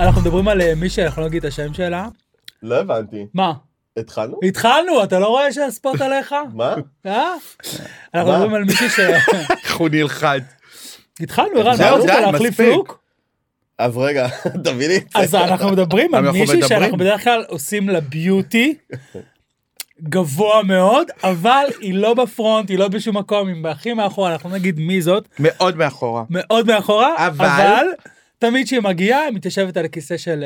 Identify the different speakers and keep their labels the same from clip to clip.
Speaker 1: אנחנו מדברים על אה, מישהי, אנחנו לא נגיד את השם שלה.
Speaker 2: לא הבנתי.
Speaker 1: מה?
Speaker 2: התחלנו?
Speaker 1: התחלנו, אתה לא רואה שהספוט עליך?
Speaker 2: מה?
Speaker 1: אה? אנחנו
Speaker 2: מה?
Speaker 1: מדברים על מישהי ש...
Speaker 3: איך הוא נלחץ.
Speaker 1: התחלנו, ערן, מה
Speaker 3: זהו,
Speaker 1: רצית
Speaker 3: די,
Speaker 1: להחליף
Speaker 3: מספיק.
Speaker 1: לוק?
Speaker 2: אז רגע, תביא לי את זה.
Speaker 1: אז אנחנו מדברים על
Speaker 3: אנחנו
Speaker 1: מישהי
Speaker 3: מדברים.
Speaker 1: שאנחנו בדרך כלל עושים לה ביוטי גבוה מאוד, אבל היא לא בפרונט, היא לא בשום מקום, היא הכי מאחורה, אנחנו לא נגיד מי זאת,
Speaker 3: מאוד מאחורה.
Speaker 1: מאוד מאחורה,
Speaker 3: אבל-
Speaker 1: אבל תמיד כשהיא מגיעה, היא מתיישבת על הכיסא של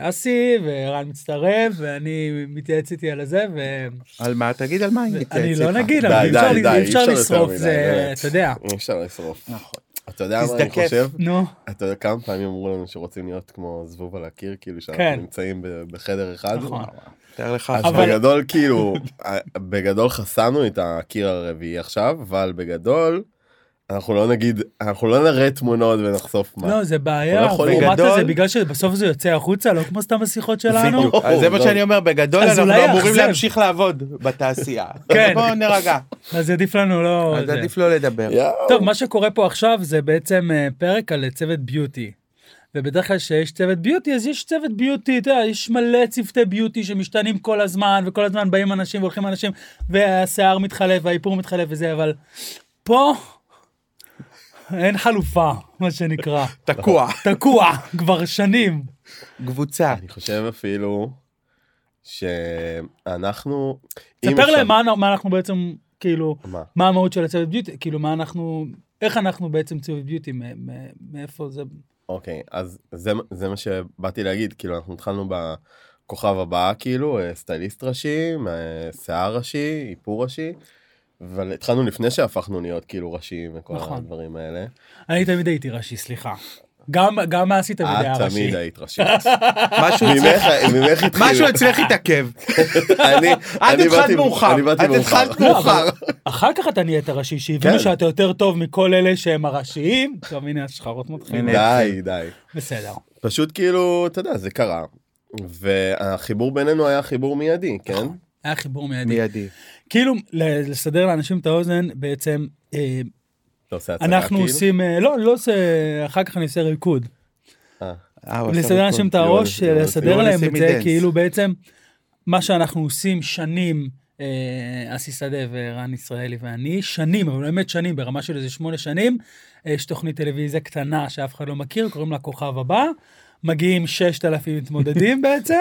Speaker 1: אה, אסי, ורן מצטרף, ואני מתייעץ איתי על זה, ואני
Speaker 3: על מה? תגיד על מה אני מתייעץ
Speaker 1: לא
Speaker 3: איתך.
Speaker 1: נגיד,
Speaker 2: די,
Speaker 1: אבל אי
Speaker 2: די,
Speaker 1: אפשר-
Speaker 2: די,
Speaker 1: אי
Speaker 2: אי
Speaker 1: אפשר
Speaker 2: אפשר יותר
Speaker 1: לשרוף,
Speaker 2: מדי,
Speaker 1: זה,
Speaker 2: באמת.
Speaker 1: אתה יודע,
Speaker 2: אי אפשר לשרוף.
Speaker 3: נכון.
Speaker 2: אתה יודע מה אני
Speaker 3: תזדקף.
Speaker 2: חושב?
Speaker 1: נו,
Speaker 2: אתה יודע כמה פעמים אמרו לנו שרוצים להיות כמו זבוב על הקיר, כאילו שאנחנו
Speaker 1: כן.
Speaker 2: נמצאים ב- בחדר אחד.
Speaker 1: נכון.
Speaker 3: תאר לך.
Speaker 2: אז
Speaker 1: אבל-
Speaker 2: בגדול כאילו, ה- בגדול חסמנו את הקיר הרביעי עכשיו, אבל בגדול, אנחנו לא נגיד, אנחנו לא נראה תמונות ונחשוף מה.
Speaker 1: לא, זה בעיה,
Speaker 2: לא יכולים.
Speaker 1: הפורמט הזה,
Speaker 3: בגדול-
Speaker 1: בגלל שבסוף זה יוצא החוצה, לא כמו סתם השיחות שלנו.
Speaker 2: בדיוק.
Speaker 3: אז זה מה
Speaker 2: לא.
Speaker 3: שאני אומר, בגדול
Speaker 1: אז
Speaker 3: אנחנו
Speaker 1: אולי
Speaker 3: אמורים
Speaker 1: יאכזב.
Speaker 3: להמשיך לעבוד בתעשייה.
Speaker 1: כן.
Speaker 3: אז בואו נרגע.
Speaker 1: אז עדיף לנו לא...
Speaker 3: אז
Speaker 1: זה.
Speaker 3: עדיף לא לדבר.
Speaker 2: יואו.
Speaker 1: טוב, מה שקורה פה עכשיו זה בעצם אה, פרק על צוות ביוטי. ובדרך כלל כשיש צוות ביוטי, אז יש צוות ביוטי, אתה יודע, יש מלא צוותי ביוטי שמשתנים כל הזמן, וכל הזמן באים אנשים והולכים אנשים, והשיער מתחלף והאיפור מתחלף וזה, אבל פה אין חלופה, מה שנקרא.
Speaker 3: תקוע.
Speaker 1: תקוע כבר שנים.
Speaker 3: קבוצה.
Speaker 2: אני חושב אפילו שאנחנו... אם
Speaker 1: ספר
Speaker 2: אפשר-
Speaker 1: להם מה, מה אנחנו בעצם, כאילו,
Speaker 2: מה?
Speaker 1: מה המהות של הצוות ביוטי, כאילו, מה אנחנו, איך אנחנו בעצם צוות ביוטי, מ- מ- מאיפה זה...
Speaker 2: אוקיי, אז זה, זה מה שבאתי להגיד, כאילו, אנחנו התחלנו בכוכב הבא, כאילו, אה, סטייליסט ראשי, אה, שיער ראשי, איפור ראשי, אבל התחלנו לפני שהפכנו להיות כאילו ראשיים וכל
Speaker 1: נכון.
Speaker 2: נכון. הדברים האלה.
Speaker 1: אני תמיד הייתי ראשי, סליחה. גם, גם מה עשית תמיד היה
Speaker 2: את
Speaker 1: ראשי.
Speaker 2: תמיד היית ראשית.
Speaker 3: משהו
Speaker 2: ממך
Speaker 3: אצלך-
Speaker 2: ממך התחיל.
Speaker 3: משהו אצלך התעכב.
Speaker 2: אני,
Speaker 3: את
Speaker 2: אני
Speaker 3: התחלת
Speaker 2: באתי-
Speaker 3: מאוחר.
Speaker 2: אני באתי
Speaker 3: את
Speaker 2: מאוחר.
Speaker 3: התחלת
Speaker 1: לא,
Speaker 3: מאוחר.
Speaker 1: אבל אחר כך אתה נהיית ראשי, שהבינו
Speaker 2: כן.
Speaker 1: שאתה יותר טוב מכל אלה שהם הראשיים. טוב, הנה השחרות מתחילות.
Speaker 2: די, די.
Speaker 1: בסדר.
Speaker 2: פשוט כאילו, אתה יודע, זה קרה. והחיבור בינינו היה חיבור מיידי, כן?
Speaker 1: היה חיבור מיידי.
Speaker 3: מיידי.
Speaker 1: כאילו, ל- לסדר לאנשים את האוזן, בעצם, אה,
Speaker 2: אתה עושה הצגה,
Speaker 1: אנחנו
Speaker 2: כאילו?
Speaker 1: עושים, אה, לא, אני לא עושה, אחר כך אני עושה ריקוד.
Speaker 2: אה,
Speaker 3: אה, הוא עשה
Speaker 1: לסדר
Speaker 3: ריקוד.
Speaker 1: לאנשים את
Speaker 2: יואו,
Speaker 1: הראש,
Speaker 2: יואו,
Speaker 1: לסדר
Speaker 3: יואו,
Speaker 1: להם
Speaker 3: נשים
Speaker 1: את
Speaker 3: לי
Speaker 1: זה,
Speaker 3: דנס.
Speaker 1: כאילו בעצם מה שאנחנו עושים שנים, אה, אסי שדה ורן ישראלי ואני, שנים, אבל באמת שנים, ברמה של איזה שמונה שנים, אה, יש תוכנית טלוויזיה קטנה שאף אחד לא מכיר, קוראים לה כוכב הבא. מגיעים 6,000 מתמודדים בעצם,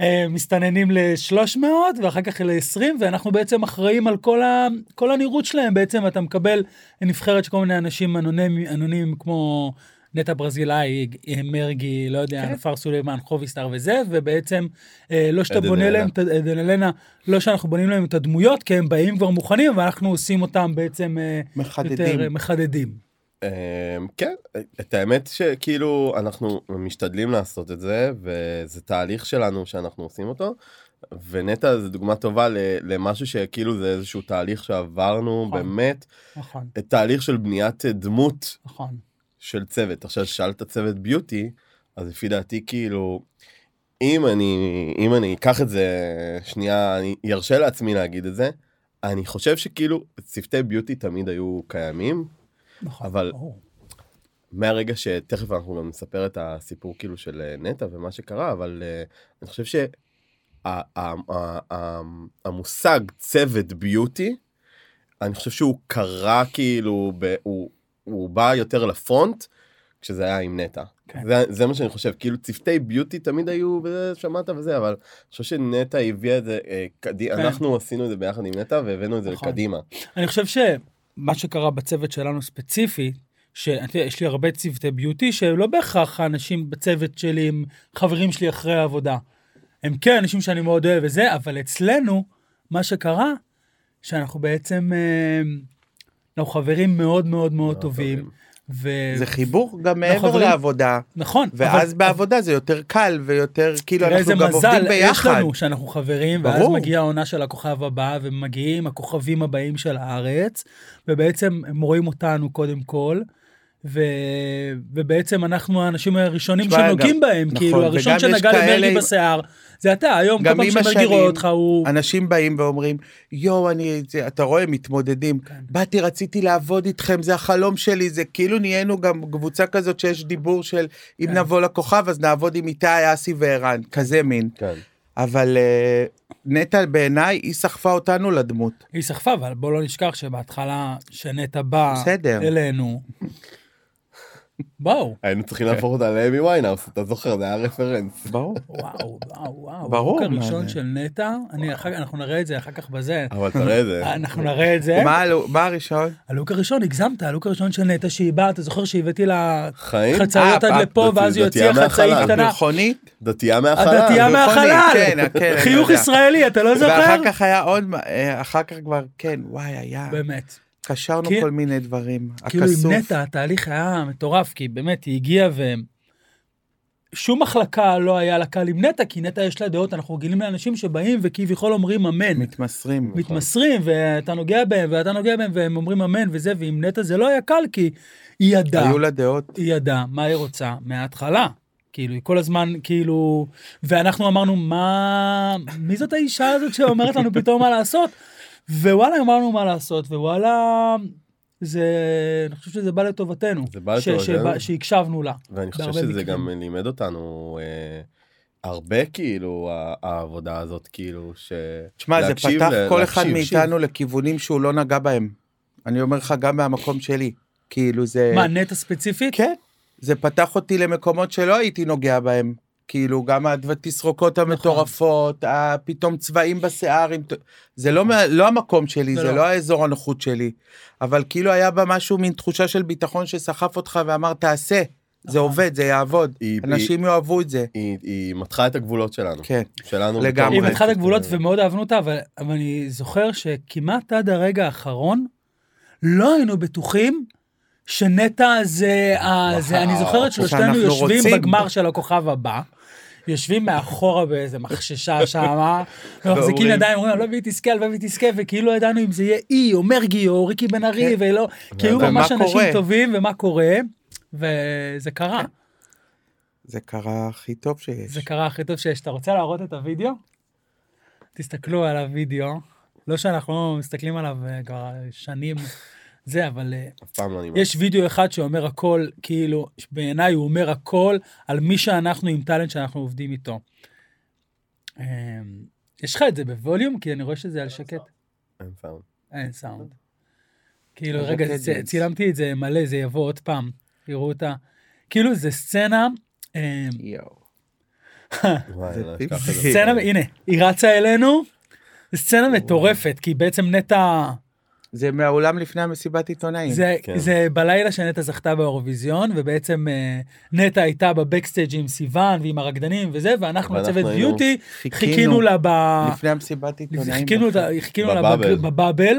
Speaker 1: אה, מסתננים ל-300 ואחר כך ל-20, ואנחנו בעצם אחראים על כל, ה... כל הנראות שלהם. בעצם אתה מקבל נבחרת של כל מיני אנשים אנונימיים, אנונימיים כמו נטע ברזילאי, מרגי, לא יודע, נפר סולימן, חוביסטר וזה, ובעצם אה, לא שאתה
Speaker 2: עדן
Speaker 1: בונה
Speaker 2: אלנה.
Speaker 1: להם, את ה- עדן אלנה, לא שאנחנו בונים להם את הדמויות, כי הם באים כבר מוכנים, ואנחנו עושים אותם בעצם אה,
Speaker 3: מחדדים.
Speaker 1: יותר אה, מחדדים.
Speaker 2: אמ, כן, את האמת שכאילו אנחנו משתדלים לעשות את זה, וזה תהליך שלנו שאנחנו עושים אותו, ונטע זו דוגמה טובה ל- למשהו שכאילו זה איזשהו תהליך שעברנו,
Speaker 1: נכון.
Speaker 2: באמת,
Speaker 1: נכון,
Speaker 2: תהליך של בניית אה, דמות
Speaker 1: נכון.
Speaker 2: של צוות. עכשיו, שאלת צוות ביוטי, אז לפי דעתי כאילו, אם אני, אם אני אקח את זה שנייה, אני ארשה לעצמי להגיד את זה, אני חושב שכאילו צוותי ביוטי תמיד היו קיימים,
Speaker 1: נכון,
Speaker 2: אבל-
Speaker 1: ברור.
Speaker 2: מהרגע שתכף אנחנו גם נספר את הסיפור כאילו של אה, נטע ומה שקרה, אבל אה, אני חושב שה- ה- ה- ה- ה- המושג צוות ביוטי, אני חושב שהוא קרה כאילו, ב- הוא- הוא בא יותר לפרונט כשזה היה עם נטע.
Speaker 1: כן.
Speaker 2: זה, זה מה שאני חושב, כאילו צוותי ביוטי תמיד היו, וזה שמעת וזה, אבל אני חושב שנטע הביאה את זה, אה, קדי...
Speaker 1: כן.
Speaker 2: אנחנו עשינו את זה ביחד עם נטע והבאנו את זה
Speaker 1: נכון.
Speaker 2: לקדימה.
Speaker 1: אני חושב שמה שקרה בצוות שלנו ספציפי, שיש לי הרבה צוותי ביוטי, שהם לא בהכרח האנשים בצוות שלי הם חברים שלי אחרי העבודה. הם כן אנשים שאני מאוד אוהב וזה, אבל אצלנו, מה שקרה, שאנחנו בעצם, אה, אנחנו חברים מאוד מאוד מאוד טובים.
Speaker 2: טובים.
Speaker 1: ו...
Speaker 3: זה חיבור גם
Speaker 1: אנחנו
Speaker 3: מעבר
Speaker 1: עוברים-
Speaker 3: לעבודה.
Speaker 1: נכון.
Speaker 3: ואז
Speaker 1: אבל-
Speaker 3: בעבודה זה יותר קל ויותר כאילו
Speaker 1: תראה
Speaker 3: אנחנו
Speaker 1: איזה
Speaker 3: גם
Speaker 1: מזל
Speaker 3: עובדים
Speaker 1: יש
Speaker 3: ביחד.
Speaker 1: לנו שאנחנו חברים, ואז
Speaker 3: ברור.
Speaker 1: מגיעה העונה של הכוכב הבא, ומגיעים הכוכבים הבאים של הארץ, ובעצם הם רואים אותנו קודם כל, ו... ובעצם אנחנו האנשים הראשונים
Speaker 3: תשמע,
Speaker 1: שנוגעים
Speaker 3: גם-
Speaker 1: בהם,
Speaker 3: נכון,
Speaker 1: כאילו הראשון
Speaker 3: וגם יש
Speaker 1: שנגע למרגי
Speaker 3: כאלה-
Speaker 1: בשיער, זה אתה, היום כל
Speaker 3: גם
Speaker 1: פעם
Speaker 3: עם
Speaker 1: שמרגי
Speaker 3: השנים-
Speaker 1: רואה אותך הוא...
Speaker 3: אנשים באים ואומרים, יואו, אני, זה- אתה רואה, מתמודדים.
Speaker 1: כן.
Speaker 3: באתי, רציתי לעבוד איתכם, זה החלום שלי, זה כאילו נהיינו גם קבוצה כזאת שיש דיבור של אם
Speaker 1: כן.
Speaker 3: נבוא לכוכב אז נעבוד עם איתי, אסי וערן, כזה מין.
Speaker 2: כן.
Speaker 3: אבל אה, נטע בעיניי, היא סחפה אותנו לדמות.
Speaker 1: היא סחפה, אבל בוא לא נשכח שבהתחלה שנטע בא
Speaker 3: בסדר.
Speaker 1: אלינו. בואו,
Speaker 2: היינו צריכים להפוך אותה לאמי ויינהאוס, אתה זוכר, זה היה רפרנס.
Speaker 3: ברור.
Speaker 1: וואו, וואו, וואו.
Speaker 3: ברור,
Speaker 1: הלוק
Speaker 3: מה
Speaker 1: הראשון
Speaker 3: זה?
Speaker 1: של נטע, אני אחר- אנחנו נראה את זה אחר כך בזה.
Speaker 2: אבל תראה את זה.
Speaker 1: אנחנו נראה את זה.
Speaker 3: מה הלו- מה הראשון?
Speaker 1: הלוק הראשון, הגזמת, הלוק הראשון של נטע שהיא באה, אתה זוכר שהבאתי לה
Speaker 2: חיים?
Speaker 1: חצאיות
Speaker 3: אה,
Speaker 1: עד
Speaker 3: אה,
Speaker 1: לפה,
Speaker 2: דתי-
Speaker 1: ואז היא
Speaker 2: דתייה
Speaker 1: הוציאה חצאית
Speaker 2: מהחלל.
Speaker 1: קטנה.
Speaker 3: מכונית?
Speaker 2: דתייה מהחלל.
Speaker 1: הדתייה
Speaker 3: מכונית,
Speaker 1: מהחלל!
Speaker 3: כן, כן, אני
Speaker 1: חיוך
Speaker 3: יודע.
Speaker 1: ישראלי, אתה לא זוכר?
Speaker 3: ואחר כך היה עוד, מה- אה, אחר כך כבר, כן, וואי, היה,
Speaker 1: באמת.
Speaker 3: קשרנו
Speaker 1: כי-
Speaker 3: כל מיני דברים.
Speaker 1: כאילו
Speaker 3: הכסוף.
Speaker 1: עם נטע התהליך היה מטורף, כי באמת היא הגיעה ו... שום מחלקה לא היה לה קל עם נטע, כי נטע יש לה דעות, אנחנו רגילים לאנשים שבאים וכביכול אומרים אמן.
Speaker 3: נכון. מתמסרים.
Speaker 1: מתמסרים, ואתה נוגע בהם, ואתה נוגע בהם, והם אומרים אמן וזה, ועם נטע זה לא היה קל, כי היא ידעה,
Speaker 3: היו לה דעות.
Speaker 1: היא ידעה מה היא רוצה מההתחלה. כאילו, היא כל הזמן, כאילו... ואנחנו אמרנו, מה... מי זאת האישה הזאת שאומרת לנו פתאום מה לעשות? ווואלה, אמרנו מה לעשות, ווואלה... זה... אני חושב שזה בא לטובתנו.
Speaker 2: זה בא
Speaker 1: ש-
Speaker 2: לטובתנו.
Speaker 1: שבא- שהקשבנו לה.
Speaker 2: ואני חושב
Speaker 1: בהרבה
Speaker 2: שזה
Speaker 1: מקרים.
Speaker 2: גם לימד אותנו אה, הרבה, כאילו, ה- העבודה הזאת, כאילו, ש...
Speaker 3: תשמע, זה
Speaker 2: להקשיב,
Speaker 3: פתח
Speaker 2: ל-
Speaker 3: כל אחד
Speaker 2: להקשיב.
Speaker 3: מאיתנו לכיוונים שהוא לא נגע בהם. אני אומר לך, גם מהמקום שלי. כאילו זה...
Speaker 1: מה, נטע ספציפית?
Speaker 3: כן. זה פתח אותי למקומות שלא הייתי נוגע בהם. כאילו, גם התסרוקות
Speaker 1: נכון.
Speaker 3: המטורפות, ה- פתאום צבעים בשיער, עם ת- זה לא, מה- לא המקום שלי,
Speaker 1: זה
Speaker 3: זה,
Speaker 1: לא.
Speaker 3: לא האזור הנוחות שלי. אבל כאילו היה בה משהו, מין תחושה של ביטחון שסחף אותך ואמר, תעשה,
Speaker 1: נכון.
Speaker 3: זה עובד, זה יעבוד.
Speaker 2: היא-
Speaker 3: אנשים יאהבו את זה.
Speaker 2: היא- היא מתחה את הגבולות שלנו.
Speaker 3: כן.
Speaker 2: שלנו.
Speaker 3: לגמרי.
Speaker 2: בתור
Speaker 1: היא
Speaker 2: מנהלת.
Speaker 1: מתחה את הגבולות
Speaker 3: כן.
Speaker 1: ומאוד אהבנו אותה, אבל, אבל אני זוכר שכמעט עד הרגע האחרון לא היינו בטוחים שנטע זה, ה- זה אני זוכר את שלושתנו
Speaker 3: שאנחנו
Speaker 1: יושבים רוצים.
Speaker 3: רוצים.
Speaker 1: בגמר של הכוכב הבא. יושבים מאחורה באיזה מחששה שמה, ומחזיקים
Speaker 3: ואומרים-
Speaker 1: ידיים, אומרים, "לא הלוואי והיא תזכה, הלוואי והיא תזכה, וכאילו לא ידענו אם זה יהיה אי, או מרגי, או ריקי בן ארי, ולא, כי היו
Speaker 3: כן. ומה
Speaker 1: ממש אנשים
Speaker 3: קורה?
Speaker 1: טובים, ומה קורה, וזה קרה,
Speaker 3: זה קרה הכי טוב שיש.
Speaker 1: זה קרה הכי טוב שיש. אתה רוצה להראות את הוידאו? תסתכלו על הוידאו. לא שאנחנו לא מסתכלים עליו אה, כבר שנים, זה, אבל אה,
Speaker 2: אף פעם לא נמאס.
Speaker 1: יש וידאו אחד שאומר הכל, כאילו, בעיניי הוא אומר הכל על מי שאנחנו עם טאלנט שאנחנו עובדים איתו. אה, יש לך את זה בווליום? כי אני רואה שזה על שקט.
Speaker 2: אין סאונד.
Speaker 1: אין סאונד. כאילו,
Speaker 3: אז
Speaker 1: רגע,
Speaker 3: אוקיי,
Speaker 1: צ-
Speaker 3: ג'ינס.
Speaker 1: צילמתי את זה מלא, זה יבוא עוד פעם, תראו אותה. כאילו, זה סצנה, אה,
Speaker 3: יואו.
Speaker 2: וואי,
Speaker 3: זה
Speaker 2: אני לא אשכח את
Speaker 3: פיפס.
Speaker 2: זה.
Speaker 1: סצנה, הנה, היא רצה אלינו, זו סצנה מטורפת, כי בעצם נטע,
Speaker 3: זה מהאולם לפני המסיבת עיתונאים.
Speaker 1: זה-
Speaker 2: כן.
Speaker 1: זה בלילה שנטע זכתה באירוויזיון, ובעצם אה, נטע הייתה בבקסטייג' עם סיוון ועם הרקדנים וזה, ואנחנו
Speaker 2: ואנחנו
Speaker 1: הצוות
Speaker 2: היינו-
Speaker 1: ביוטי,
Speaker 3: חיכינו.
Speaker 1: חיכינו לה ב...
Speaker 3: לפני המסיבת עיתונאים.
Speaker 1: חיכינו לה- חיכינו לה
Speaker 2: בבאבל.
Speaker 1: בג- בבאבל,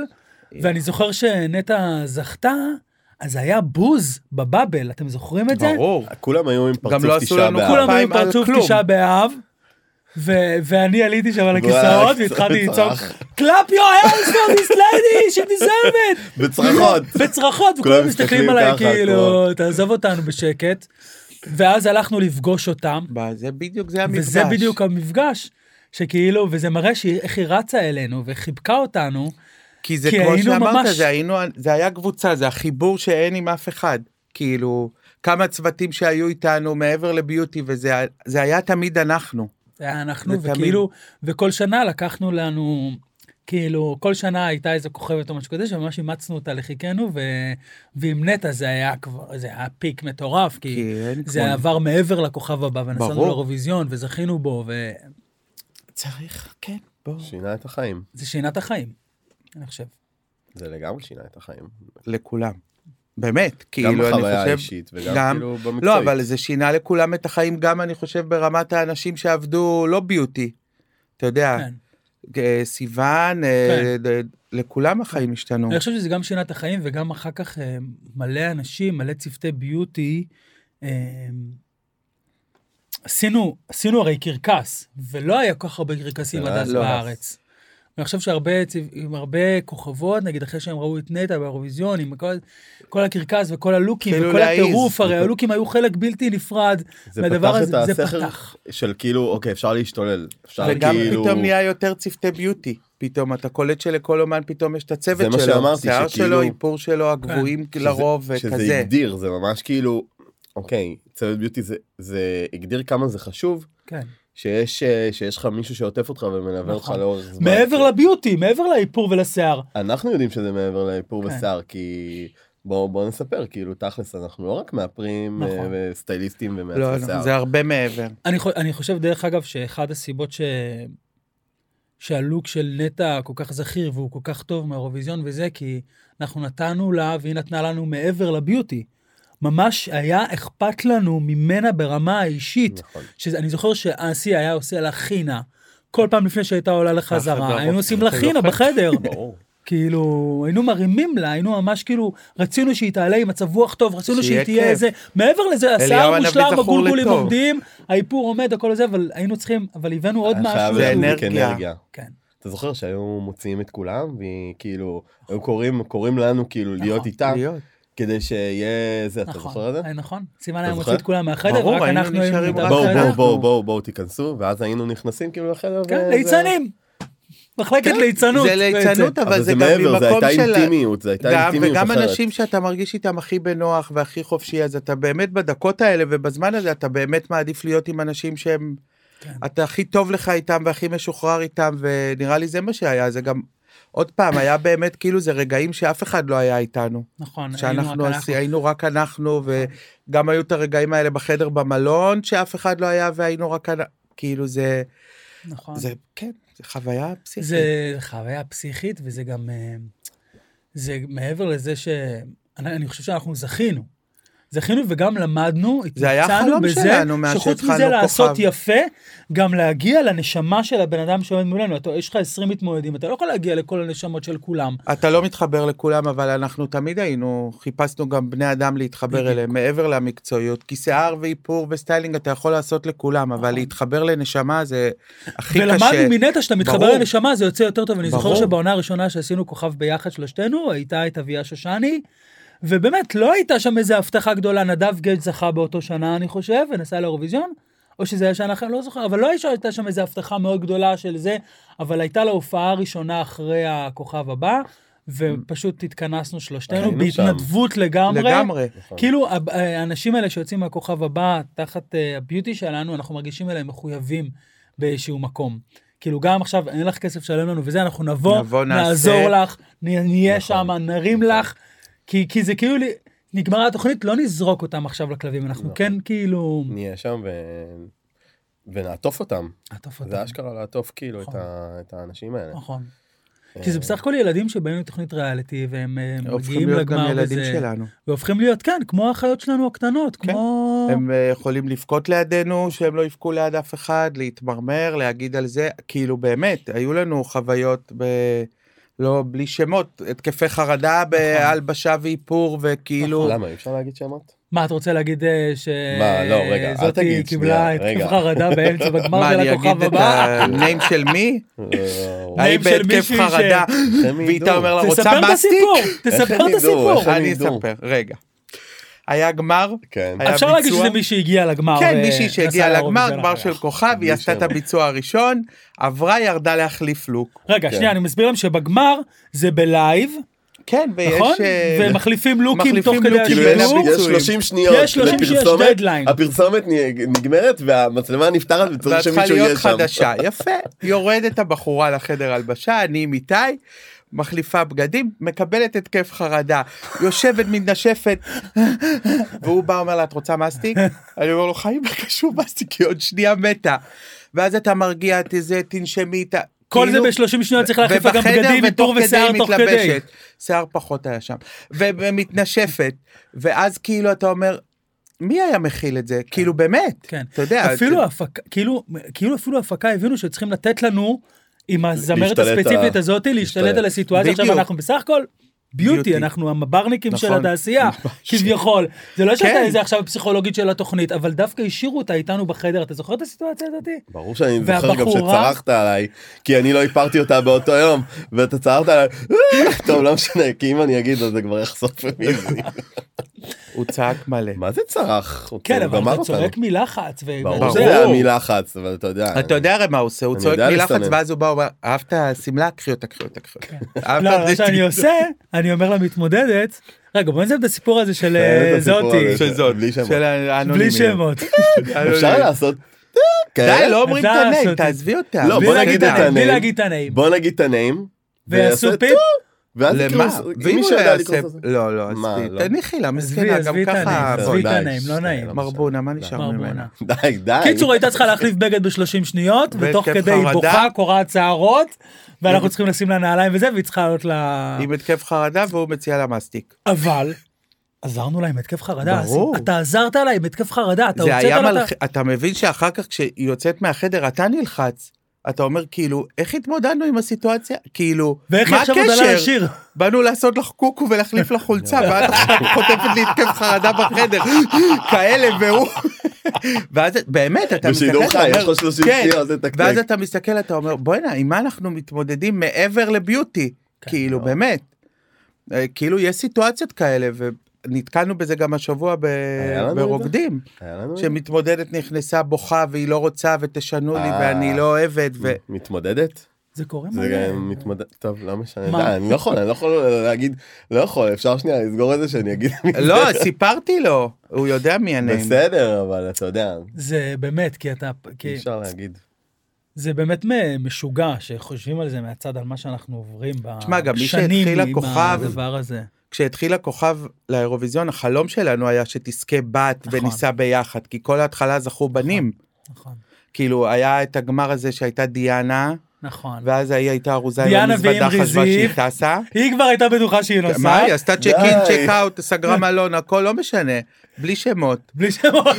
Speaker 1: ואני זוכר שנטע זכתה, אז היה בוז בבאבל, אתם זוכרים את זה?
Speaker 3: ברור.
Speaker 2: כולם היו עם פרצוף
Speaker 3: לא עשו
Speaker 2: תשעה
Speaker 3: לנו
Speaker 2: באב.
Speaker 1: כולם היו
Speaker 3: פעם על
Speaker 1: פרצוף
Speaker 3: כלום.
Speaker 1: תשעה באב, ו- ואני עליתי שם על הכיסאות
Speaker 2: וואי,
Speaker 1: והתחלתי לצעוק,
Speaker 2: צרח.
Speaker 1: Clap your hands for this lady, she deserves it.
Speaker 2: בצרחות.
Speaker 1: בצרחות,
Speaker 2: כולם
Speaker 1: וכולם מסתכלים
Speaker 2: מסתכלים
Speaker 1: עליי
Speaker 2: ככה,
Speaker 1: כאילו, תעזוב אותנו בשקט. ואז הלכנו לפגוש אותם,
Speaker 3: ב- זה בדיוק, זה המפגש.
Speaker 1: וזה בדיוק המפגש, שכאילו, וזה מראה שהיא- איך היא רצה אלינו וחיבקה אותנו.
Speaker 3: כי זה
Speaker 1: כי
Speaker 3: כמו
Speaker 1: היינו
Speaker 3: שאמרת,
Speaker 1: ממש-
Speaker 3: זה היינו, זה היה קבוצה, זה החיבור שאין עם אף אחד. כאילו, כמה צוותים שהיו איתנו מעבר לביוטי, וזה זה היה תמיד אנחנו.
Speaker 1: זה היה אנחנו,
Speaker 3: זה
Speaker 1: וכאילו, וכל שנה לקחנו לנו, כאילו, כל שנה הייתה איזה כוכבת או משהו כזה, שממש אימצנו אותה לחיקנו, ו... ועם נטע זה היה כבר, זה היה פיק מטורף, כי
Speaker 3: כן,
Speaker 1: זה
Speaker 3: כמו-
Speaker 1: עבר מעבר לכוכב הבא, ונסענו
Speaker 3: ברור.
Speaker 1: לאירוויזיון, וזכינו בו, וזה
Speaker 3: צריך, כן, בואו.
Speaker 2: שינה את החיים.
Speaker 1: שינה את החיים, אני חושב.
Speaker 2: זה לגמרי שינה את החיים.
Speaker 3: לכולם. באמת, כאילו,
Speaker 2: גם
Speaker 3: אני חושב...
Speaker 2: בחוויה האישית וגם
Speaker 3: גם-
Speaker 2: כאילו במקצועית.
Speaker 3: לא, אבל זה שינה לכולם את החיים, גם אני חושב ברמת האנשים שעבדו לא ביוטי. אתה יודע,
Speaker 1: כן.
Speaker 3: אה, סיוון, אה, ד- לכולם החיים השתנו.
Speaker 1: אני חושב שזה גם שינה את החיים, וגם אחר כך אה, מלא אנשים, מלא צוותי ביוטי. אה, עשינו, עשינו הרי קרקס, ולא היה כל כך הרבה קרקסים
Speaker 2: זה
Speaker 1: עד
Speaker 2: היה
Speaker 1: אז
Speaker 3: לא.
Speaker 1: בארץ. אני חושב שהרבה צבע- עם הרבה כוכבות, נגיד אחרי שהם ראו את נטע באירוויזיון, עם כל, כל הקרקס וכל הלוקים
Speaker 3: התחילו
Speaker 1: וכל
Speaker 3: להעיז.
Speaker 1: הטירוף, הרי הלוקים היו חלק בלתי נפרד
Speaker 2: זה
Speaker 1: מהדבר
Speaker 2: פתח
Speaker 1: הזה,
Speaker 2: את
Speaker 1: זה
Speaker 2: הסכר
Speaker 1: פתח.
Speaker 2: של כאילו, אוקיי, אפשר להשתולל. אפשר
Speaker 3: וגם
Speaker 2: כאילו...
Speaker 3: פתאום נהיה יותר צוותי ביוטי. פתאום אתה קולט שלכל אומן פתאום יש את הצוות
Speaker 2: זה
Speaker 3: שלו.
Speaker 2: מה שאמרתי,
Speaker 3: שיער
Speaker 2: שכאילו-
Speaker 3: שלו, איפור שלו, הגבוהים
Speaker 1: כן.
Speaker 2: שזה-
Speaker 3: לרוב
Speaker 2: שזה
Speaker 3: וכזה.
Speaker 2: הגדיר, זה ממש כאילו, אוקיי, צוות ביוטי זה- זה הגדיר כמה זה חשוב,
Speaker 1: כן.
Speaker 2: שיש אה, שיש לך מישהו שעוטף אותך ומלווה אותך
Speaker 1: נכון.
Speaker 2: לאורך זמן.
Speaker 1: מעבר לביוטי, מעבר לאיפור ולשיער.
Speaker 2: אנחנו יודעים שזה מעבר לאיפור
Speaker 1: כן.
Speaker 2: בשיער, כי בואו בואו נספר, כאילו, תכלס, אנחנו לא רק מאפרים אה,
Speaker 1: נכון.
Speaker 2: וסטייליסטים ומאפרי
Speaker 3: לא,
Speaker 2: שיער.
Speaker 3: לא, זה הרבה מעבר.
Speaker 1: אני, חו- אני חושב, דרך אגב, שאחד הסיבות ש... שהלוק של נטע כל כך זכיר והוא כל כך טוב מהאירוויזיון וזה, כי אנחנו נתנו לה והיא נתנה לנו מעבר לביוטי. ממש היה אכפת לנו ממנה ברמה האישית.
Speaker 2: נכון.
Speaker 1: שאני זוכר שאסי היה עושה לה חינה, כל פעם לפני שהייתה עולה לחזרה,
Speaker 3: החדר,
Speaker 1: היינו עושים לה
Speaker 3: אוקיי.
Speaker 1: חינה בחדר.
Speaker 2: ברור.
Speaker 1: כאילו, היינו מרימים לה, היינו ממש כאילו, רצינו שהיא תעלה עם מצב רוח טוב, רצינו שהיא
Speaker 3: שיהיה
Speaker 1: תהיה
Speaker 3: כיף.
Speaker 1: איזה, מעבר לזה,
Speaker 3: אליהו
Speaker 1: השיער
Speaker 3: הנביא
Speaker 1: מושלם,
Speaker 3: זכור
Speaker 1: הגולגולים
Speaker 3: לטוב.
Speaker 1: עומדים, האיפור עומד, הכל זה, אבל היינו צריכים, אבל הבאנו עוד
Speaker 2: היה חייב
Speaker 1: משהו.
Speaker 3: זה
Speaker 2: להדליק
Speaker 3: אנרגיה.
Speaker 2: אנרגיה.
Speaker 1: כן.
Speaker 2: אתה זוכר שהיו מוציאים את כולם, וכאילו, היו קוראים קוראים לנו כאילו להיות
Speaker 1: אה.
Speaker 2: איתם,
Speaker 3: נכון. להיות.
Speaker 2: כדי שיהיה זה, אתה
Speaker 1: נכון,
Speaker 2: זוכר את זה?
Speaker 1: אה, נכון, סימן היה
Speaker 2: זוכר?
Speaker 1: מוציא את כולם מהחדר,
Speaker 3: ברור,
Speaker 1: רק
Speaker 3: היינו
Speaker 1: אנחנו היינו
Speaker 3: נשארים
Speaker 1: מתחת
Speaker 3: רק
Speaker 2: בואו
Speaker 1: לחדר.
Speaker 2: בואו
Speaker 3: אנחנו.
Speaker 2: בואו בואו בואו תיכנסו ואז היינו נכנסים כאילו לחדר.
Speaker 1: כן,
Speaker 2: וזה-
Speaker 1: ליצנים, מחלקת
Speaker 3: כן,
Speaker 1: ליצנות.
Speaker 3: זה ליצנות,
Speaker 1: בעצם.
Speaker 2: אבל זה
Speaker 3: גם
Speaker 2: מעבר, זה
Speaker 3: ממקום
Speaker 2: הייתה
Speaker 3: של...
Speaker 2: אינטימיות, זה הייתה
Speaker 3: גם,
Speaker 2: אינטימיות
Speaker 3: וגם
Speaker 2: אחרת.
Speaker 3: אנשים שאתה מרגיש איתם הכי בנוח והכי חופשי, אז אתה באמת בדקות האלה ובזמן הזה, אתה באמת מעדיף להיות עם אנשים שהם...
Speaker 1: כן.
Speaker 3: אתה הכי טוב לך איתם והכי משוחרר איתם, ונראה לי זה מה שהיה, זה גם... עוד פעם, היה באמת כאילו זה רגעים שאף אחד לא היה איתנו.
Speaker 1: נכון, היינו רק
Speaker 3: שאנחנו
Speaker 1: אנחנו.
Speaker 3: עשי- היינו רק אנחנו, וגם היו את הרגעים האלה בחדר במלון, שאף אחד לא היה והיינו רק אנחנו. כאילו זה,
Speaker 1: נכון.
Speaker 3: זה, כן, זה חוויה פסיכית.
Speaker 1: זה חוויה פסיכית, וזה גם... אה, זה מעבר לזה ש... אני, אני חושב שאנחנו זכינו. זכינו וגם למדנו,
Speaker 3: זה היה
Speaker 1: התמצאנו
Speaker 3: החלום
Speaker 1: בזה,
Speaker 3: שלנו מאז
Speaker 1: שחוץ
Speaker 3: שהתחלנו
Speaker 1: מזה
Speaker 3: כוכב.
Speaker 1: לעשות יפה, גם להגיע לנשמה של הבן אדם שעומד מולנו. אתה, יש לך 20 מתמודדים, אתה לא יכול להגיע לכל הנשמות של כולם.
Speaker 3: אתה לא מתחבר לכולם, אבל אנחנו תמיד היינו, חיפשנו גם בני אדם להתחבר
Speaker 1: בדיוק.
Speaker 3: אליהם, מעבר למקצועיות, כי שיער ואיפור וסטיילינג אתה יכול לעשות לכולם, אבל
Speaker 1: נכון.
Speaker 3: להתחבר לנשמה זה הכי קשה.
Speaker 1: ולמדנו מנטע שאתה מתחבר
Speaker 3: ברור.
Speaker 1: לנשמה, זה יוצא יותר טוב. אני זוכר
Speaker 3: ברור.
Speaker 1: שבעונה הראשונה שעשינו כוכב ביחד שלושתנו, הייתה את אביה שושני, ובאמת לא הייתה שם איזו הבטחה גדולה, נדב גייג' זכה באותו שנה, אני חושב, ונסע לאירוויזיון, או שזה היה שנה אחרת, לא זוכר, אבל לא הייתה- הייתה שם איזו הבטחה מאוד גדולה של זה, אבל הייתה לה הופעה ראשונה אחרי הכוכב הבא, ופשוט התכנסנו שלושתנו
Speaker 2: היינו שם.
Speaker 1: בהתנדבות לגמרי.
Speaker 3: לגמרי.
Speaker 2: נכון.
Speaker 1: כאילו, הב- האנשים האלה שיוצאים מהכוכב הבא, תחת אה, הביוטי שלנו, אנחנו מרגישים אליהם מחויבים באיזשהו מקום. כאילו, גם עכשיו, אין לך כסף לשלם לנו וזה, אנחנו נבוא,
Speaker 3: נבוא, נעשה.
Speaker 1: נעזור לך, נ- נהיה
Speaker 2: נכון.
Speaker 1: שם, נרים לך, כי כי זה כאילו, לי- נגמרה התוכנית, לא נזרוק אותם עכשיו לכלבים, אנחנו
Speaker 3: לא.
Speaker 2: נכון.
Speaker 1: כן כאילו...
Speaker 2: נהיה שם ו... ונעטוף אותם.
Speaker 1: עטוף אותם.
Speaker 3: אוקיי.
Speaker 2: זה אשכרה לעטוף כאילו את
Speaker 1: נכון.
Speaker 2: ה- את האנשים האלה.
Speaker 1: נכון. כי זה בסך הכל ילדים שבאים לתוכנית ריאליטי, והם אה,
Speaker 3: אה. הופכים
Speaker 1: מגיעים
Speaker 3: להיות גם
Speaker 1: לגמר
Speaker 3: ילדים
Speaker 1: וזה,
Speaker 3: שלנו.
Speaker 1: והופכים להיות, כן, כמו האחיות שלנו הקטנות,
Speaker 3: כן.
Speaker 1: כמו...
Speaker 3: הם אה, יכולים לבכות לידינו, שהם לא יבכו ליד אף אחד, להתמרמר, להגיד על זה, כאילו באמת, היו לנו חוויות ב... לא, בלי שמות, התקפי חרדה
Speaker 1: נכון.
Speaker 3: בהלבשה ואיפור, וכאילו...
Speaker 2: למה, אי אפשר להגיד שמות?
Speaker 1: מה, אתה רוצה להגיד אה, ש...
Speaker 2: מה, לא, רגע, אל
Speaker 1: זאתי
Speaker 2: תגיד, שנייה,
Speaker 1: קיבלה את
Speaker 2: רגע.
Speaker 1: כיף חרדה באמצע בגמר
Speaker 3: מה, אני
Speaker 1: של הכוכב
Speaker 3: אגיד את
Speaker 1: הבא?
Speaker 3: הניים של מי?
Speaker 2: וואו.
Speaker 1: היי,
Speaker 3: ההיא
Speaker 1: של
Speaker 3: בהתקף
Speaker 1: מישהי ש-
Speaker 3: חרדה,
Speaker 2: הם
Speaker 3: ואיתה
Speaker 2: ידעו.
Speaker 3: אומר לה,
Speaker 1: תספר
Speaker 3: רוצה
Speaker 1: את
Speaker 3: מסטיק?
Speaker 1: הסיפור,
Speaker 2: איך
Speaker 1: תספר
Speaker 2: הם
Speaker 1: את
Speaker 2: ידעו?
Speaker 1: הסיפור.
Speaker 2: איך הם
Speaker 3: אני
Speaker 2: ידעו?
Speaker 3: אספר, רגע. היה גמר,
Speaker 2: כן.
Speaker 3: היה
Speaker 1: אפשר להגיד
Speaker 3: ביצוע?
Speaker 1: שזה מי שהגיע לגמר.
Speaker 3: כן,
Speaker 1: אה,
Speaker 3: מישהי
Speaker 1: נסעה
Speaker 3: שהגיעה לגמר,
Speaker 1: לאירוויזיון
Speaker 3: גמר
Speaker 1: אחריה.
Speaker 3: של כוכב,
Speaker 2: בלי
Speaker 3: היא עשתה את
Speaker 2: שמות.
Speaker 3: הביצוע הראשון, עברה, ירדה להחליף לוק.
Speaker 1: רגע,
Speaker 2: כן.
Speaker 1: שנייה, אני מסביר להם שבגמר זה בלייב,
Speaker 3: כן, ויש...
Speaker 1: נכון?
Speaker 3: אה,
Speaker 1: ומחליפים לוקים
Speaker 3: מחליפים
Speaker 1: תוך כדי
Speaker 3: לוקים
Speaker 2: כאילו
Speaker 3: בין
Speaker 2: יש,
Speaker 1: השידור.
Speaker 3: הביצועים.
Speaker 2: יש 30 שניות
Speaker 1: יש 30 שיש
Speaker 2: לפרסומת,
Speaker 1: דדליין.
Speaker 2: הפרסומת נ- נגמרת והמצלמה נפתחת וצריך
Speaker 3: ואת צריכה
Speaker 2: שמישהו יהיה
Speaker 3: להיות
Speaker 2: שם.
Speaker 3: חדשה, יפה. יורדת הבחורה לחדר הלבשה, אני עם איתי, מחליפה בגדים, מקבלת התקף חרדה, יושבת מתנשפת, והוא בא אומר לה, את רוצה מסטיק? אני אומר לו, חיים, מה קשור מסטיק? היא עוד שנייה מתה. ואז אתה מרגיע את זה, תנשמי איתה.
Speaker 1: כל זה
Speaker 3: כאילו-
Speaker 1: ב-30 שניות צריך להחליף לה גם
Speaker 3: ובחדר,
Speaker 1: בגדים,
Speaker 3: ותוך
Speaker 1: איפור
Speaker 3: כדי
Speaker 1: ושיער
Speaker 3: היא
Speaker 1: תוך כדי.
Speaker 3: מתלבשת. שיער פחות היה שם. ומתנשפת. ואז כאילו אתה אומר, מי היה מכיל את זה? כאילו באמת.
Speaker 1: כן.
Speaker 3: אתה יודע.
Speaker 1: אפילו הפקה, כאילו, כאילו אפילו הפקה הבינו שצריכים לתת לנו עם הזמרת
Speaker 2: להשתלט
Speaker 1: הספציפית
Speaker 2: ה-
Speaker 1: הזאתי להשתלט
Speaker 2: להשתלט.
Speaker 1: על הסיטואציה. עכשיו
Speaker 3: בדיוק.
Speaker 1: אנחנו בסך הכל ביוטי,
Speaker 3: ביוטי.
Speaker 1: אנחנו המברניקים של
Speaker 3: נכון.
Speaker 1: התעשייה, כביכול. זה לא שאתה
Speaker 3: כן.
Speaker 1: איזה עכשיו פסיכולוגית של התוכנית, אבל דווקא השאירו אותה איתנו בחדר, אתה זוכר את הסיטואציה הזאתי?
Speaker 2: ברור שאני זוכר גם
Speaker 1: והבחורה-
Speaker 2: שצרחת עליי, כי אני לא הפרתי אותה באותו יום, ואתה צרחת עליי, "אה!" טוב, לא משנה, כי אם אני אגיד אז זה כבר יחשוף פמיניזם.
Speaker 3: הוא צעק מלא.
Speaker 2: מה זה צרח? הוא כאילו
Speaker 1: כן, אבל
Speaker 2: גמר
Speaker 1: אתה
Speaker 2: אותנו.
Speaker 1: צורק מלחץ. ו-
Speaker 2: ברור
Speaker 1: ואתה
Speaker 2: שזה
Speaker 1: יודע,
Speaker 3: ברור.
Speaker 2: היה מלחץ, אבל אתה יודע.
Speaker 3: אה, אתה יודע הרי מה הוא עושה, הוא
Speaker 2: אני
Speaker 3: צועק
Speaker 2: יודע
Speaker 3: מלחץ
Speaker 2: לסנן.
Speaker 3: ואז הוא בא ואומר, אהבת שמלה? קחי אותה, קחי אותה, קחי אותה. אהבת
Speaker 1: לא, מה
Speaker 3: זה-
Speaker 1: שאני עושה, אני אומר למתמודדת, רגע בוא נסיים את הסיפור הזה של
Speaker 2: כן,
Speaker 1: אה,
Speaker 2: את הסיפור
Speaker 1: זאתי,
Speaker 2: הזה.
Speaker 3: של זאת,
Speaker 2: בלי שמות.
Speaker 3: של האנונימיות. אה,
Speaker 1: בלי שמות.
Speaker 2: אפשר לעשות... אה,
Speaker 3: די,
Speaker 2: כאלה?
Speaker 3: לא אומרים את
Speaker 1: אפשר
Speaker 3: הניים,
Speaker 1: לעשות-
Speaker 3: תעזבי אותה.
Speaker 2: לא,
Speaker 1: בלי
Speaker 2: בוא
Speaker 1: להגיד
Speaker 2: נגיד
Speaker 1: את
Speaker 2: את
Speaker 1: הניים. בלי
Speaker 2: הניים.
Speaker 1: להגיד את הניים.
Speaker 2: בוא נגיד את הנעים.
Speaker 1: ויעשו
Speaker 2: ויעשה
Speaker 1: פיפ,
Speaker 2: טוב, ואז כאילו, יקראו...
Speaker 3: למה? ואם
Speaker 2: מי
Speaker 3: הוא
Speaker 2: שיודע
Speaker 3: לא
Speaker 2: לקרוא
Speaker 3: יעשה...
Speaker 2: את זה.
Speaker 3: לא, לא,
Speaker 2: מה,
Speaker 3: עזבי.
Speaker 2: לא?
Speaker 3: תניחי לה,
Speaker 1: עזבי,
Speaker 3: מסכנה, גם
Speaker 1: עזבי את
Speaker 3: ככה...
Speaker 1: הנעים, עזבי את
Speaker 2: די,
Speaker 1: הנעים, לא
Speaker 2: שנייה,
Speaker 1: נעים.
Speaker 2: לא משנה.
Speaker 3: מרבונה, מה נשאר ממנה?
Speaker 1: מרמונה.
Speaker 2: די, די.
Speaker 1: קיצור הייתה צריכה להחליף בגד ב-30 שניות ותוך
Speaker 3: והתקף
Speaker 1: כדי היא
Speaker 3: חרדה.
Speaker 1: בוכה קורעת שערות ואנחנו צריכים לשים לה נעליים וזה והיא צריכה לעלות ל...
Speaker 3: עם התקף חרדה והוא מציע לה מסטיק.
Speaker 1: אבל עזרנו לה עם התקף חרדה אז
Speaker 3: ברור.
Speaker 1: אתה עזרת לה עם התקף חרדה אתה
Speaker 3: זה
Speaker 1: הוצאת
Speaker 3: היה
Speaker 1: לה את ה-
Speaker 3: מלחיץ, אתה מבין שאחר כך כשהיא יוצאת מהחדר אתה נלחץ. אתה אומר כאילו, איך התמודדנו עם הסיטואציה? כאילו,
Speaker 1: ואיך היא
Speaker 3: מה
Speaker 1: עכשיו עוד עלה
Speaker 3: הקשר?
Speaker 1: לשיר?
Speaker 3: באנו לעשות לך קוקו ולהחליף לך חולצה, ואת עכשיו חוטפת לי התקף חרדה בחדר, כאלה, והוא... ואז באמת, אתה מסתכל,
Speaker 2: בשידור
Speaker 3: אתה
Speaker 2: חי,
Speaker 3: אומר,
Speaker 2: יש לו 30
Speaker 3: כן.
Speaker 2: שניות, זה תקתק.
Speaker 3: ואז אתה מסתכל, אתה אומר, בוא'נה, עם מה אנחנו מתמודדים מעבר לביוטי?
Speaker 1: כן,
Speaker 3: כאילו,
Speaker 2: לא.
Speaker 3: באמת. אה, כאילו, יש סיטואציות כאלה, ונתקלנו בזה גם השבוע ב-
Speaker 2: היה לנו את זה?
Speaker 3: ברוקדים.
Speaker 2: היה לנו את זה?
Speaker 3: שמתמודדת נכנסה בוכה והיא לא רוצה ותשנו לי
Speaker 2: אה.
Speaker 3: ואני לא אוהבת ו...
Speaker 2: מתמודדת?
Speaker 1: זה קורה
Speaker 2: זה גם מתמודד... טוב, לא משנה.
Speaker 1: מה?
Speaker 2: די, אני לא יכול, אני לא יכול להגיד... לא יכול, אפשר שנייה לסגור את זה שאני אגיד... מי זה.
Speaker 3: לא, סיפרתי לו, הוא יודע מי הנעים.
Speaker 2: בסדר, אבל אתה יודע,
Speaker 1: זה באמת כי אתה
Speaker 2: אי
Speaker 3: כן.
Speaker 1: כי
Speaker 2: אפשר להגיד.
Speaker 1: זה באמת מ- משוגע שחושבים על זה מהצד על מה שאנחנו עוברים
Speaker 3: תשמע, גם מי
Speaker 1: בשנים
Speaker 3: שהתחיל
Speaker 1: עם
Speaker 3: הכוכב-
Speaker 1: הדבר הזה.
Speaker 3: כשהתחיל הכוכב לאירוויזיון, החלום שלנו היה שתזכה בת
Speaker 1: נכון.
Speaker 3: ונישא ביחד, כי כל ההתחלה זכו בנים.
Speaker 1: נכון.
Speaker 3: כאילו, היה את הגמר הזה שהייתה דיאנה,
Speaker 1: נכון.
Speaker 3: ואז היא הייתה ארוזה עם
Speaker 1: דיאנה
Speaker 3: המזוודה,
Speaker 1: ועם
Speaker 3: חשבה שהיא
Speaker 1: רזיף.
Speaker 3: טסה.
Speaker 1: היא כבר הייתה בטוחה שהיא
Speaker 3: מה היא
Speaker 1: נוסעת,
Speaker 3: עשתה צ'ק אין,
Speaker 2: די.
Speaker 3: צ'ק אאוט, סגרה מלון, הכל לא משנה, בלי שמות.
Speaker 1: בלי שמות.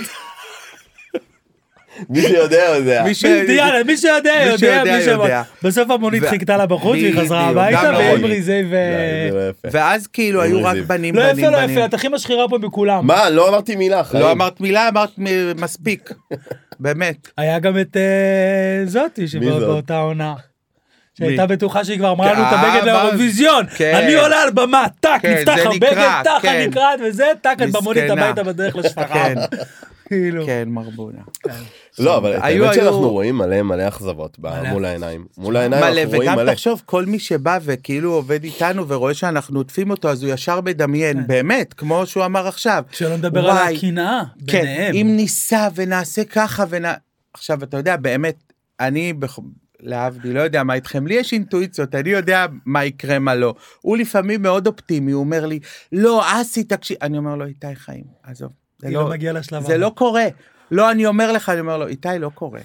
Speaker 2: מי שיודע יודע. לא,
Speaker 3: מי ש-
Speaker 1: יאללה, מי שיודע
Speaker 3: מי
Speaker 1: יודע,
Speaker 3: שיודע,
Speaker 1: מי שמות.
Speaker 3: יודע.
Speaker 1: בסוף המונית
Speaker 3: ו-
Speaker 1: חיכתה לה בחוץ והיא
Speaker 3: בדיוק,
Speaker 1: חזרה
Speaker 3: גם
Speaker 1: הביתה,
Speaker 3: לא
Speaker 1: ואין
Speaker 3: אני.
Speaker 1: בריזי ו...
Speaker 2: די, זה לא יפה.
Speaker 3: ואז כאילו היו רק
Speaker 2: רזיף.
Speaker 3: בנים,
Speaker 1: לא יפה,
Speaker 3: בנים,
Speaker 1: לא
Speaker 3: בנים.
Speaker 1: יפה, את הכי משחירה פה מכולם.
Speaker 2: מה, לא אמרתי מילה, חיים.
Speaker 3: לא אמרת מילה, אמרת מ- מספיק. באמת.
Speaker 1: היה גם את אה, זאתי
Speaker 2: זאת?
Speaker 1: שבאותה עונה. שהייתה בטוחה שהיא כבר אמרה
Speaker 3: כן,
Speaker 1: לנו את הבגד
Speaker 3: אבל-
Speaker 1: לאירוויזיון,
Speaker 3: כן.
Speaker 1: אני עולה על במה, טאק,
Speaker 3: כן,
Speaker 1: נפתח
Speaker 3: זה
Speaker 1: הבגד,
Speaker 3: נקרע,
Speaker 1: טאק,
Speaker 3: כן.
Speaker 1: אני נקרעת וזה, טאק, את במונית
Speaker 3: מסכנה.
Speaker 1: הביתה בדרך לשפחה.
Speaker 3: כן,
Speaker 1: כאילו.
Speaker 3: כן, מרבונה.
Speaker 2: לא, אבל את
Speaker 3: היו-
Speaker 2: האמת שאנחנו
Speaker 3: היו-
Speaker 2: רואים מלא מלא אכזבות ב-
Speaker 1: מלא
Speaker 2: מול העיניים. מול העיניים
Speaker 3: מלא,
Speaker 2: אנחנו רואים
Speaker 3: וגם
Speaker 2: מלא.
Speaker 3: תחשוב, כל מי שבא וכאילו עובד איתנו ורואה שאנחנו עוטפים אותו, אז הוא ישר מדמיין, באמת, כמו שהוא אמר עכשיו.
Speaker 1: כן. שלא נדבר על
Speaker 3: וואי,
Speaker 1: הקנאה
Speaker 3: כן,
Speaker 1: ביניהם.
Speaker 3: אם ניסע ונעשה ככה ונע... עכשיו, אתה יודע, באמת, אני, בח- להבדיל, לא יודע מה איתכם, לי יש אינטואיציות, אני יודע מה יקרה, מה לא. הוא לפעמים מאוד אופטימי, הוא אומר לי, לא, אסי, תקשיב, אני אומר לו, איתי חיים, עזוב. זה
Speaker 1: היא לא מגיעה לשלב
Speaker 3: זה
Speaker 1: הבא.
Speaker 3: לא קורה. לא, אני אומר לך, אני אומר לו, איתי, לא קורה.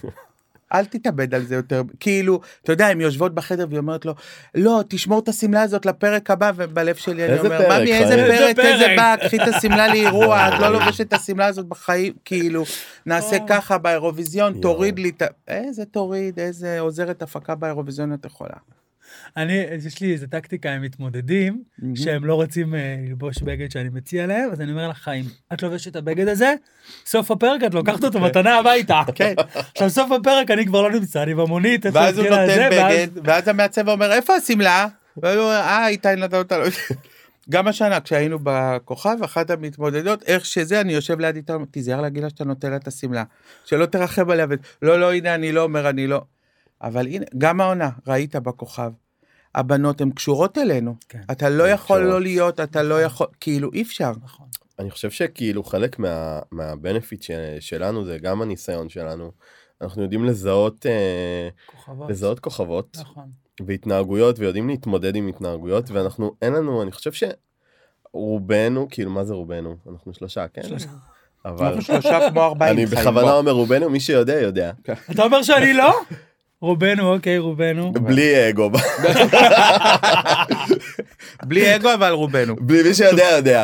Speaker 3: אל תתאבד על זה יותר. כאילו, אתה יודע, הן יושבות בחדר והיא אומרת לו, לא, תשמור את השמלה הזאת לפרק הבא, ובלב שלי אני
Speaker 2: איזה
Speaker 3: אומר,
Speaker 2: פרק,
Speaker 3: ממי, איזה
Speaker 2: חיים?"
Speaker 3: פרק,
Speaker 1: איזה
Speaker 3: איזה
Speaker 1: פרק?
Speaker 3: בא, קחי את השמלה לאירוע, את לא לובשת את השמלה הזאת בחיים, כאילו, נעשה
Speaker 1: אוי.
Speaker 3: ככה באירוויזיון,
Speaker 2: אה. יואו.
Speaker 3: תוריד לי את ה... איזה תוריד, איזה עוזרת הפקה באירוויזיון את יכולה.
Speaker 1: אני, יש לי איזה טקטיקה עם מתמודדים,
Speaker 3: מהמם.
Speaker 1: שהם לא רוצים אה, ללבוש בגד שאני מציע להם, אז אני אומר לך, חיים, את לובשת את הבגד הזה, סוף הפרק את לוקחת אותו מתנה הביתה.
Speaker 3: כן.
Speaker 1: עכשיו, סוף הפרק אני כבר לא נמצא, אני במונית, איפה
Speaker 3: ואז הוא
Speaker 1: התחילה
Speaker 3: נותן
Speaker 1: כן, זה, ואז-
Speaker 3: בגד, ואז המעצב אומר, איפה השמלה? והוא אומר, אה, איתי נתן אותה לו. גם השנה, כשהיינו בכוכב, אחת המתמודדות, איך שזה, אני יושב ליד איתה, אומר, תיזהר להגיד לה שאתה נותן לה את השמלה, שלא תרחב עליה, ו- לא, לא, הנה, אני לא אומר, אני לא. אבל הנה, גם העונה, ראית בכוכב. הבנות הן קשורות אלינו.
Speaker 1: כן.
Speaker 3: אתה לא
Speaker 2: הן
Speaker 3: יכול
Speaker 2: קשורות. נכון.
Speaker 3: לא להיות, אתה לא יכול, כאילו, אי אפשר.
Speaker 1: נכון.
Speaker 2: אני חושב שכאילו חלק מה, מהבנפיט ש, שלנו זה גם הניסיון שלנו. אנחנו יודעים לזהות, אה,
Speaker 1: כוכבות.
Speaker 2: לזהות כוכבות
Speaker 1: נכון.
Speaker 2: והתנהגויות ויודעים להתמודד עם התנהגויות ואנחנו, אין לנו, אני חושב שרובנו, כאילו מה זה רובנו? אנחנו שלושה, כן?
Speaker 1: שלושה.
Speaker 2: אבל
Speaker 3: אנחנו שלושה כמו ארבעים.
Speaker 2: אני
Speaker 3: חיים,
Speaker 2: בכוונה
Speaker 3: בוא.
Speaker 2: אומר רובנו, מי שיודע יודע.
Speaker 1: אתה אומר שאני לא? רובנו, אוקיי, רובנו.
Speaker 2: בלי אה, אגו,
Speaker 3: בלי אגו, אבל רובנו.
Speaker 2: בלי מי שיודע יודע.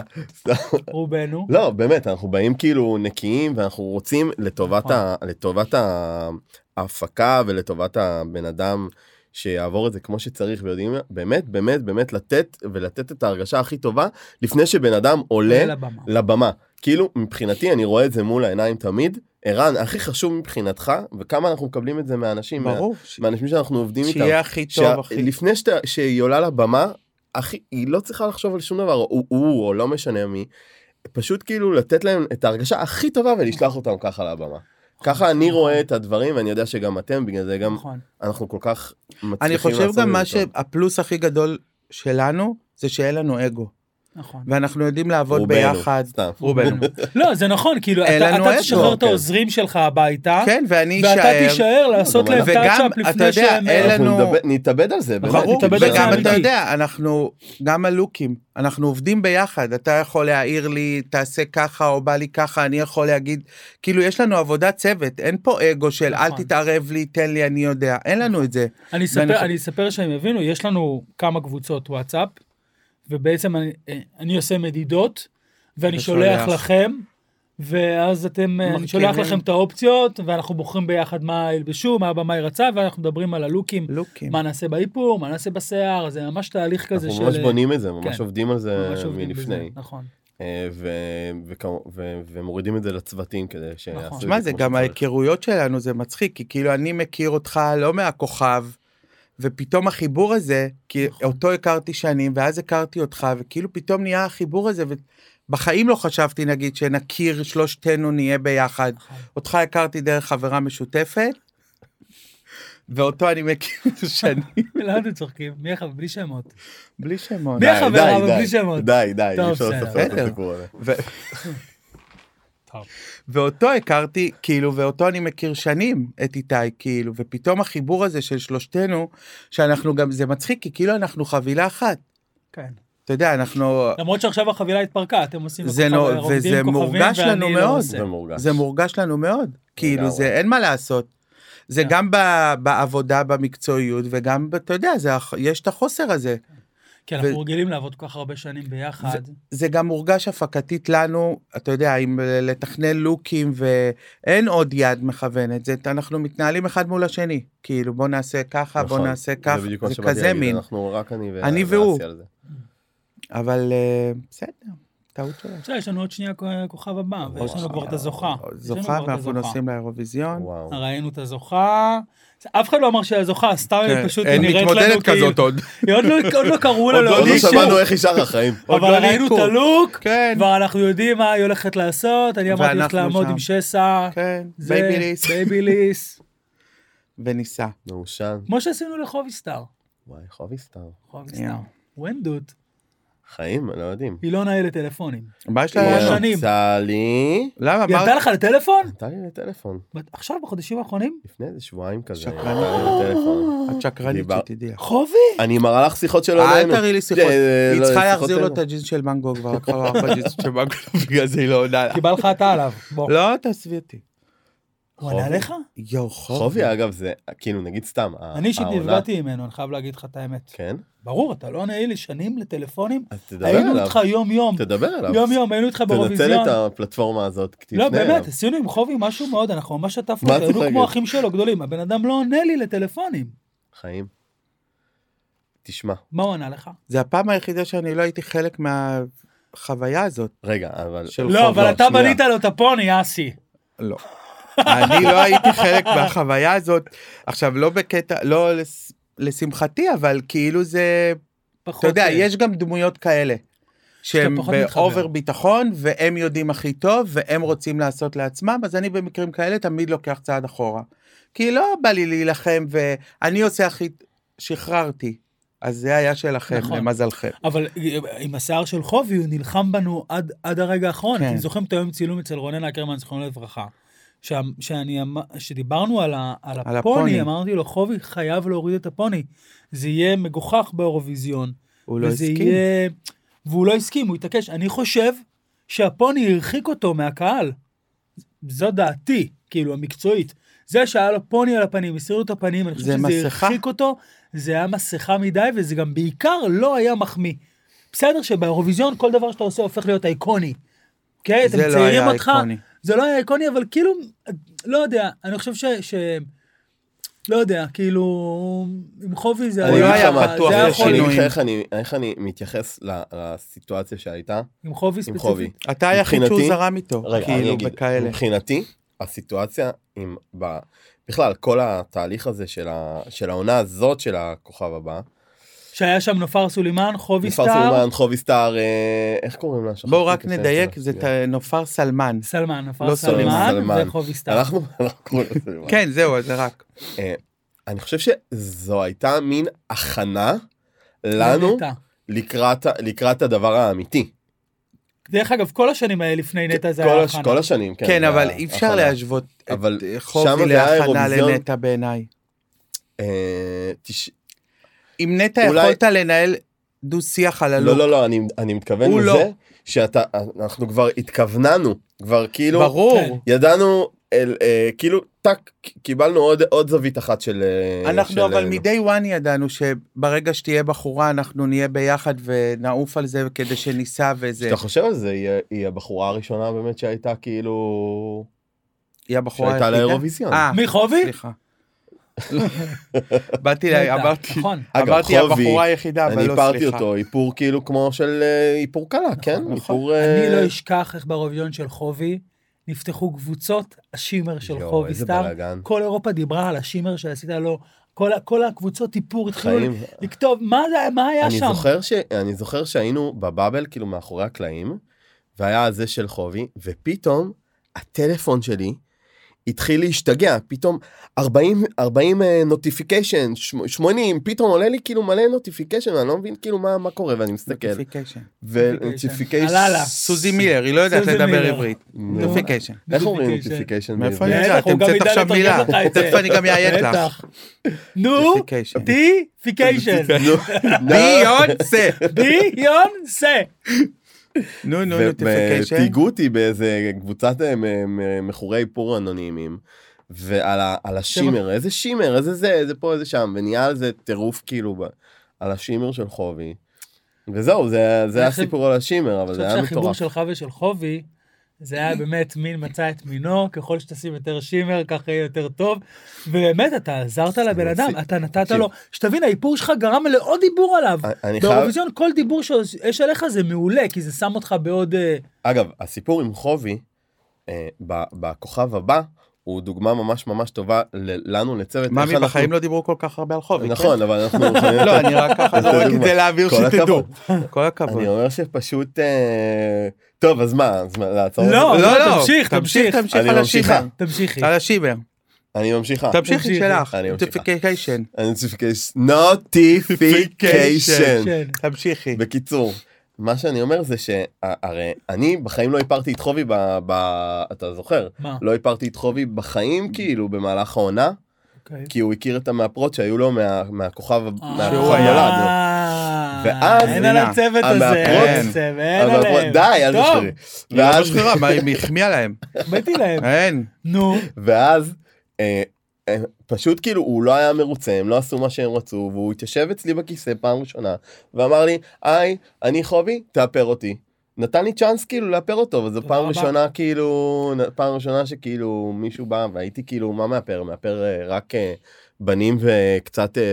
Speaker 1: רובנו.
Speaker 2: לא, באמת, אנחנו באים כאילו נקיים, ואנחנו
Speaker 3: נכון.
Speaker 2: רוצים לטובת, ה, לטובת ה- ההפקה ולטובת הבן אדם שיעבור את זה כמו שצריך, ויודעים באמת, באמת, באמת לתת, ולתת את ההרגשה הכי טובה, לפני שבן אדם
Speaker 3: לא,
Speaker 2: עולה
Speaker 1: על הבמה.
Speaker 2: לבמה. כאילו, מבחינתי, אני רואה את זה מול העיניים תמיד. ערן, הכי חשוב מבחינתך, וכמה אנחנו מקבלים את זה מאנשים, מה-
Speaker 3: ברור, ש-
Speaker 2: מהאנשים שאנחנו עובדים איתם.
Speaker 3: שיהיה הכי טוב, הכי
Speaker 2: לפני שאתה- שהיא עולה לבמה, אחי, היא לא צריכה לחשוב על שום דבר, או הוא, או לא משנה מי, פשוט כאילו לתת להם את ההרגשה הכי טובה ולשלוח אותם ככה לבמה. ככה אני
Speaker 3: נכון.
Speaker 2: רואה את הדברים, ואני יודע שגם אתם, בגלל זה גם
Speaker 1: נכון.
Speaker 2: אנחנו כל כך מצליחים
Speaker 3: אני חושב
Speaker 2: לעשות את
Speaker 3: גם מה
Speaker 2: זה טוב.
Speaker 3: שהפלוס הכי גדול שלנו זה שאין לנו אגו
Speaker 1: נכון.
Speaker 3: ואנחנו יודעים לעבוד
Speaker 2: רובנו,
Speaker 3: ביחד.
Speaker 2: סתם.
Speaker 3: רובנו.
Speaker 1: לא, זה נכון, כאילו,
Speaker 3: אין
Speaker 1: אתה
Speaker 3: לנו אוקיי.
Speaker 1: אתה
Speaker 3: אגו,
Speaker 1: תשחרר את
Speaker 2: כן.
Speaker 1: העוזרים שלך הביתה,
Speaker 3: כן ואני
Speaker 1: אה? ואתה
Speaker 3: אשאר.
Speaker 1: תישאר לעשות
Speaker 2: גם
Speaker 1: להם
Speaker 3: אנחנו-
Speaker 1: טאצ'אפ
Speaker 3: וגם,
Speaker 1: לפני
Speaker 3: אתה יודע,
Speaker 1: שהם...
Speaker 3: אין
Speaker 2: אנחנו
Speaker 3: לנו-
Speaker 2: נדבר- נתאבד על זה, באמת.
Speaker 3: ברור,
Speaker 1: נכון, תתאבד על זה
Speaker 3: וגם אתה
Speaker 1: אמיתי.
Speaker 3: יודע, אנחנו, גם הלוקים, אנחנו עובדים ביחד, אתה יכול להעיר לי, תעשה ככה או בא לי ככה, אני יכול להגיד, כאילו יש לנו עבודת צוות, אין פה אגו של אל
Speaker 1: נכון.
Speaker 3: תתערב לי, תן לי, אני יודע, אין לנו את זה.
Speaker 1: אה, אני אספר,
Speaker 3: ואנחנו-
Speaker 1: אני אספר שהם יבינו, יש לנו כמה קבוצות וואטסאפ, ובעצם אני, אה, אני עושה מדידות, ואני שולח
Speaker 3: ושולח.
Speaker 1: לכם, ואז אתם, אה, אני
Speaker 3: מרכיבים.
Speaker 1: שולח לכם את האופציות, ואנחנו בוחרים ביחד מה ילבשו, מה הבמאי רצה, ואנחנו מדברים על הלוקים,
Speaker 3: לוקים.
Speaker 1: מה נעשה באיפור, מה נעשה בשיער, זה ממש תהליך כזה
Speaker 2: אנחנו ממש
Speaker 1: אה,
Speaker 2: בונים את זה, ממש
Speaker 1: כן.
Speaker 2: עובדים על זה
Speaker 1: ממש עובדים בזה,
Speaker 2: מלפני.
Speaker 1: נכון.
Speaker 2: אה, ו- וכמו- ו- ומורידים את זה לצוותים כדי שיעשו
Speaker 1: נכון.
Speaker 2: את זה
Speaker 3: תשמע, זה
Speaker 2: כמו
Speaker 3: גם
Speaker 2: שצריך.
Speaker 3: ההיכרויות שלנו, זה מצחיק, כי כאילו אני מכיר אותך לא מהכוכב, ופתאום החיבור הזה, כי
Speaker 1: נכון.
Speaker 3: אותו הכרתי שנים, ואז הכרתי אותך, וכאילו פתאום נהיה החיבור הזה, ובחיים לא חשבתי, נגיד, שנכיר, שלושתנו נהיה ביחד.
Speaker 1: נכון.
Speaker 3: אותך הכרתי דרך חברה משותפת, ואותו אני מכיר שנים,
Speaker 1: למה אתם צוחקים? מי החבר? בלי שמות.
Speaker 3: בלי שמות.
Speaker 1: מי
Speaker 2: די,
Speaker 1: החברה,
Speaker 2: די,
Speaker 1: אבל
Speaker 2: די,
Speaker 1: בלי שמות?
Speaker 2: די, די, אי
Speaker 1: טוב,
Speaker 2: אפשר
Speaker 1: בסדר.
Speaker 2: לספר את
Speaker 3: בסדר.
Speaker 2: הסיפור הזה.
Speaker 3: ו- ואותו הכרתי, כאילו, ואותו אני מכיר שנים, את איתי, כאילו, ופתאום החיבור הזה של שלושתנו, שאנחנו גם, זה מצחיק, כי כאילו אנחנו חבילה אחת.
Speaker 1: כן.
Speaker 3: אתה יודע, אנחנו,
Speaker 1: למרות שעכשיו החבילה התפרקה, אתם עושים...
Speaker 3: זה
Speaker 1: כוכב-
Speaker 3: נו-
Speaker 1: רוקדים
Speaker 3: וזה
Speaker 1: כוכבים,
Speaker 3: מורגש לנו
Speaker 1: ואני לא
Speaker 3: מאוד.
Speaker 1: עושה.
Speaker 2: זה מורגש.
Speaker 3: זה מורגש לנו מאוד, כאילו, זה אין מה לעשות. זה
Speaker 1: כן.
Speaker 3: גם ב- בעבודה, במקצועיות, וגם, ב- אתה יודע, זה הח- יש את החוסר הזה.
Speaker 1: כי כן, אנחנו
Speaker 3: ו-
Speaker 1: רגילים לעבוד כל כך הרבה שנים ביחד.
Speaker 3: זה גם מורגש הפקתית לנו, אתה יודע, עם לתכנן לוקים ואין עוד יד מכוונת, זה אנחנו מתנהלים אחד מול השני, כאילו בוא נעשה ככה, בוא
Speaker 2: נכון.
Speaker 3: נעשה ככה,
Speaker 2: זה בדיוק מה
Speaker 3: זה
Speaker 2: שבאתי
Speaker 3: כזה
Speaker 2: להגיד,
Speaker 3: מין,
Speaker 2: אנחנו רק אני ו-
Speaker 3: אני
Speaker 2: ואסי
Speaker 3: והוא.
Speaker 2: על זה.
Speaker 3: אבל אה, בסדר, טעות לא, שלך.
Speaker 1: בסדר, יש לנו עוד שנייה כוכב הבא, ויש לנו כבר את הזוכה. אה, יש לנו
Speaker 3: אה, זוכה
Speaker 1: כבר את
Speaker 3: ואנחנו
Speaker 1: הזוכה.
Speaker 3: נוסעים לאירוויזיון.
Speaker 2: וואו.
Speaker 1: ראינו את הזוכה, אף אחד לא אמר שהזוכה, סתם היא פשוט
Speaker 3: אין
Speaker 1: נראית לנו
Speaker 3: כן, אה, מתמודדת
Speaker 1: כאילו,
Speaker 3: כזאת עוד.
Speaker 1: היא עוד לא- עוד לא קראו לה
Speaker 3: עוד
Speaker 2: עוד לא
Speaker 1: לאודישן,
Speaker 2: שמענו איך היא שרה חיים.
Speaker 3: עוד
Speaker 1: אבל
Speaker 3: לא
Speaker 1: ראינו את
Speaker 3: ליהקו.
Speaker 1: הלוק,
Speaker 3: כן,
Speaker 1: כבר אנחנו יודעים מה היא הולכת לעשות, אני אמרתי לך
Speaker 3: ואנחנו
Speaker 1: לעמוד
Speaker 3: שם.
Speaker 1: עם שסע,
Speaker 3: כן,
Speaker 1: זה,
Speaker 3: בייביליס,
Speaker 1: בייביליס,
Speaker 3: וניסה.
Speaker 2: מעושן.
Speaker 1: כמו שעשינו לחובי סטאר,
Speaker 2: וואי, חובי סטאר.
Speaker 1: חובי
Speaker 3: יואו.
Speaker 1: סטאר, ונדוט,
Speaker 2: חיים, לא יודעים.
Speaker 1: היא לא נאה לטלפונים,
Speaker 3: מה יש לה
Speaker 1: היא
Speaker 3: לנו?
Speaker 1: ישנה. שנים.
Speaker 2: יצא לי...
Speaker 3: לא. למה?
Speaker 1: היא
Speaker 3: מה-
Speaker 1: עלתה לך לטלפון?
Speaker 2: נתן לי לטלפון.
Speaker 1: בת- עכשיו בחודשים האחרונים?
Speaker 2: לפני איזה שבועיים כזה.
Speaker 3: שקרן.
Speaker 2: נתן לי לטלפון.
Speaker 3: את שקרנית
Speaker 2: דיבר-
Speaker 3: שתדעי.
Speaker 1: חובי?
Speaker 2: אני מראה לך שיחות שלא
Speaker 3: אל
Speaker 2: נהנו.
Speaker 3: תראי לי שיחות,
Speaker 2: זה, זה,
Speaker 3: היא
Speaker 2: לא,
Speaker 3: צריכה
Speaker 2: שיחות
Speaker 3: להחזיר לו
Speaker 2: אלו.
Speaker 3: את הג'ינס של מנגו כבר לקחה לו ארבע ג'ינס של מנגו בגלל זה היא לא עונה לה.
Speaker 1: קיבל לך אתה עליו, בוא.
Speaker 3: לא תעזבי אותי.
Speaker 1: הוא ענה
Speaker 2: חובי.
Speaker 1: לך?
Speaker 3: יואו חובי.
Speaker 2: חובי, אגב, זה כאילו, נגיד סתם. ה-
Speaker 1: אני אישית
Speaker 2: העונה-
Speaker 1: נפגעתי ממנו, אני חייב להגיד לך את האמת.
Speaker 2: כן?
Speaker 1: ברור, אתה לא נאה לי שנים לטלפונים.
Speaker 2: אז תדבר
Speaker 1: היינו
Speaker 2: אליו.
Speaker 1: איתך יום-יום,
Speaker 2: תדבר אליו.
Speaker 1: יום-יום, היינו איתך
Speaker 2: תנצל
Speaker 1: באירוויזיון.
Speaker 2: את הפלטפורמה הזאת. תפנה
Speaker 1: לא, באמת,
Speaker 2: אליו.
Speaker 1: עשינו עם חובי משהו מאוד, אנחנו ממש שטפנו
Speaker 2: מה
Speaker 1: אותו,
Speaker 2: את
Speaker 1: היינו
Speaker 2: צוחקת?
Speaker 1: כמו אחים שלו גדולים, הבן אדם לא עונה לי לטלפונים.
Speaker 2: חיים. תשמע,
Speaker 1: מה הוא ענה לך?
Speaker 3: זה הפעם היחידה שאני לא הייתי חלק מהחוויה הזאת.
Speaker 2: רגע, אבל...
Speaker 3: של
Speaker 2: לא,
Speaker 3: חובי.
Speaker 1: לא, אבל אתה
Speaker 2: שנייה.
Speaker 1: בנית לו את הפוני, אסי.
Speaker 3: לא. אני לא הייתי חלק מהחוויה הזאת. עכשיו לא בקטע, לא לס- לשמחתי אבל כאילו זה,
Speaker 1: פחות...
Speaker 3: אתה יודע
Speaker 1: אה,
Speaker 3: יש גם דמויות כאלה. שהם
Speaker 1: פחות מתחבר.
Speaker 3: באובר ביטחון והם יודעים הכי טוב והם רוצים לעשות לעצמם אז אני במקרים כאלה תמיד לוקח צעד אחורה. כי לא בא לי להילחם ואני עושה הכי שחררתי. אז זה היה שלכם
Speaker 1: נכון.
Speaker 3: למזלכם.
Speaker 1: אבל אה, עם השיער של חובי, הוא נלחם בנו עד, עד הרגע האחרון.
Speaker 3: כן.
Speaker 1: אתם זוכרים את היום צילום אצל רונן אקרמן, זכרונו לברכה. שה- שאני אמ- שדיברנו על, ה, על,
Speaker 3: על
Speaker 1: הפוני,
Speaker 3: הפוני.
Speaker 1: אמרתי לו, חובי חייב להוריד את הפוני. זה יהיה מגוחך באירוויזיון.
Speaker 3: הוא לא
Speaker 1: וזה
Speaker 3: הסכים.
Speaker 1: יהיה... והוא לא הסכים, הוא התעקש. אני חושב שהפוני הרחיק אותו מהקהל. זו דעתי, כאילו, המקצועית. זה שהיה לו פוני על הפנים, הסירו את הפנים, אני חושב
Speaker 3: זה
Speaker 1: שזה
Speaker 3: מסכה.
Speaker 1: הרחיק אותו, זה היה מסכה מדי, וזה גם בעיקר לא היה מחמיא. בסדר שבאירוויזיון כל דבר שאתה עושה הופך להיות אייקוני. כן, אתם
Speaker 3: זה לא
Speaker 1: מציירים
Speaker 3: היה
Speaker 1: אותך,
Speaker 3: איקוני.
Speaker 1: זה לא היה איקוני, אבל כאילו, לא יודע, אני חושב ש... ש... לא יודע, כאילו, עם חובי זה
Speaker 3: אני
Speaker 2: אני
Speaker 3: לא
Speaker 2: אגיד
Speaker 3: היה
Speaker 2: לך מה,
Speaker 3: בטוח
Speaker 1: זה
Speaker 2: אני
Speaker 1: היה
Speaker 3: שיש
Speaker 1: יכול
Speaker 2: אגיד לך
Speaker 1: להיות.
Speaker 3: שינויים.
Speaker 2: איך אני- איך אני מתייחס ל- לסיטואציה שהייתה
Speaker 1: עם חובי
Speaker 2: עם חובי.
Speaker 1: ספציפית.
Speaker 3: אתה היחיד שהוא
Speaker 2: מבחינתי-
Speaker 3: זרם איתו,
Speaker 2: רגע, אני
Speaker 3: כאילו,
Speaker 2: אגיד,
Speaker 3: וכאלה.
Speaker 2: מבחינתי, הסיטואציה עם, ב, בכלל, כל התהליך הזה של, ה, של העונה הזאת של הכוכב הבא,
Speaker 1: שהיה שם נופר סולימן, חובי
Speaker 2: מספר
Speaker 1: סטאר,
Speaker 2: סילמן, חובי סטאר, אה, איך קוראים לה? שכחתי
Speaker 3: בואו
Speaker 2: את
Speaker 3: רק
Speaker 2: השם
Speaker 3: נדייק,
Speaker 2: שלה.
Speaker 3: זה ת- נופר סלמן.
Speaker 1: סלמן, נופר
Speaker 3: לא סולימן,
Speaker 1: סלמן,
Speaker 2: סלמן.
Speaker 1: וחובי סטאר.
Speaker 2: אנחנו אנחנו קוראים לה סילמן.
Speaker 3: כן, זהו, אז זה רק.
Speaker 2: אני חושב שזו הייתה מין הכנה לנו
Speaker 1: נטע.
Speaker 2: לקראת, ה- לקראת הדבר האמיתי.
Speaker 1: דרך אגב, כל השנים האלה לפני נטע זה
Speaker 2: כן, כל
Speaker 1: היה
Speaker 2: הש-
Speaker 1: הכנה.
Speaker 2: כל השנים, כן.
Speaker 3: כן,
Speaker 2: זה
Speaker 3: אבל
Speaker 2: היה
Speaker 3: אי אפשר
Speaker 2: הכנה.
Speaker 3: להשוות
Speaker 2: אבל
Speaker 3: את אה,
Speaker 2: שמה
Speaker 3: חובי
Speaker 2: זה היה
Speaker 3: להכנה
Speaker 2: אירוויזיון.
Speaker 3: לנטע בעיניי.
Speaker 2: אה, תש-
Speaker 3: אם נטע
Speaker 2: אולי-
Speaker 3: יכולת לנהל דו-שיח על
Speaker 2: לא,
Speaker 3: הלוק,
Speaker 2: לא, לא, אני- אני מתכוון
Speaker 3: הוא
Speaker 2: לזה
Speaker 3: לא.
Speaker 2: שאנחנו כבר התכווננו, כבר כאילו...
Speaker 1: כן.
Speaker 3: ברור.
Speaker 2: ידענו אל, אה, כאילו טאק קיבלנו עוד עוד זווית אחת של אה, של,
Speaker 3: אנחנו אבל
Speaker 2: אה,
Speaker 3: מ-day one ידענו שברגע שתהיה בחורה אנחנו נהיה ביחד ונעוף על זה כדי שניסע וזה.
Speaker 2: כשאתה חושב על זה היא, היא הבחורה הראשונה באמת שהייתה כאילו
Speaker 3: היא הבחורה
Speaker 2: שהייתה
Speaker 3: היחידה?
Speaker 2: לאירוויזיון.
Speaker 3: אה,
Speaker 1: מי, חובי?
Speaker 3: סליחה. באתי, לה-
Speaker 2: אה,
Speaker 1: נטע,
Speaker 3: אמרתי,
Speaker 1: נכון.
Speaker 2: אגב,
Speaker 3: אמרתי
Speaker 2: חובי,
Speaker 3: הבחורה היחידה, אבל
Speaker 2: אני
Speaker 3: לא,
Speaker 2: איפרתי
Speaker 3: סליחה.
Speaker 2: אותו איפור כאילו כמו של אה, איפור קלה כן
Speaker 3: נכון.
Speaker 2: איפור אה,
Speaker 1: אני לא אשכח איך ברוויון של חובי נפתחו קבוצות השימר של
Speaker 2: יואו,
Speaker 1: חובי
Speaker 2: איזה
Speaker 1: סטאר.
Speaker 2: בלאגן.
Speaker 1: כל אירופה דיברה על השימר שעשית לו, כל ה- כל הקבוצות איפור התחילו
Speaker 2: חיים.
Speaker 1: לכתוב מה זה- מה היה
Speaker 2: אני
Speaker 1: שם.
Speaker 2: זוכר, ש... אני זוכר שהיינו בבאבל, כאילו מאחורי הקלעים, והיה זה של חובי, ופתאום הטלפון שלי התחיל להשתגע, פתאום אה, 40, 40 נוטיפיקיישן, 80, פתאום עולה לי כאילו מלא נוטיפיקיישן, ואני לא מבין כאילו מה, מה קורה, ואני מסתכל.
Speaker 3: נוטיפיקיישן.
Speaker 2: ונוטיפיקיישן.
Speaker 1: עלה לה.
Speaker 3: סוזי מילר, היא לא יודעת
Speaker 1: סוזי
Speaker 3: לדבר
Speaker 1: מילר.
Speaker 3: עברית.
Speaker 2: נו.
Speaker 3: נוטיפיקיישן.
Speaker 2: איך אומרים
Speaker 1: Notification.
Speaker 2: נוטיפיקיישן?
Speaker 3: מאיפה
Speaker 1: בטח,
Speaker 3: אני יודעת?
Speaker 1: הוא גם
Speaker 3: המצאת
Speaker 1: ידע
Speaker 3: עכשיו
Speaker 1: לתרגם
Speaker 3: מילה.
Speaker 1: לך את זה.
Speaker 3: תכף אני גם אעיין לך.
Speaker 1: בטח. נו,
Speaker 3: נוטיפיקיישן.
Speaker 1: טיפיקיישן.
Speaker 2: לא.
Speaker 3: ביונסה.
Speaker 1: ביונסה.
Speaker 3: נו נו נוטיפיקיישן.
Speaker 2: לא. ותהיגו אותי באיזה קבוצת אה, מ- מ- מכורי איפור אנונימיים. ועל ה- על השימר, איזה שימר, איזה זה, איזה פה, איזה שם, ונהיה על זה טירוף כאילו ב- על השימר של חובי. וזהו, זה זה
Speaker 1: אני
Speaker 2: היה
Speaker 1: חושב-
Speaker 2: סיפור על השימר, אבל
Speaker 1: אני
Speaker 2: זה
Speaker 1: חושב
Speaker 2: היה
Speaker 1: שהחיבור
Speaker 2: מטורף.
Speaker 1: שלך ושל חובי, זה היה באמת מין מצא את מינו, ככל שתשים יותר שימר, ככה יהיה יותר טוב. ובאמת, אתה עזרת לבן
Speaker 2: אני
Speaker 1: אדם,
Speaker 2: עושה-
Speaker 1: אתה נתת
Speaker 2: תקשיב.
Speaker 1: לו, שתבין, האיפור שלך גרם לעוד דיבור עליו.
Speaker 2: אני- אני חייב,
Speaker 1: באירוויזיון כל דיבור שיש עליך זה מעולה, כי זה שם אותך בעוד... אה,
Speaker 2: אגב, הסיפור עם חובי, אה, ב- בכוכב הבא, הוא דוגמה ממש ממש טובה ל- לנו, לצוות. איך
Speaker 3: ממי
Speaker 2: אנחנו-
Speaker 3: בחיים לא דיברו כל כך הרבה על חובי. כן?
Speaker 2: נכון, אבל אנחנו...
Speaker 3: לא, אני רק ככה זורק את זה לאוויר
Speaker 2: כל
Speaker 3: שתדעו.
Speaker 2: הכבוד.
Speaker 3: כל הכבוד.
Speaker 2: אני אומר שפשוט... אה, טוב, אז מה? אז מה, לעצור? את
Speaker 1: לא,
Speaker 2: זה?
Speaker 1: תמשיך, תמשיך.
Speaker 3: תמשיך
Speaker 2: אני
Speaker 3: על
Speaker 2: ממשיכה.
Speaker 3: השיבר.
Speaker 1: תמשיכי.
Speaker 2: אה,
Speaker 3: על השיבר.
Speaker 2: אני ממשיכה.
Speaker 3: תמשיכי
Speaker 1: תמשיכי.
Speaker 3: שלך.
Speaker 2: אני ממשיכה.
Speaker 3: נוטיפיקיישן.
Speaker 2: נוטיפיקיישן.
Speaker 1: כן.
Speaker 3: תמשיכי.
Speaker 2: בקיצור, מה שאני אומר זה שהרי אני בחיים לא הכרתי את חובי ב... ב- אתה זוכר?
Speaker 1: מה?
Speaker 2: לא הכרתי את חובי בחיים כאילו במהלך העונה,
Speaker 1: אוקיי.
Speaker 2: כי הוא הכיר את המאפרות שהיו לו מה- מהכוכב
Speaker 3: שהוא היה.
Speaker 2: נולד.
Speaker 1: אה,
Speaker 2: לא. ואז-
Speaker 1: אין על הצוות הזה,
Speaker 2: המאפרות-
Speaker 1: אין צוות, אין
Speaker 2: המאפרות-
Speaker 1: עליהם.
Speaker 2: די, אל
Speaker 1: טוב,
Speaker 2: תשכחי.
Speaker 3: היא לא
Speaker 2: ואז-
Speaker 3: שחררה, מה היא החמיאה להם?
Speaker 1: באתי להם.
Speaker 3: אין.
Speaker 1: נו,
Speaker 2: ואז אה, אה, פשוט כאילו הוא לא היה מרוצה הם לא עשו מה שהם רצו והוא התיישב אצלי בכיסא פעם ראשונה ואמר לי היי אני חובי תאפר אותי. נתן לי צ'אנס כאילו לאפר אותו וזו
Speaker 1: תודה
Speaker 2: פעם
Speaker 1: רבה.
Speaker 2: ראשונה כאילו נ- פעם ראשונה שכאילו מישהו בא והייתי כאילו מה מאפר מאפר אה, רק אה, בנים וקצת אה, אה,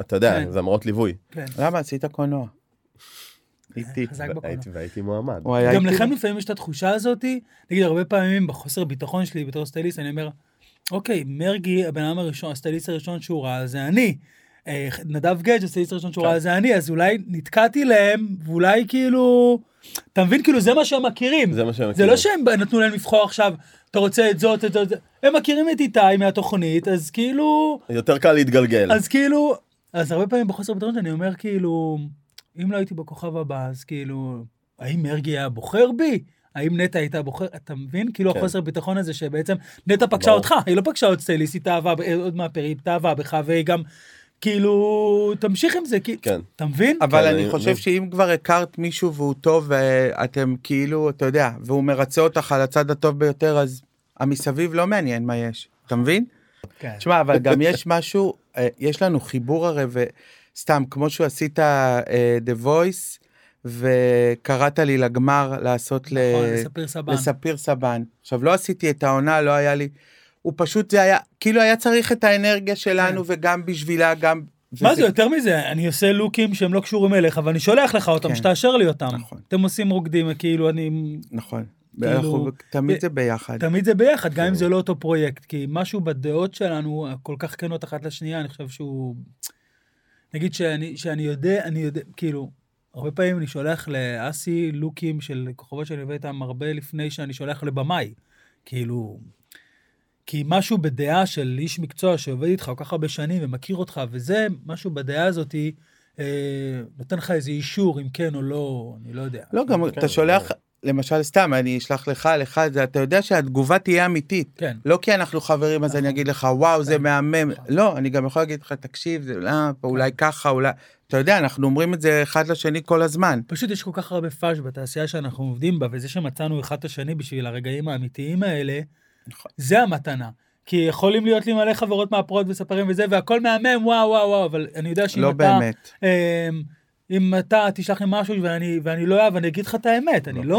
Speaker 2: אתה יודע
Speaker 1: כן.
Speaker 2: זמרות ליווי.
Speaker 1: כן.
Speaker 3: למה עשית קולנוע? איתי.
Speaker 1: חזק בקולנוע.
Speaker 2: והייתי- והייתי מועמד.
Speaker 3: הוא היה
Speaker 1: גם
Speaker 3: איתי.
Speaker 1: לכם לפעמים יש את התחושה הזאתי, נגיד הרבה פעמים בחוסר ביטחון שלי בתור סטייליסט, אני אומר, אוקיי, מרגי, הבן אדם הראשון, הסטייליסט הראשון שהוא ראה זה אני. אה, נדב גג' הסטייליסט הראשון
Speaker 2: כן.
Speaker 1: שהוא ראה זה אני, אז אולי נתקעתי להם, ואולי כאילו, אתה מבין, כאילו זה מה שהם מכירים.
Speaker 2: זה מה כאילו, שהם
Speaker 1: זה
Speaker 2: מכירים.
Speaker 1: לא שהם נתנו להם לבחור עכשיו, אתה רוצה את זאת, את זאת, הם מכירים את איתי מהתוכנית, אז כאילו,
Speaker 2: יותר קל להתגלגל.
Speaker 1: אז כאילו, אז הרבה פעמים בחוסר ביטחון שאני אומר כאילו, אם לא הייתי בכוכב הבא, אז כאילו, האם מרגי היה בוחר בי? האם נטע הייתה בוחר? אתה מבין? כאילו
Speaker 2: כן.
Speaker 1: החוסר ביטחון הזה שבעצם נטע פגשה
Speaker 2: ברור.
Speaker 1: אותך, היא לא פגשה עוד סטייליסט, היא תאהבה, ב- עוד מהפרי, היא תאהבה בך, והיא גם, כאילו, תמשיך עם זה, כי...
Speaker 2: כן.
Speaker 1: אתה מבין?
Speaker 3: אבל
Speaker 2: כן,
Speaker 3: אני
Speaker 2: אני-
Speaker 3: חושב
Speaker 2: אני-
Speaker 3: שאם כבר הכרת מישהו והוא טוב ואתם כאילו, אתה יודע, והוא מרצה אותך על הצד הטוב ביותר, אז המסביב לא מעניין מה יש, אתה מבין?
Speaker 1: כן.
Speaker 3: תשמע, אבל גם יש משהו, אה, יש לנו חיבור הרי, וסתם, כמו שעשית אה, The Voice, וקראת לי לגמר לעשות ל... אה,
Speaker 1: נכון, לספיר סבן.
Speaker 3: לספיר סבן. עכשיו, לא עשיתי את העונה, לא היה לי... הוא פשוט זה היה, כאילו היה צריך את האנרגיה שלנו וגם בשבילה, גם...
Speaker 1: כן. מה
Speaker 3: וזה-
Speaker 1: זה יותר מזה, אני עושה לוקים שהם לא קשורים אליך, אבל אני שולח לך אותם,
Speaker 3: כן.
Speaker 1: שתאשר לי אותם.
Speaker 3: נכון.
Speaker 1: אתם עושים רוקדים, כאילו אני...
Speaker 3: נכון.
Speaker 1: כאילו-
Speaker 3: אנחנו- תמיד זה ביחד.
Speaker 1: תמיד זה ביחד,
Speaker 3: כן.
Speaker 1: גם אם זה לא אותו פרויקט, כי משהו בדעות שלנו, כל כך כנות אחת לשנייה, אני חושב שהוא... נגיד שאני, שאני יודע, אני יודע, כאילו, הרבה פעמים אני שולח לאסי לוקים של כוכבות שאני עובד איתם הרבה לפני שאני שולח לבמאי. כאילו, כי משהו בדעה של איש מקצוע שעובד איתך כל כך הרבה שנים ומכיר אותך, וזה, משהו בדעה הזאת אה, נותן לך איזה אישור אם כן או לא, אני לא יודע.
Speaker 3: לא, גם
Speaker 2: כן,
Speaker 3: אתה שולח,
Speaker 2: ברור.
Speaker 3: למשל, סתם, אני אשלח לך, לך, זה- אתה יודע שהתגובה תהיה אמיתית.
Speaker 1: כן.
Speaker 3: לא כי אנחנו חברים, אז אני
Speaker 1: נכון.
Speaker 3: אגיד לך, וואו, זה מהמם. לא, אני גם יכול להגיד לך, תקשיב, זה לא,
Speaker 1: כן.
Speaker 3: פה אולי ככה, אולי... אתה יודע, אנחנו אומרים את זה אחד לשני כל הזמן.
Speaker 1: פשוט יש כל כך הרבה פאש בתעשייה שאנחנו עובדים בה, וזה שמצאנו אחד את השני בשביל הרגעים האמיתיים האלה,
Speaker 3: נכון.
Speaker 1: זה המתנה. כי יכולים להיות לי מלא חברות מהפרעות וספרים וזה, והכל מהמם, וואו, וואו, וואו, אבל אני יודע שאם
Speaker 3: לא
Speaker 1: אתה...
Speaker 3: באמת.
Speaker 1: אמ, אם אתה תשלח לי משהו ואני, ואני לא אוהב, אני אגיד לך את האמת, אני לא...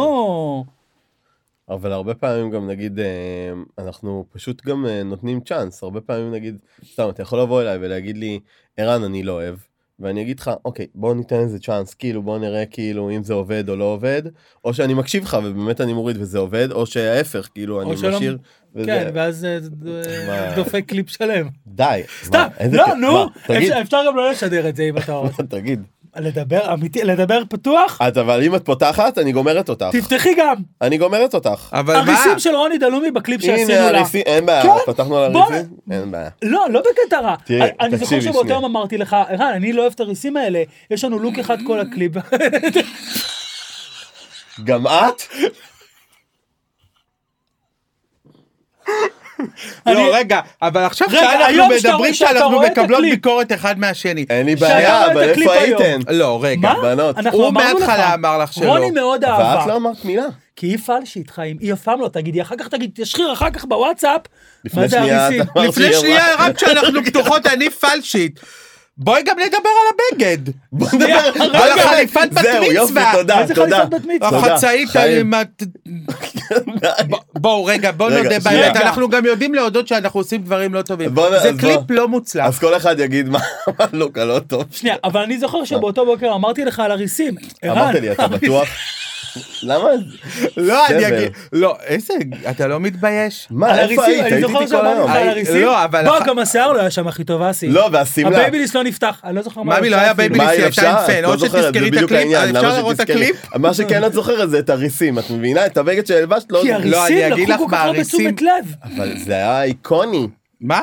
Speaker 2: נכון. אבל הרבה פעמים גם נגיד אה, אנחנו פשוט גם אה, נותנים צ'אנס הרבה פעמים נגיד סתם אתה יכול לבוא אליי ולהגיד לי ערן אני לא אוהב ואני אגיד לך אוקיי בוא ניתן איזה צ'אנס כאילו בוא נראה כאילו אם זה עובד או לא עובד או שאני מקשיב לך ובאמת אני מוריד וזה עובד או שההפך כאילו אני
Speaker 1: שלא-
Speaker 2: משאיר. וזה-
Speaker 1: כן, ואז אה, ד-
Speaker 2: מה?
Speaker 1: דופק קליפ שלם.
Speaker 2: די.
Speaker 1: סתם,
Speaker 2: מה, איזה
Speaker 1: לא,
Speaker 2: כיף.
Speaker 1: נו,
Speaker 2: מה, תגיד,
Speaker 1: אפשר- אפשר גם לא לשדר את זה אם אתה רוצה.
Speaker 2: תגיד.
Speaker 1: לדבר אמיתי, לדבר פתוח,
Speaker 2: את אבל אם את פותחת אני גומרת אותך.
Speaker 1: תפתחי גם.
Speaker 2: אני גומרת אותך.
Speaker 3: אבל מה?
Speaker 1: הריסים של רוני דלומי בקליפ שעשינו
Speaker 2: הנה
Speaker 1: לה.
Speaker 2: הריסים, אין בעיה,
Speaker 1: כן,
Speaker 2: פתחנו על
Speaker 1: בוא-
Speaker 2: הריסים, אין בעיה.
Speaker 1: לא, לא בקטע רע.
Speaker 2: תראה,
Speaker 1: אני- אני זוכר
Speaker 2: תקשיבי
Speaker 1: שבאותו
Speaker 2: שנייה.
Speaker 1: יום אמרתי לך, ערן, אני לא אוהב את הריסים האלה, יש לנו לוק אחד כל הקליפ.
Speaker 2: גם את?
Speaker 1: אני-
Speaker 3: לא, רגע, אבל עכשיו
Speaker 1: רגע,
Speaker 3: שאנחנו
Speaker 1: היום שאתה רואה-
Speaker 3: מדברים,
Speaker 1: שאתה
Speaker 3: שאנחנו
Speaker 1: רואה את
Speaker 3: מקבלות
Speaker 1: הקליפ.
Speaker 3: ביקורת אחד מהשני.
Speaker 2: אין לי
Speaker 1: שהיה
Speaker 2: בעיה,
Speaker 1: רואה את
Speaker 2: אבל
Speaker 1: הקליפ
Speaker 2: איפה
Speaker 1: היום.
Speaker 2: הייתם?
Speaker 3: לא, רגע.
Speaker 1: מה?
Speaker 2: בנות.
Speaker 1: אנחנו
Speaker 3: הוא
Speaker 1: אמרנו לך.
Speaker 3: מההתחלה אמר לך שלא.
Speaker 1: רוני מאוד
Speaker 2: ואת
Speaker 1: אהבה.
Speaker 2: לא אמרת מילה.
Speaker 1: כי היא פלשית איתך, היא- היא אף פעם לא תגידי, אחר כך תגיד, תשחיר אחר כך בוואטסאפ.
Speaker 2: לפני
Speaker 1: מה זה
Speaker 2: שנייה
Speaker 1: הריסים?
Speaker 2: את אמרת
Speaker 3: לפני
Speaker 1: אוקיי,
Speaker 2: לי,
Speaker 3: שנייה,
Speaker 2: אמרה-
Speaker 3: רק כשאנחנו פתוחות, אני פלשית. בואי גם נדבר על הבגד.
Speaker 2: בוא נדבר
Speaker 3: על החליפת בת
Speaker 2: זהו, יופי,
Speaker 3: מצווה.
Speaker 2: תודה,
Speaker 1: איזה
Speaker 2: תודה.
Speaker 1: חליפת בת מצווה?
Speaker 2: תודה,
Speaker 3: החצאית,
Speaker 2: חיים.
Speaker 3: עם ה-
Speaker 2: די.
Speaker 3: בואו רגע בואו
Speaker 2: רגע,
Speaker 3: נודה
Speaker 2: שנייה.
Speaker 3: באמת אנחנו גם יודעים להודות שאנחנו עושים דברים לא טובים
Speaker 2: בוא נ-
Speaker 3: זה
Speaker 2: אז
Speaker 3: קליפ
Speaker 2: בוא.
Speaker 3: לא מוצלח
Speaker 2: אז כל אחד יגיד מה מה לא קלו טוב.
Speaker 1: שנייה, אבל אני זוכר שבאותו בוקר אמרתי לך על הריסים. ערן,
Speaker 2: אמרת לי, אתה בטוח? למה?
Speaker 3: לא אני
Speaker 2: סבל.
Speaker 3: אגיד לא איזה אתה לא מתבייש
Speaker 1: על
Speaker 2: מה, איפה
Speaker 1: הריסים,
Speaker 2: היית?
Speaker 1: אני
Speaker 2: הייתי
Speaker 1: זוכר
Speaker 2: איתי כל
Speaker 1: שאמרתי
Speaker 2: היום. אה,
Speaker 1: לך על
Speaker 3: הי-
Speaker 1: הריסים.
Speaker 3: לא, אבל
Speaker 1: בוא,
Speaker 3: אח-
Speaker 1: גם השיער לא היה שם הכי טוב, אסי.
Speaker 2: לא, והשמלה.
Speaker 1: הבייביליס לא נפתח, אני לא זוכר מה
Speaker 3: מאמי, לא היה
Speaker 1: אפילו.
Speaker 3: בייביליס.
Speaker 2: מה היא
Speaker 3: היא הייתה עם
Speaker 2: אפשר?
Speaker 3: פן,
Speaker 2: את
Speaker 3: או
Speaker 2: לא זוכרת,
Speaker 3: שתזכרי
Speaker 2: זה
Speaker 3: את
Speaker 2: בדיוק
Speaker 3: הקליפ,
Speaker 2: העניין,
Speaker 3: אפשר
Speaker 2: למה
Speaker 3: לראות את
Speaker 2: שתזכרי?
Speaker 3: הקליפ?
Speaker 2: מה שכן את זוכרת זה את הריסים, את מבינה? את הבגד שהלבשת לא...
Speaker 1: כי
Speaker 3: לא, אני
Speaker 1: הריסים
Speaker 3: אגיד
Speaker 1: לקחו
Speaker 3: לך
Speaker 1: כל כך
Speaker 3: מה,
Speaker 1: הרבה
Speaker 3: הריסים-
Speaker 1: תשומת לב.
Speaker 2: אבל זה היה איקוני.
Speaker 3: מה?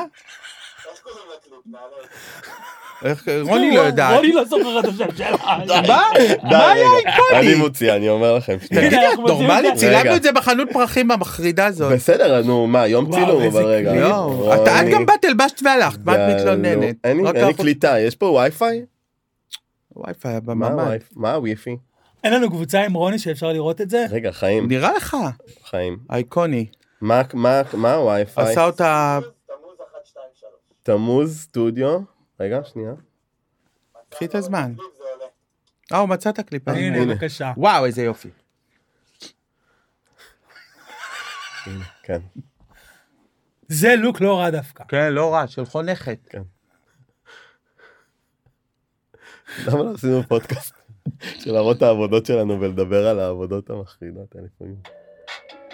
Speaker 3: איך- רוני לא יודעת
Speaker 1: רוני לא זוכר את השם שלה.
Speaker 3: מה?
Speaker 2: די,
Speaker 3: מה היה
Speaker 2: רגע. אני
Speaker 3: איקוני?
Speaker 2: מוציא, אני אומר לכם. שנייה.
Speaker 3: תגידי את
Speaker 1: אנחנו מוציאים
Speaker 3: נורמלית
Speaker 1: את זה.
Speaker 3: צילמנו
Speaker 2: רגע.
Speaker 3: את זה בחנות פרחים המחרידה הזאת.
Speaker 2: בסדר, נו, מה, יום
Speaker 1: וואו,
Speaker 2: צילום,
Speaker 1: איזה
Speaker 2: אבל רגע.
Speaker 1: קליפ.
Speaker 3: לא, את את גם באת הלבשת והלכת מה את מתלוננת?
Speaker 2: אין לי-
Speaker 3: רק
Speaker 2: אין לי
Speaker 3: אנחנו-
Speaker 2: קליטה, יש פה וי-פיי?
Speaker 3: וואי פי,
Speaker 2: מה
Speaker 3: בממה.
Speaker 2: הווי- מה הווי-פי?
Speaker 1: אין לנו קבוצה עם רוני שאפשר לראות את זה?
Speaker 2: רגע, חיים,
Speaker 3: נראה לך
Speaker 2: חיים.
Speaker 3: אייקוני
Speaker 2: מה- מה מה הווי-פיי?
Speaker 3: עשה אותה
Speaker 2: תמוז סטודיו. רגע, שנייה.
Speaker 3: קחי את הזמן. אה, הוא מצא את הקליפ. אני
Speaker 1: הנה,
Speaker 3: מבין.
Speaker 1: בבקשה.
Speaker 3: וואו, איזה יופי.
Speaker 2: כן.
Speaker 1: זה לוק לא רע דווקא.
Speaker 3: כן, לא רע, של חונכת.
Speaker 2: למה לא עשינו פודקאסט של להראות את העבודות שלנו ולדבר על העבודות המחרידות האלה לפעמים?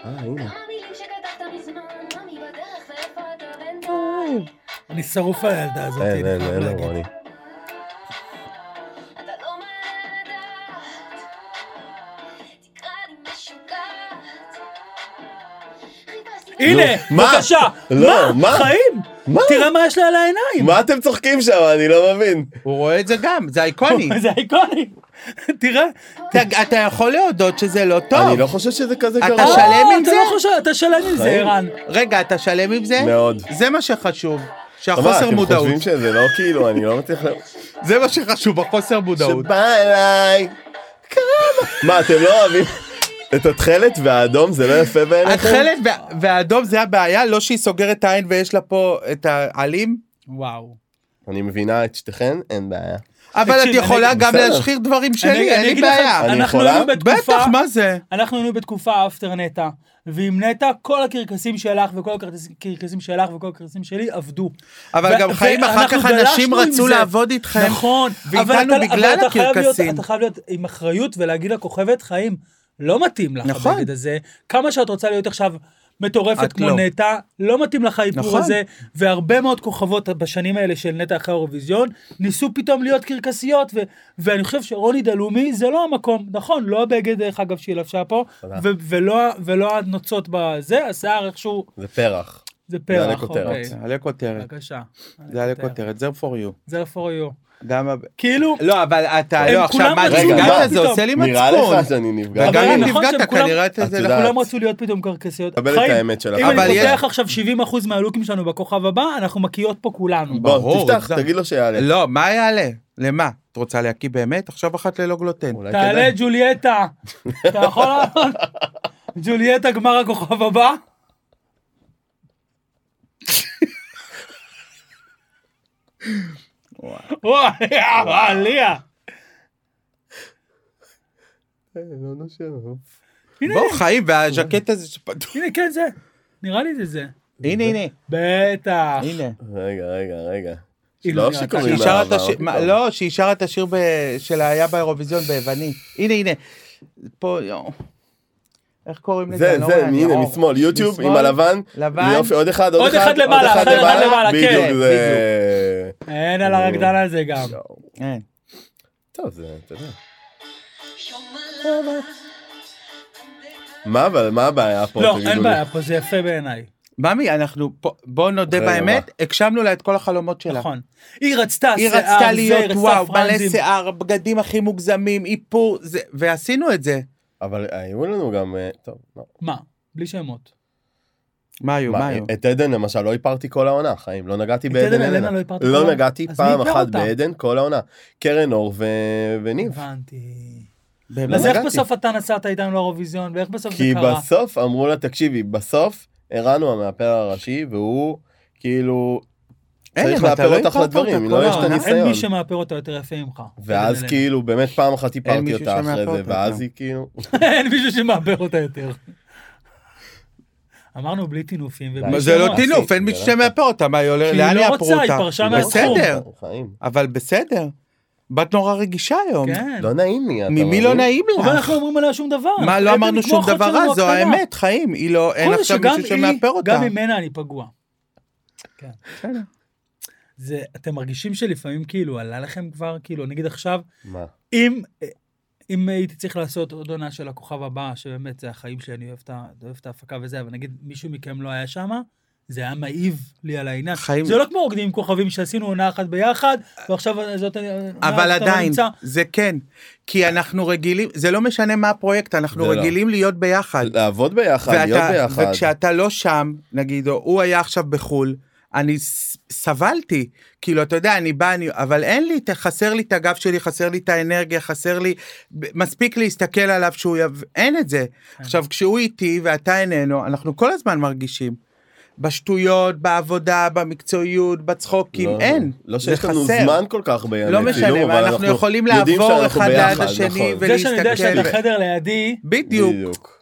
Speaker 2: אה, הנה.
Speaker 4: המילים שכתבת מזמן, מאמי בדרך ואיפה אתה בינתיים?
Speaker 1: אני שרוף על הילדה הזאת.
Speaker 2: אין,
Speaker 1: אני
Speaker 2: אין,
Speaker 1: חייב
Speaker 2: אין לא,
Speaker 1: להגיד.
Speaker 2: לרוני.
Speaker 4: אתה לא מעלה על הדעת. תקרא לי משוגעת. חיפשתי את
Speaker 1: הנה,
Speaker 2: נו, מה?
Speaker 1: בבקשה.
Speaker 2: לא, מה?
Speaker 1: חיים?
Speaker 2: מה?
Speaker 1: תראה מה יש לה על העיניים.
Speaker 2: מה אתם צוחקים שם? אני לא מבין.
Speaker 3: הוא רואה את זה גם, זה אייקוני.
Speaker 1: זה איקוני. תראה.
Speaker 3: אתה- אתה יכול להודות שזה לא טוב.
Speaker 2: אני לא חושב שזה כזה
Speaker 3: אתה
Speaker 2: קרוב.
Speaker 3: שלם
Speaker 1: אה,
Speaker 3: עם
Speaker 1: אתה
Speaker 3: זה?
Speaker 1: לא חושב- אתה שלם עם זה,
Speaker 2: חיים.
Speaker 1: ערן.
Speaker 3: רגע, אתה שלם עם זה?
Speaker 2: מאוד.
Speaker 3: זה מה שחשוב.
Speaker 2: מה,
Speaker 3: שהחוסר
Speaker 2: אתם
Speaker 3: מודעות.
Speaker 2: חושבים שזה לא כאילו, אני לא מצליח... לה-
Speaker 3: זה מה שחשוב, החוסר מודעות.
Speaker 2: שבא אליי. מה, אתם לא אוהבים את התכלת והאדום? זה לא יפה בעיניכם?
Speaker 3: התכלת וה- והאדום זה הבעיה, לא שהיא סוגרת את העין ויש לה פה את העלים?
Speaker 1: וואו.
Speaker 2: אני מבינה את שתיכן, אין בעיה.
Speaker 3: אבל את
Speaker 1: תקשיב,
Speaker 3: יכולה
Speaker 2: אני-
Speaker 3: גם
Speaker 2: בסדר.
Speaker 3: להשחיר דברים
Speaker 1: אני-
Speaker 3: שלי, אין
Speaker 1: אני
Speaker 3: לי
Speaker 1: אגיד לך,
Speaker 3: בעיה.
Speaker 2: אני
Speaker 1: אנחנו
Speaker 2: יכולה?
Speaker 1: היינו בתקופה...
Speaker 3: בטח, מה זה?
Speaker 1: אנחנו היינו בתקופה אפטר נטע, ועם נטע כל הקרקסים שלך וכל הקרקס- הקרקסים שלך וכל הקרקסים שלי עבדו.
Speaker 3: אבל
Speaker 1: ו-
Speaker 3: גם חיים אחר
Speaker 1: ואנחנו
Speaker 3: כך אנשים
Speaker 1: גלשנו עם
Speaker 3: רצו
Speaker 1: זה.
Speaker 3: לעבוד איתכם.
Speaker 1: נכון,
Speaker 3: ואיתנו
Speaker 1: אבל אתה-
Speaker 3: בגלל
Speaker 1: אבל אתה חייב
Speaker 3: הקרקסים.
Speaker 1: להיות- אתה חייב להיות עם אחריות ולהגיד לכוכבת חיים, לא מתאים לך
Speaker 3: נכון.
Speaker 1: הבגד הזה, כמה שאת רוצה להיות עכשיו מטורפת
Speaker 3: את
Speaker 1: כמו
Speaker 3: לא.
Speaker 1: נטע, לא מתאים לך האיפור
Speaker 3: נכון.
Speaker 1: הזה, והרבה מאוד כוכבות בשנים האלה של נטע אחרי האירוויזיון, ניסו פתאום להיות קרקסיות, ו- ואני חושב שרוני דלומי זה לא המקום, נכון, לא הבגד דרך אגב שהיא לבשה פה,
Speaker 2: תודה.
Speaker 1: ו- ולא- ולא הנוצות בזה, השיער איכשהו,
Speaker 2: זה פרח.
Speaker 1: זה פרח,
Speaker 2: לכותרת.
Speaker 1: אוקיי.
Speaker 3: זה עלי כותרת,
Speaker 1: בבקשה.
Speaker 3: זה עלי כותרת, זה for you.
Speaker 1: זה for you.
Speaker 3: גם... ה-
Speaker 1: כאילו,
Speaker 3: לא, אבל אתה,
Speaker 1: הם
Speaker 3: לא, עכשיו
Speaker 1: כולם
Speaker 3: מה,
Speaker 1: רצו
Speaker 2: לעבוד
Speaker 3: נפגעת, זה
Speaker 1: איתו.
Speaker 3: עושה לי
Speaker 2: נראה לך
Speaker 3: מצפון.
Speaker 2: שאני נפגע.
Speaker 3: וגם
Speaker 1: אבל
Speaker 3: אם
Speaker 1: אני- נכון
Speaker 3: נפגעת,
Speaker 1: שהם כולם-
Speaker 3: כנראה את
Speaker 2: את
Speaker 3: זה
Speaker 2: יודעת.
Speaker 1: כולם רצו להיות פתאום קרקסיות.
Speaker 2: קבל את
Speaker 1: חיים,
Speaker 2: האמת שלך.
Speaker 1: אם
Speaker 3: אבל
Speaker 1: אני
Speaker 3: יש-
Speaker 1: פותח עכשיו 70% מהלוקים שלנו בכוכב הבא, אנחנו מקיאות פה כולנו.
Speaker 2: בוא,
Speaker 3: ברור,
Speaker 2: תפתח,
Speaker 3: זה-
Speaker 2: תגיד לו שיעלה.
Speaker 3: לא, מה יעלה? למה? את רוצה להקיא באמת? עכשיו אחת ללא גלוטן.
Speaker 2: אולי
Speaker 1: תעלה
Speaker 2: כדאי.
Speaker 1: ג'וליאטה. אתה יכול לעלות? ג'וליאטה גמר הכוכב הבא? וואי, עליה.
Speaker 2: אה, לא נושם.
Speaker 1: הנה,
Speaker 3: בוא חיים, והז'קט הזה שפתוח.
Speaker 1: הנה, כן זה. נראה לי זה זה.
Speaker 3: הנה, הנה,
Speaker 1: בטח.
Speaker 3: הנה.
Speaker 2: רגע, רגע, רגע.
Speaker 1: אילו
Speaker 2: לא
Speaker 1: זה
Speaker 2: שקוראים אוקיי.
Speaker 1: אתה-
Speaker 3: שהיא שרה את
Speaker 2: בעבר,
Speaker 3: השיר-
Speaker 2: פתאום.
Speaker 3: מה, לא, שהיא שרה את השיר ב- של היה באירוויזיון ביוונית. הנה, הנה. פה, יואו. איך קוראים לזה?
Speaker 2: זה,
Speaker 3: אני לא
Speaker 2: זה,
Speaker 3: רואה, אני
Speaker 2: הנה,
Speaker 3: אור.
Speaker 2: משמאל, יוטיוב
Speaker 3: משמאל,
Speaker 2: עם הלבן.
Speaker 3: לבן.
Speaker 2: יופי, עוד אחד,
Speaker 1: עוד
Speaker 2: עוד
Speaker 1: אחד
Speaker 2: אחד. עוד
Speaker 1: למעלה, אחד אחד למעלה, כן.
Speaker 2: בדיוק, זה... אה,
Speaker 1: אין על הרקדן על זה גם.
Speaker 3: לא. אין.
Speaker 2: טוב, זה, אתה יודע. מה, אבל מה הבעיה פה?
Speaker 1: לא,
Speaker 2: תגידו
Speaker 1: אין
Speaker 2: לי?
Speaker 1: בעיה, פה זה יפה בעיניי.
Speaker 3: ממי, אנחנו פה, בוא נודה
Speaker 2: רגע,
Speaker 3: באמת, הגשמנו לה את כל החלומות שלה.
Speaker 1: נכון. היא רצתה
Speaker 3: לא. היא
Speaker 1: שיער,
Speaker 3: רצתה
Speaker 1: זה,
Speaker 3: להיות
Speaker 1: רצתה
Speaker 3: וואו,
Speaker 1: פרנזים.
Speaker 3: מלא שיער, בגדים הכי מוגזמים, איפור, זה- ועשינו את זה.
Speaker 2: אבל היו לנו גם... אה, טוב, לא.
Speaker 1: מה? בלי שמות.
Speaker 3: מה היו, מה אה,
Speaker 2: מה,
Speaker 3: היו?
Speaker 2: את עדן למשל לא איפרתי כל העונה, חיים, לא נגעתי
Speaker 1: את עדן
Speaker 2: בעדן.
Speaker 1: אלנה
Speaker 2: אלנה.
Speaker 1: לא איפרת כל
Speaker 2: לא
Speaker 1: העונה?
Speaker 2: נגעתי
Speaker 1: אז מי
Speaker 2: פעם
Speaker 1: איפר
Speaker 2: אחת
Speaker 1: אותה?
Speaker 2: בעדן כל העונה. קרן אור ו- וניב.
Speaker 1: הבנתי.
Speaker 3: באמת.
Speaker 1: אז איך
Speaker 2: נגעתי.
Speaker 1: בסוף אתה נסעת איתנו לאירוויזיון, ואיך בסוף זה
Speaker 2: כי
Speaker 1: קרה?
Speaker 2: בסוף אמרו לה, תקשיבי, בסוף הרענו המאפר הראשי, והוא כאילו
Speaker 3: אין,
Speaker 2: צריך
Speaker 3: אבל אתה
Speaker 2: לאפר
Speaker 3: לא
Speaker 2: אותך
Speaker 3: הכרת אותה
Speaker 2: לדברים,
Speaker 3: כל
Speaker 2: לא יש את
Speaker 3: העונה.
Speaker 2: הניסיון.
Speaker 1: אין מי שמאפר אותו יותר יפה ממך.
Speaker 2: ואז
Speaker 1: עדן
Speaker 2: כאילו באמת פעם אחת איפרתי
Speaker 3: מישהו
Speaker 2: אותה אחרי
Speaker 3: שמאפר
Speaker 2: זה,
Speaker 3: אותה,
Speaker 2: ואז
Speaker 3: כן.
Speaker 2: היא כאילו...
Speaker 1: אלנה. אין מישהו שמאפר אותה יותר. אמרנו בלי טינופים ובלי
Speaker 2: מה,
Speaker 1: שמות.
Speaker 3: זה
Speaker 2: טיל-
Speaker 3: לא טינוף, אין מי
Speaker 2: זה לא-
Speaker 3: שמאפר אותה, מה, היא עולה-
Speaker 1: כי היא
Speaker 3: לאן
Speaker 1: לא
Speaker 3: יאפרו
Speaker 1: רוצה,
Speaker 3: אותה?
Speaker 1: היא פרשה
Speaker 2: מהתחום.
Speaker 3: בסדר,
Speaker 2: חיים.
Speaker 3: אבל בסדר. בת נורא רגישה היום.
Speaker 1: כן.
Speaker 2: לא נעים לי. אתה
Speaker 3: ממי
Speaker 2: מבין?
Speaker 3: לא נעים
Speaker 1: אבל
Speaker 3: לך?
Speaker 1: אנחנו אומרים עליה שום דבר.
Speaker 3: מה,
Speaker 1: אנחנו
Speaker 3: לא
Speaker 1: חייבים
Speaker 3: אמרנו
Speaker 1: לתמוך
Speaker 3: שום
Speaker 1: עוד
Speaker 3: דבר
Speaker 1: שלנו
Speaker 3: רע, זו
Speaker 1: הקטנה.
Speaker 3: האמת, חיים. היא לא, אין
Speaker 1: כל
Speaker 3: עכשיו
Speaker 1: שגם
Speaker 3: מישהו
Speaker 1: היא-
Speaker 3: שמאפר אותה.
Speaker 1: גם ממנה אני פגוע. כן.
Speaker 3: בסדר.
Speaker 1: זה, אתם מרגישים שלפעמים כאילו עלה לכם כבר, כאילו, נגיד עכשיו,
Speaker 2: מה?
Speaker 1: אם, אם הייתי צריך לעשות עוד עונה של הכוכב הבא, שבאמת זה החיים שלי, אני אוהב את, ה- אוהב את ההפקה וזה, אבל נגיד מישהו מכם לא היה שמה, זה היה מעיב לי על העניין.
Speaker 3: חיים-
Speaker 1: זה לא כמו רוקדים עם כוכבים שעשינו עונה אחת ביחד, ועכשיו זאת...
Speaker 3: אבל
Speaker 1: אתה לא
Speaker 3: עדיין,
Speaker 1: נמצא.
Speaker 3: זה כן. כי אנחנו רגילים, זה לא משנה מה הפרויקט, אנחנו
Speaker 2: זה לא.
Speaker 3: רגילים להיות ביחד.
Speaker 2: לעבוד ביחד, להיות
Speaker 3: ואתה,
Speaker 2: ביחד.
Speaker 3: וכשאתה לא שם, נגיד, או הוא היה עכשיו בחו"ל, אני ס- סבלתי, כאילו, אתה יודע, אני בא, אני, אבל אין לי, את- חסר לי את הגב שלי, חסר לי את האנרגיה, חסר לי, ב- מספיק להסתכל עליו שהוא, יב- אין את זה. עכשיו, כשהוא איתי ואתה איננו, אנחנו כל הזמן מרגישים. בשטויות, בעבודה, במקצועיות, בצחוקים,
Speaker 2: לא-
Speaker 3: כאילו, אין.
Speaker 2: לא
Speaker 3: זה
Speaker 2: שיש לנו
Speaker 3: חסר.
Speaker 2: זמן כל כך בימים. כאילו,
Speaker 3: לא משנה, אבל אנחנו יכולים לעבור אחד ליד השני
Speaker 1: זה שאני יודע שאתה
Speaker 3: ולהסתכל.
Speaker 1: בחדר לידי,
Speaker 3: בדיוק.
Speaker 2: נכון. בדיוק.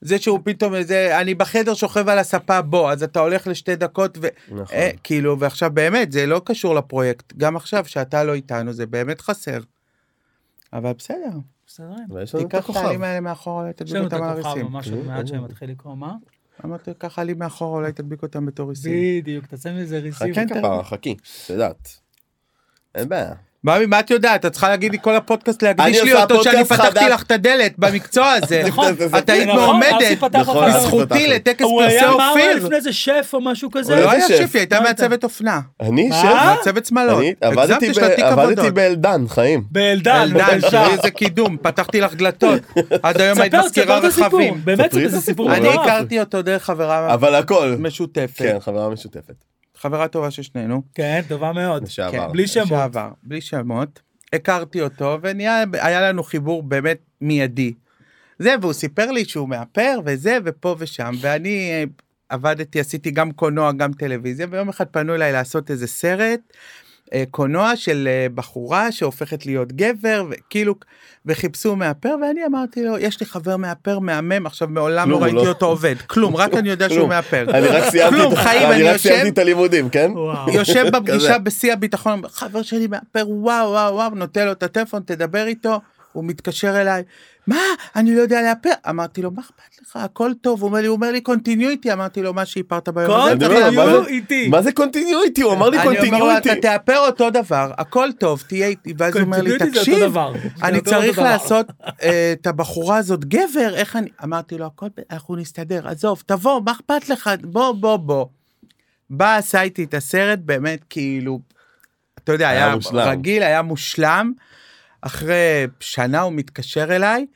Speaker 3: זה שהוא פתאום איזה, אני בחדר שוכב על הספה בו, אז אתה הולך לשתי דקות ו...
Speaker 2: נכון.
Speaker 3: אה, כאילו, ועכשיו באמת, זה לא קשור לפרויקט. גם עכשיו, שאתה לא איתנו, זה באמת חסר. אבל בסדר,
Speaker 1: בסדרים.
Speaker 2: ויש לנו את
Speaker 3: תיקח את
Speaker 2: הכוכב.
Speaker 3: העלים האלה מאחורה, אולי
Speaker 1: יש לנו
Speaker 3: תדביק
Speaker 1: את
Speaker 3: אותם על
Speaker 1: הכוכב
Speaker 3: הריסים.
Speaker 1: ממש עוד מעט שמתחיל לקרוא, מה?
Speaker 3: אמרתי, קח עלים מאחורה, אולי תדביק אותם בתור ריסים.
Speaker 1: בדיוק, תעשה מזה כן, ריסים.
Speaker 3: כן,
Speaker 2: חכי כפרה, חכי, את יודעת. אין בעיה.
Speaker 3: מאמי, מה את יודעת? את צריכה להגיד לי כל הפודקאסט להקדיש
Speaker 2: אני
Speaker 3: לי
Speaker 2: עושה
Speaker 3: אותו שאני
Speaker 2: פודקאסט
Speaker 3: פתחתי
Speaker 2: חדש.
Speaker 3: לך את הדלת במקצוע הזה.
Speaker 1: נכון,
Speaker 3: את היית
Speaker 1: נכון, אסי
Speaker 3: מועמדת,
Speaker 1: פתח
Speaker 2: נכון,
Speaker 1: אחריו.
Speaker 2: בזכות
Speaker 3: זכותי
Speaker 2: פתחתי.
Speaker 3: לטקס
Speaker 1: הוא
Speaker 3: פרסי
Speaker 1: היה, מה הוא היה
Speaker 3: אופיר.
Speaker 1: לפני זה אה? שף או משהו כזה?
Speaker 3: הוא לא
Speaker 2: איזה
Speaker 3: היה
Speaker 2: שף?
Speaker 3: שפי, הייתה
Speaker 1: לא הייתה.
Speaker 3: מעצבת אופנה.
Speaker 2: אני
Speaker 1: מה?
Speaker 2: שף?
Speaker 3: מעצבת שמלות.
Speaker 2: אני עבדתי
Speaker 3: הגזמת, יש
Speaker 2: ב-
Speaker 3: לה לא, תיק
Speaker 2: עבדתי
Speaker 3: עבודות.
Speaker 2: באלדן, חיים.
Speaker 1: באלדן,
Speaker 3: אלדן,
Speaker 1: בבקשה.
Speaker 3: תראי איזה קידום, פתחתי לך דלתות. עד היום היית
Speaker 1: ספר,
Speaker 3: מזכירה
Speaker 1: ספר את הסיפור.
Speaker 3: רכבים.
Speaker 1: באמת,
Speaker 2: ספרי את
Speaker 1: זה סיפור
Speaker 2: הסיפור.
Speaker 3: אני
Speaker 1: מטורף.
Speaker 3: הכרתי אותו דרך חברה
Speaker 2: אבל הכל.
Speaker 3: משותפת,
Speaker 2: כן, חברה משותפת.
Speaker 3: חברה טובה של שנינו.
Speaker 1: כן, טובה מאוד.
Speaker 2: לשעבר.
Speaker 1: כן, בלי שמות.
Speaker 3: לשעבר, בלי שמות. הכרתי אותו ונהיה, היה לנו חיבור באמת מיידי. זה, והוא סיפר לי שהוא מאפר וזה ופה ושם, ואני אה, עבדתי, עשיתי גם קולנוע, גם טלוויזיה, ויום אחד פנו אליי לעשות איזה סרט. אה, קולנוע של אה, בחורה שהופכת להיות גבר וכאילו וחיפשו מאפר ואני אמרתי לו יש לי חבר מאפר מהמם עכשיו מעולם
Speaker 2: כלום,
Speaker 3: לא
Speaker 2: הוא
Speaker 3: ראיתי
Speaker 2: לא-
Speaker 3: אותו עובד כלום רק אני יודע שהוא
Speaker 2: כלום.
Speaker 3: מאפר.
Speaker 2: אני רק סיימתי
Speaker 3: כלום,
Speaker 2: את-
Speaker 3: חיים,
Speaker 2: אני
Speaker 3: אני
Speaker 2: רק
Speaker 3: יושב-
Speaker 2: סיימתי את הלימודים, כן?
Speaker 1: וואו.
Speaker 3: יושב בפגישה
Speaker 2: כזה.
Speaker 3: בשיא הביטחון, חבר שלי מאפר, וואו וואו וואו, נותן לו את הטלפון, תדבר איתו, הוא מתקשר אליי, מה, אני לא יודע לאפר, אמרתי לו, מה אכפת לך, הכל טוב, הוא אומר לי, הוא אומר לי קונטיניויטי, אמרתי לו, מה שאיפרת ביום הזה,
Speaker 2: אני
Speaker 1: כל
Speaker 2: אומר לו, מה
Speaker 1: תהיו
Speaker 2: זה-
Speaker 1: איתי.
Speaker 2: מה זה קונטיניויטי? הוא אמר לי
Speaker 3: אני אומר לו,
Speaker 2: קונטיניויטי.
Speaker 3: אתה תאפר אותו דבר, הכל טוב, תהיה איתי, ואז הוא אומר לי,
Speaker 1: קונטיניויטי זה אותו
Speaker 3: תקשיב,
Speaker 1: דבר. זה
Speaker 3: אני
Speaker 1: אותו
Speaker 3: צריך
Speaker 1: דבר.
Speaker 3: לעשות אה, את הבחורה הזאת גבר, איך אני... אמרתי לו, הכל, ב- אנחנו נסתדר, עזוב, תבוא, מה אכפת לך, בוא, בוא, בוא. בא, עשה איתי את הסרט, באמת, כאילו, אתה יודע,
Speaker 2: היה
Speaker 3: היה
Speaker 2: מושלם.
Speaker 3: רגיל, היה מושלם. אחרי שנה הוא מתקשר אליי,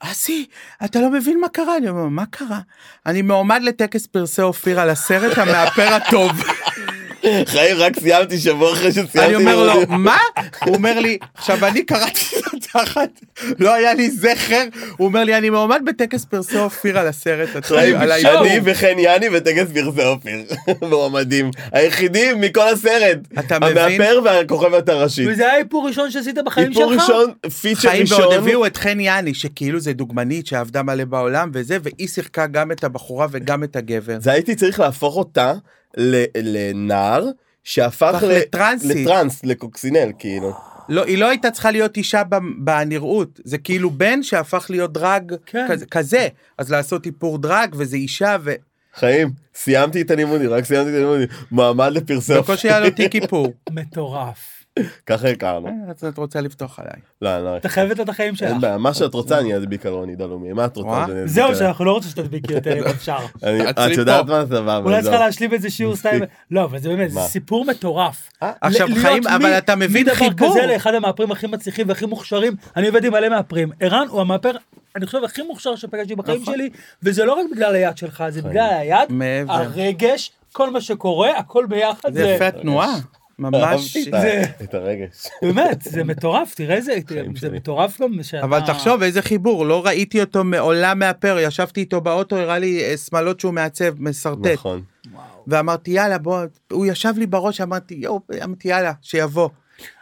Speaker 3: אסי, אתה לא מבין מה קרה? אני אומר, מה קרה? אני מועמד לטקס פרסי אופיר על הסרט המאפר הטוב.
Speaker 2: חיים, רק סיימתי שבוע אחרי שסיימתי
Speaker 3: אני אומר לו,
Speaker 2: לימודים.
Speaker 3: מה? הוא אומר לי, עכשיו אני קראתי את התחת, לא היה לי זכר, הוא אומר לי, אני מועמד בטקס פרסי אופיר על הסרט, הטוב,
Speaker 2: חיים,
Speaker 3: על האיום."
Speaker 2: אני וחן יאני וטקס פרסי אופיר, מועמדים, היחידים מכל הסרט,
Speaker 3: אתה מבין?
Speaker 2: המאפר והכוכבת הראשית.
Speaker 1: וזה היה איפור ראשון שעשית בחיים שלך?
Speaker 2: איפור ראשון, פיצ'ר
Speaker 3: חיים ועוד
Speaker 2: ראשון,
Speaker 3: הביאו את חן יאני, שכאילו זה דוגמנית שעבדה מלא בעולם וזה, והיא שיחקה גם את הבחורה וגם את הגבר.
Speaker 2: זה הייתי צריך להפוך אותה ל- לנער שהפך
Speaker 3: הפך
Speaker 2: ל-
Speaker 3: לטרנסית.
Speaker 2: לטרנס, לקוקסינל, כאילו.
Speaker 3: לא, היא לא הייתה צריכה להיות אישה ב- בנראות, זה כאילו בן שהפך להיות דרג
Speaker 1: כן.
Speaker 3: כזה- כזה, אז לעשות איפור דרג וזה אישה,
Speaker 2: חיים, סיימתי את הלימודים, רק סיימתי את הלימודים, מעמד לפרסי
Speaker 3: ובקושי היה לו תיק איפור.
Speaker 1: מטורף.
Speaker 2: ככה הכרנו.
Speaker 3: אה, אז את רוצה לפתוח עליי.
Speaker 2: לא, לא.
Speaker 1: אתה חייבת לו את החיים שלך.
Speaker 2: אין בעיה, מה שאת רוצה אני אדביק על רוני דלומי, מה את רוצה?
Speaker 3: וואה.
Speaker 2: שאני אדביק
Speaker 1: זהו,
Speaker 2: עליה?
Speaker 1: שאנחנו לא רוצים שתדביקי יותר אם אפשר.
Speaker 2: אני-
Speaker 3: תעצרי
Speaker 2: את יודעת
Speaker 3: פה.
Speaker 2: מה סבבה.
Speaker 1: אולי צריכה
Speaker 2: זהו.
Speaker 1: להשלים איזה שיעור סטייל. לא, אבל זה באמת, זה
Speaker 2: מה?
Speaker 1: סיפור מטורף.
Speaker 3: אה, עכשיו,
Speaker 1: ל- להיות
Speaker 3: חיים,
Speaker 1: מ-
Speaker 3: אבל אתה מבין
Speaker 1: מדבר
Speaker 3: חיבור.
Speaker 1: כזה לאחד המאפרים הכי מצליחים והכי מוכשרים, אני עובד עם מלא מאפרים. ערן הוא המאפר, אני חושב, הכי מוכשר שפגשתי בחיים
Speaker 3: נכון.
Speaker 1: שלי, וזה לא רק בגלל היד שלך, זה בגלל היד,
Speaker 3: מעבר.
Speaker 1: הרגש, כל מה שקורה, הכל ביחד.
Speaker 3: זה יפה התנועה, ממש.
Speaker 2: אהבתי את
Speaker 1: זה-
Speaker 2: ה- את הרגש.
Speaker 1: באמת, זה מטורף, תראה איזה, זה
Speaker 2: שלי.
Speaker 1: מטורף גם שאתה...
Speaker 3: אבל תחשוב איזה חיבור, לא ראיתי אותו מעולם מהפר, ישבתי איתו באוטו, הראה לי אה, שמלות שהוא מעצב, משרטט,
Speaker 2: נכון.
Speaker 3: ואמרתי יאללה בוא, הוא ישב לי בראש, אמרתי יואו, אמרתי יאללה, שיבוא.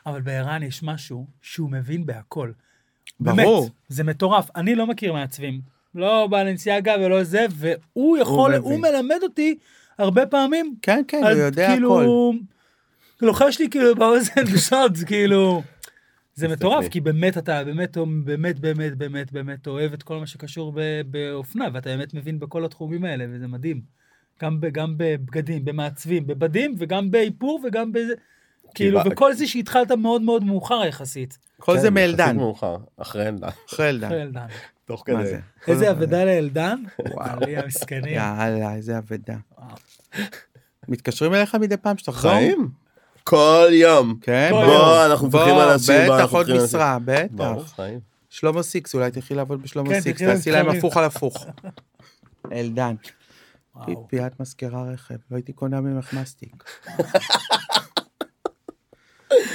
Speaker 1: אבל בערן יש משהו שהוא מבין בהכל.
Speaker 3: ברור.
Speaker 1: באמת, זה מטורף. אני לא מכיר מעצבים. לא בלנסיאגה ולא זה, והוא יכול,
Speaker 3: מבין.
Speaker 1: הוא, מלמד אותי הרבה פעמים.
Speaker 3: כן, כן,
Speaker 1: על-
Speaker 3: הוא יודע
Speaker 1: כאילו,
Speaker 3: הכל.
Speaker 1: לוחש לי כאילו באוזן בשארדס, כאילו... זה מטורף,
Speaker 2: תסתכלי.
Speaker 1: כי באמת אתה באמת, באמת, באמת, באמת, באמת אוהב את כל מה שקשור ב- באופנה, ואתה באמת מבין בכל התחומים האלה, וזה מדהים. גם, ב, גם בבגדים, במעצבים, בבדים, וגם באיפור, וגם בזה. כאילו,
Speaker 2: ב-
Speaker 1: וכל זה שהתחלת מאוד מאוד מאוחר יחסית.
Speaker 3: כל זה
Speaker 2: כן,
Speaker 3: מאלדן,
Speaker 2: יחסית מאוחר, אחרי אלדן.
Speaker 3: אחרי אלדן.
Speaker 1: אלדן.
Speaker 2: תוך
Speaker 3: מה
Speaker 2: כדי.
Speaker 3: זה?
Speaker 1: איזה אבדה לאלדן?
Speaker 3: וואו.
Speaker 1: בעלי המסכני.
Speaker 3: יאללה, איזה אבדה.
Speaker 1: וואו.
Speaker 3: מתקשרים אליך מדי פעם שתחזור?
Speaker 2: חיים? כל יום.
Speaker 3: כן,
Speaker 1: כל
Speaker 3: בוא,
Speaker 2: בוא, אנחנו מפתחים
Speaker 3: בוא,
Speaker 2: אנשים. בוא,
Speaker 3: בטח
Speaker 2: אנחנו
Speaker 3: עוד
Speaker 2: מפתחים
Speaker 3: משרה,
Speaker 2: ברור,
Speaker 3: בטח.
Speaker 2: חיים.
Speaker 3: שלמה סיקס, אולי תלכי לעבוד בשלמה
Speaker 1: כן,
Speaker 3: סיקס,
Speaker 1: תלכי
Speaker 3: תעשי להם
Speaker 1: למתחרים.
Speaker 3: הפוך על הפוך. אלדן,
Speaker 1: וואו.
Speaker 3: פיפי, את מזכירה רכב, לא הייתי קונה ממך מסטיק. בסדר,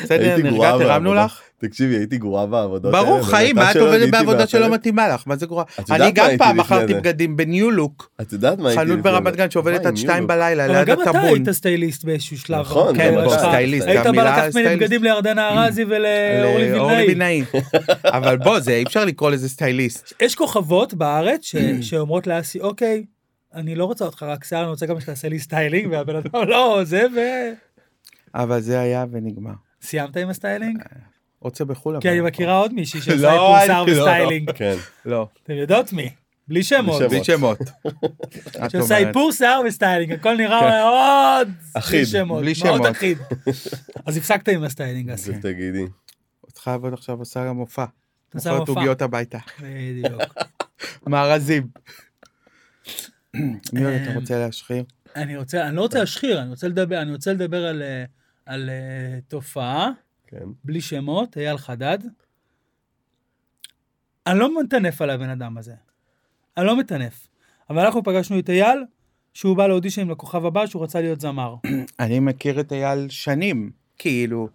Speaker 2: הייתי גרועה
Speaker 3: נרגעת, הרמנו
Speaker 2: בעבודה.
Speaker 3: לך?
Speaker 2: תקשיבי, הייתי גרועה בעבודות
Speaker 3: ברור,
Speaker 2: האלה, באמת,
Speaker 3: חיים, מה
Speaker 2: עד
Speaker 3: את
Speaker 2: שלא
Speaker 3: עובדת
Speaker 2: עליתי
Speaker 3: בעבודה שלא
Speaker 2: מהפרק.
Speaker 3: מתאימה לך? מה זה גרועה?
Speaker 2: את יודעת
Speaker 3: אני
Speaker 2: מה
Speaker 3: גם
Speaker 2: הייתי
Speaker 3: פעם
Speaker 2: לפני
Speaker 3: מכרתי
Speaker 2: זה?
Speaker 3: בגדים בניו לוק,
Speaker 2: את יודעת מה הייתי...
Speaker 3: חנות
Speaker 2: לפני
Speaker 3: ברמת
Speaker 2: זה?
Speaker 3: גן שעובדת
Speaker 2: וואי,
Speaker 3: עד שתיים
Speaker 2: ניו.
Speaker 3: בלילה,
Speaker 1: אבל
Speaker 3: ליד
Speaker 1: גם אתה
Speaker 3: הטאבון.
Speaker 1: היית סטייליסט באיזשהו שלב.
Speaker 2: נכון,
Speaker 1: כן,
Speaker 2: גם
Speaker 1: בראשך.
Speaker 2: אתה סטייליסט,
Speaker 1: היית בא
Speaker 3: המילה
Speaker 1: לקחת ממני
Speaker 3: סטייליסט. Mm.
Speaker 1: בגדים לירדנה ארזי ולאורלי
Speaker 3: לאורלי
Speaker 1: וילנאי.
Speaker 3: וילנאי. אבל בוא, זה אי אפשר לקרוא לזה סטייליסט.
Speaker 1: יש כוכבות בארץ ש-
Speaker 3: Mm.
Speaker 1: שאומרות לאסי, אוקיי, אני לא רוצה אותך רק שיער, אני רוצה גם שתעשה לי סטיילינג, והבן אדם לא, זה, ו...
Speaker 3: אבל זה היה ונגמר.
Speaker 1: סיימת עם הסטיילינג?
Speaker 3: רוצה בחו"ל אבל.
Speaker 1: כי אני מכירה עוד מישהי שעושה
Speaker 3: אה,
Speaker 1: איפור
Speaker 3: לא, אל-
Speaker 1: שיער
Speaker 3: לא.
Speaker 1: וסטיילינג.
Speaker 2: כן.
Speaker 3: לא,
Speaker 1: אתם יודעות מי? בלי שמות.
Speaker 2: בלי
Speaker 3: בלי שמות. את
Speaker 1: שעושה
Speaker 3: אומרת. כן.
Speaker 1: איפור שיער וסטיילינג, הכל נראה מאוד...
Speaker 2: אחיד,
Speaker 1: בלי שמות.
Speaker 3: בלי
Speaker 1: מאוד
Speaker 3: שמות.
Speaker 1: אחיד. אז הפסקת עם הסטיילינג, אסי.
Speaker 2: אז תגידי.
Speaker 3: אותך עבוד עכשיו עושה גם מופע.
Speaker 1: עושה
Speaker 3: מוכרת
Speaker 1: מופע.
Speaker 3: עוגיות הביתה.
Speaker 1: בדיוק.
Speaker 3: מארזים. מי עוד
Speaker 1: אה,
Speaker 3: אתה רוצה להשחיר?
Speaker 1: אני רוצה, אני לא רוצה להשחיר, אני רוצה לדבר, אני רוצה לדבר על, אה, על אה, תופעה,
Speaker 2: כן.
Speaker 1: בלי שמות, אייל חדד. אני לא מטנף על הבן אדם הזה. אני לא מטנף. אבל אנחנו פגשנו את אייל, שהוא בא לאודישנים לכוכב הבא, שהוא רצה להיות זמר.
Speaker 3: אני מכיר את אייל שנים, כאילו,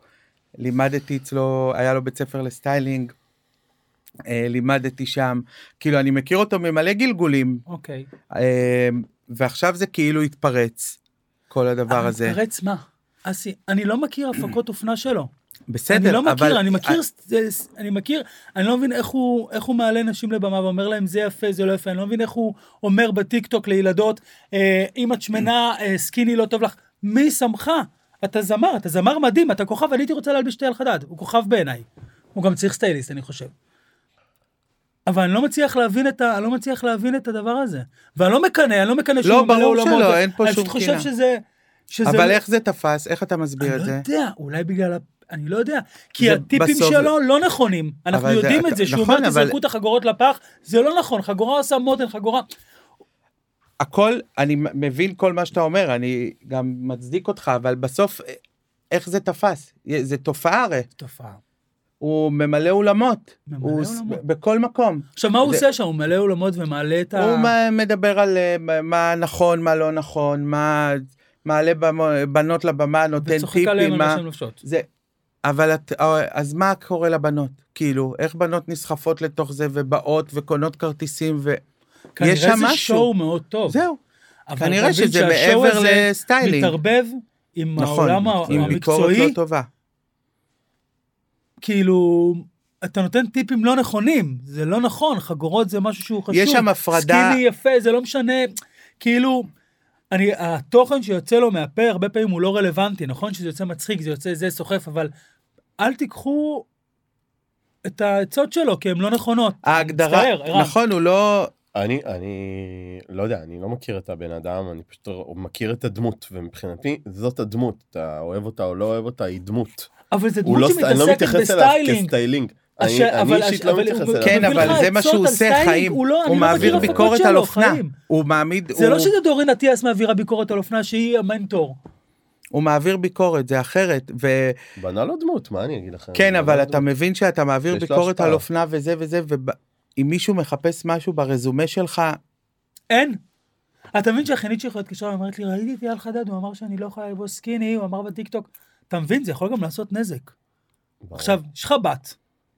Speaker 3: לימדתי אצלו, היה לו בית ספר לסטיילינג, אה, לימדתי שם, כאילו, אני מכיר אותו ממלא גלגולים,
Speaker 1: אוקיי.
Speaker 3: אה, ועכשיו זה כאילו התפרץ, כל הדבר הזה.
Speaker 1: התפרץ מה? אסי, אני לא מכיר הפקות אופנה שלו.
Speaker 3: בסדר,
Speaker 1: אני לא מכיר,
Speaker 3: אבל- אה,
Speaker 1: אני מכיר, ס- אני מכיר, אני לא מבין איך הוא, איך הוא מעלה נשים לבמה ואומר להם זה יפה, זה לא יפה, אני לא מבין איך הוא אומר בטיקטוק לילדות, אה, אם את שמנה, אה, סקיני לא טוב לך, מי שמך? אתה זמר, אתה זמר מדהים, אתה כוכב, אני הייתי רוצה להלביש את אייל חדד, הוא כוכב בעיניי. הוא גם צריך סטייליסט, אני חושב. אבל אני לא מצליח להבין את, ה, אני לא מצליח להבין את הדבר הזה. ואני לא מקנא, אני לא מקנא שהוא ממלא
Speaker 3: ברור
Speaker 1: עולמות.
Speaker 3: שלא, אין פה
Speaker 1: אני
Speaker 3: שום
Speaker 1: פשוט חושב
Speaker 3: קנאה.
Speaker 1: שזה... שזה לא-
Speaker 3: אבל איך זה תפס? איך אתה מסביר
Speaker 1: אני
Speaker 3: את
Speaker 1: לא
Speaker 3: זה?
Speaker 1: יודע, אולי בגלל, ה- אני לא יודע, כי
Speaker 3: זה
Speaker 1: הטיפים
Speaker 3: בסוף-
Speaker 1: שלו לא נכונים. אנחנו
Speaker 3: אבל זה-
Speaker 1: יודעים
Speaker 3: אתה-
Speaker 1: את זה, שהוא
Speaker 3: נכון,
Speaker 1: אומר
Speaker 3: אבל-
Speaker 1: תזרקו את החגורות לפח, זה לא נכון, חגורה עושה מותן, חגורה...
Speaker 3: הכל, אני מ- מבין כל מה שאתה אומר, אני גם מצדיק אותך, אבל בסוף, אה, איך זה תפס? י- זה תופעה הרי.
Speaker 1: תופעה.
Speaker 3: הוא ממלא אולמות.
Speaker 1: ממלא
Speaker 3: הוא ס-
Speaker 1: אולמות.
Speaker 3: ב- בכל מקום.
Speaker 1: עכשיו, מה הוא
Speaker 3: זה-
Speaker 1: עושה שם? הוא מלא אולמות ומעלה את ה...
Speaker 3: הוא מ- מדבר על אה, מה- מה נכון, מה לא נכון, מה... מעלה במו- בנות לבמה, נותן
Speaker 1: וצוחק עליהם
Speaker 3: טיפים,
Speaker 1: על מה
Speaker 3: מה...
Speaker 1: שהן לובשות.
Speaker 3: זה... אבל את... אה, אז מה קורה לבנות? כאילו, איך בנות נסחפות לתוך זה ובאות וקונות כרטיסים ו...
Speaker 1: כנראה
Speaker 3: יש שם
Speaker 1: זה
Speaker 3: משהו.
Speaker 1: שואו מאוד טוב.
Speaker 3: זהו.
Speaker 1: אבל
Speaker 3: כנראה
Speaker 1: תבין
Speaker 3: שזה
Speaker 1: שהשואו
Speaker 3: מעבר
Speaker 1: הזה
Speaker 3: לסטיילינג.
Speaker 1: מתערבב עם
Speaker 3: נכון,
Speaker 1: העולם
Speaker 3: עם ביקורת
Speaker 1: המקצועי,
Speaker 3: לא טובה.
Speaker 1: כאילו, אתה נותן טיפים לא נכונים, זה לא נכון, חגורות זה משהו שהוא חשוב.
Speaker 3: יש שם הפרדה-
Speaker 1: סקיני יפה, זה לא משנה, כאילו, אני, התוכן שיוצא לו מהפה הרבה פעמים הוא לא רלוונטי, נכון שזה יוצא מצחיק, זה יוצא זה סוחף, אבל אל תיקחו את העצות שלו, כי הן לא נכונות.
Speaker 3: ההגדרה,
Speaker 1: מצטער, ערן.
Speaker 3: נכון, הוא לא...
Speaker 2: אני, אני לא יודע, אני לא מכיר את הבן אדם, אני פשוט מכיר את הדמות, ומבחינתי זאת הדמות, אתה אוהב אותה או לא אוהב אותה, היא דמות.
Speaker 1: אבל זה
Speaker 2: הוא
Speaker 1: דמות
Speaker 2: לא, אני לא
Speaker 1: שמתעסקת
Speaker 2: מתייחס אליו
Speaker 1: בסטיילינג.
Speaker 2: כסטיילינג. אני,
Speaker 1: אשר-
Speaker 2: אני
Speaker 1: אבל-
Speaker 2: אישית לא
Speaker 1: אבל-
Speaker 2: מתייחס אליו.
Speaker 3: כן,
Speaker 1: מביא לך
Speaker 3: אבל זה מה
Speaker 1: עצות
Speaker 3: שהוא
Speaker 1: על
Speaker 3: עושה,
Speaker 1: סטיילינג,
Speaker 3: חיים.
Speaker 1: הוא לא- אני
Speaker 3: הוא
Speaker 1: לא מכיר
Speaker 3: מעביר
Speaker 1: הפקות
Speaker 3: ביקורת על
Speaker 1: שלו,
Speaker 3: אופנה.
Speaker 1: חיים.
Speaker 3: הוא מעמיד...
Speaker 1: זה לא
Speaker 3: הוא-
Speaker 1: שזה דורין אטיאס מעבירה ביקורת על אופנה שהיא המנטור.
Speaker 3: הוא מעביר ביקורת, זה אחרת. ו...
Speaker 2: בנה לו דמות, מה אני אגיד לכם?
Speaker 3: כן,
Speaker 2: בנה לא
Speaker 3: אבל
Speaker 2: לו
Speaker 3: אתה
Speaker 2: דמות.
Speaker 3: מבין שאתה מעביר
Speaker 2: יש לו
Speaker 3: ביקורת
Speaker 2: השפעה.
Speaker 3: על אופנה וזה וזה, ואם מישהו מחפש משהו ברזומה שלך,
Speaker 1: אין. אתה מבין שהחינית שלך התקשרה ואומרת לי, ראיתי את אייל חדד, הוא אמר שאני לא יכולה לבוא סקיני, הוא אמר בטיקטוק. אתה מבין, זה יכול גם לעשות נזק.
Speaker 2: ברור.
Speaker 1: עכשיו, יש לך בת,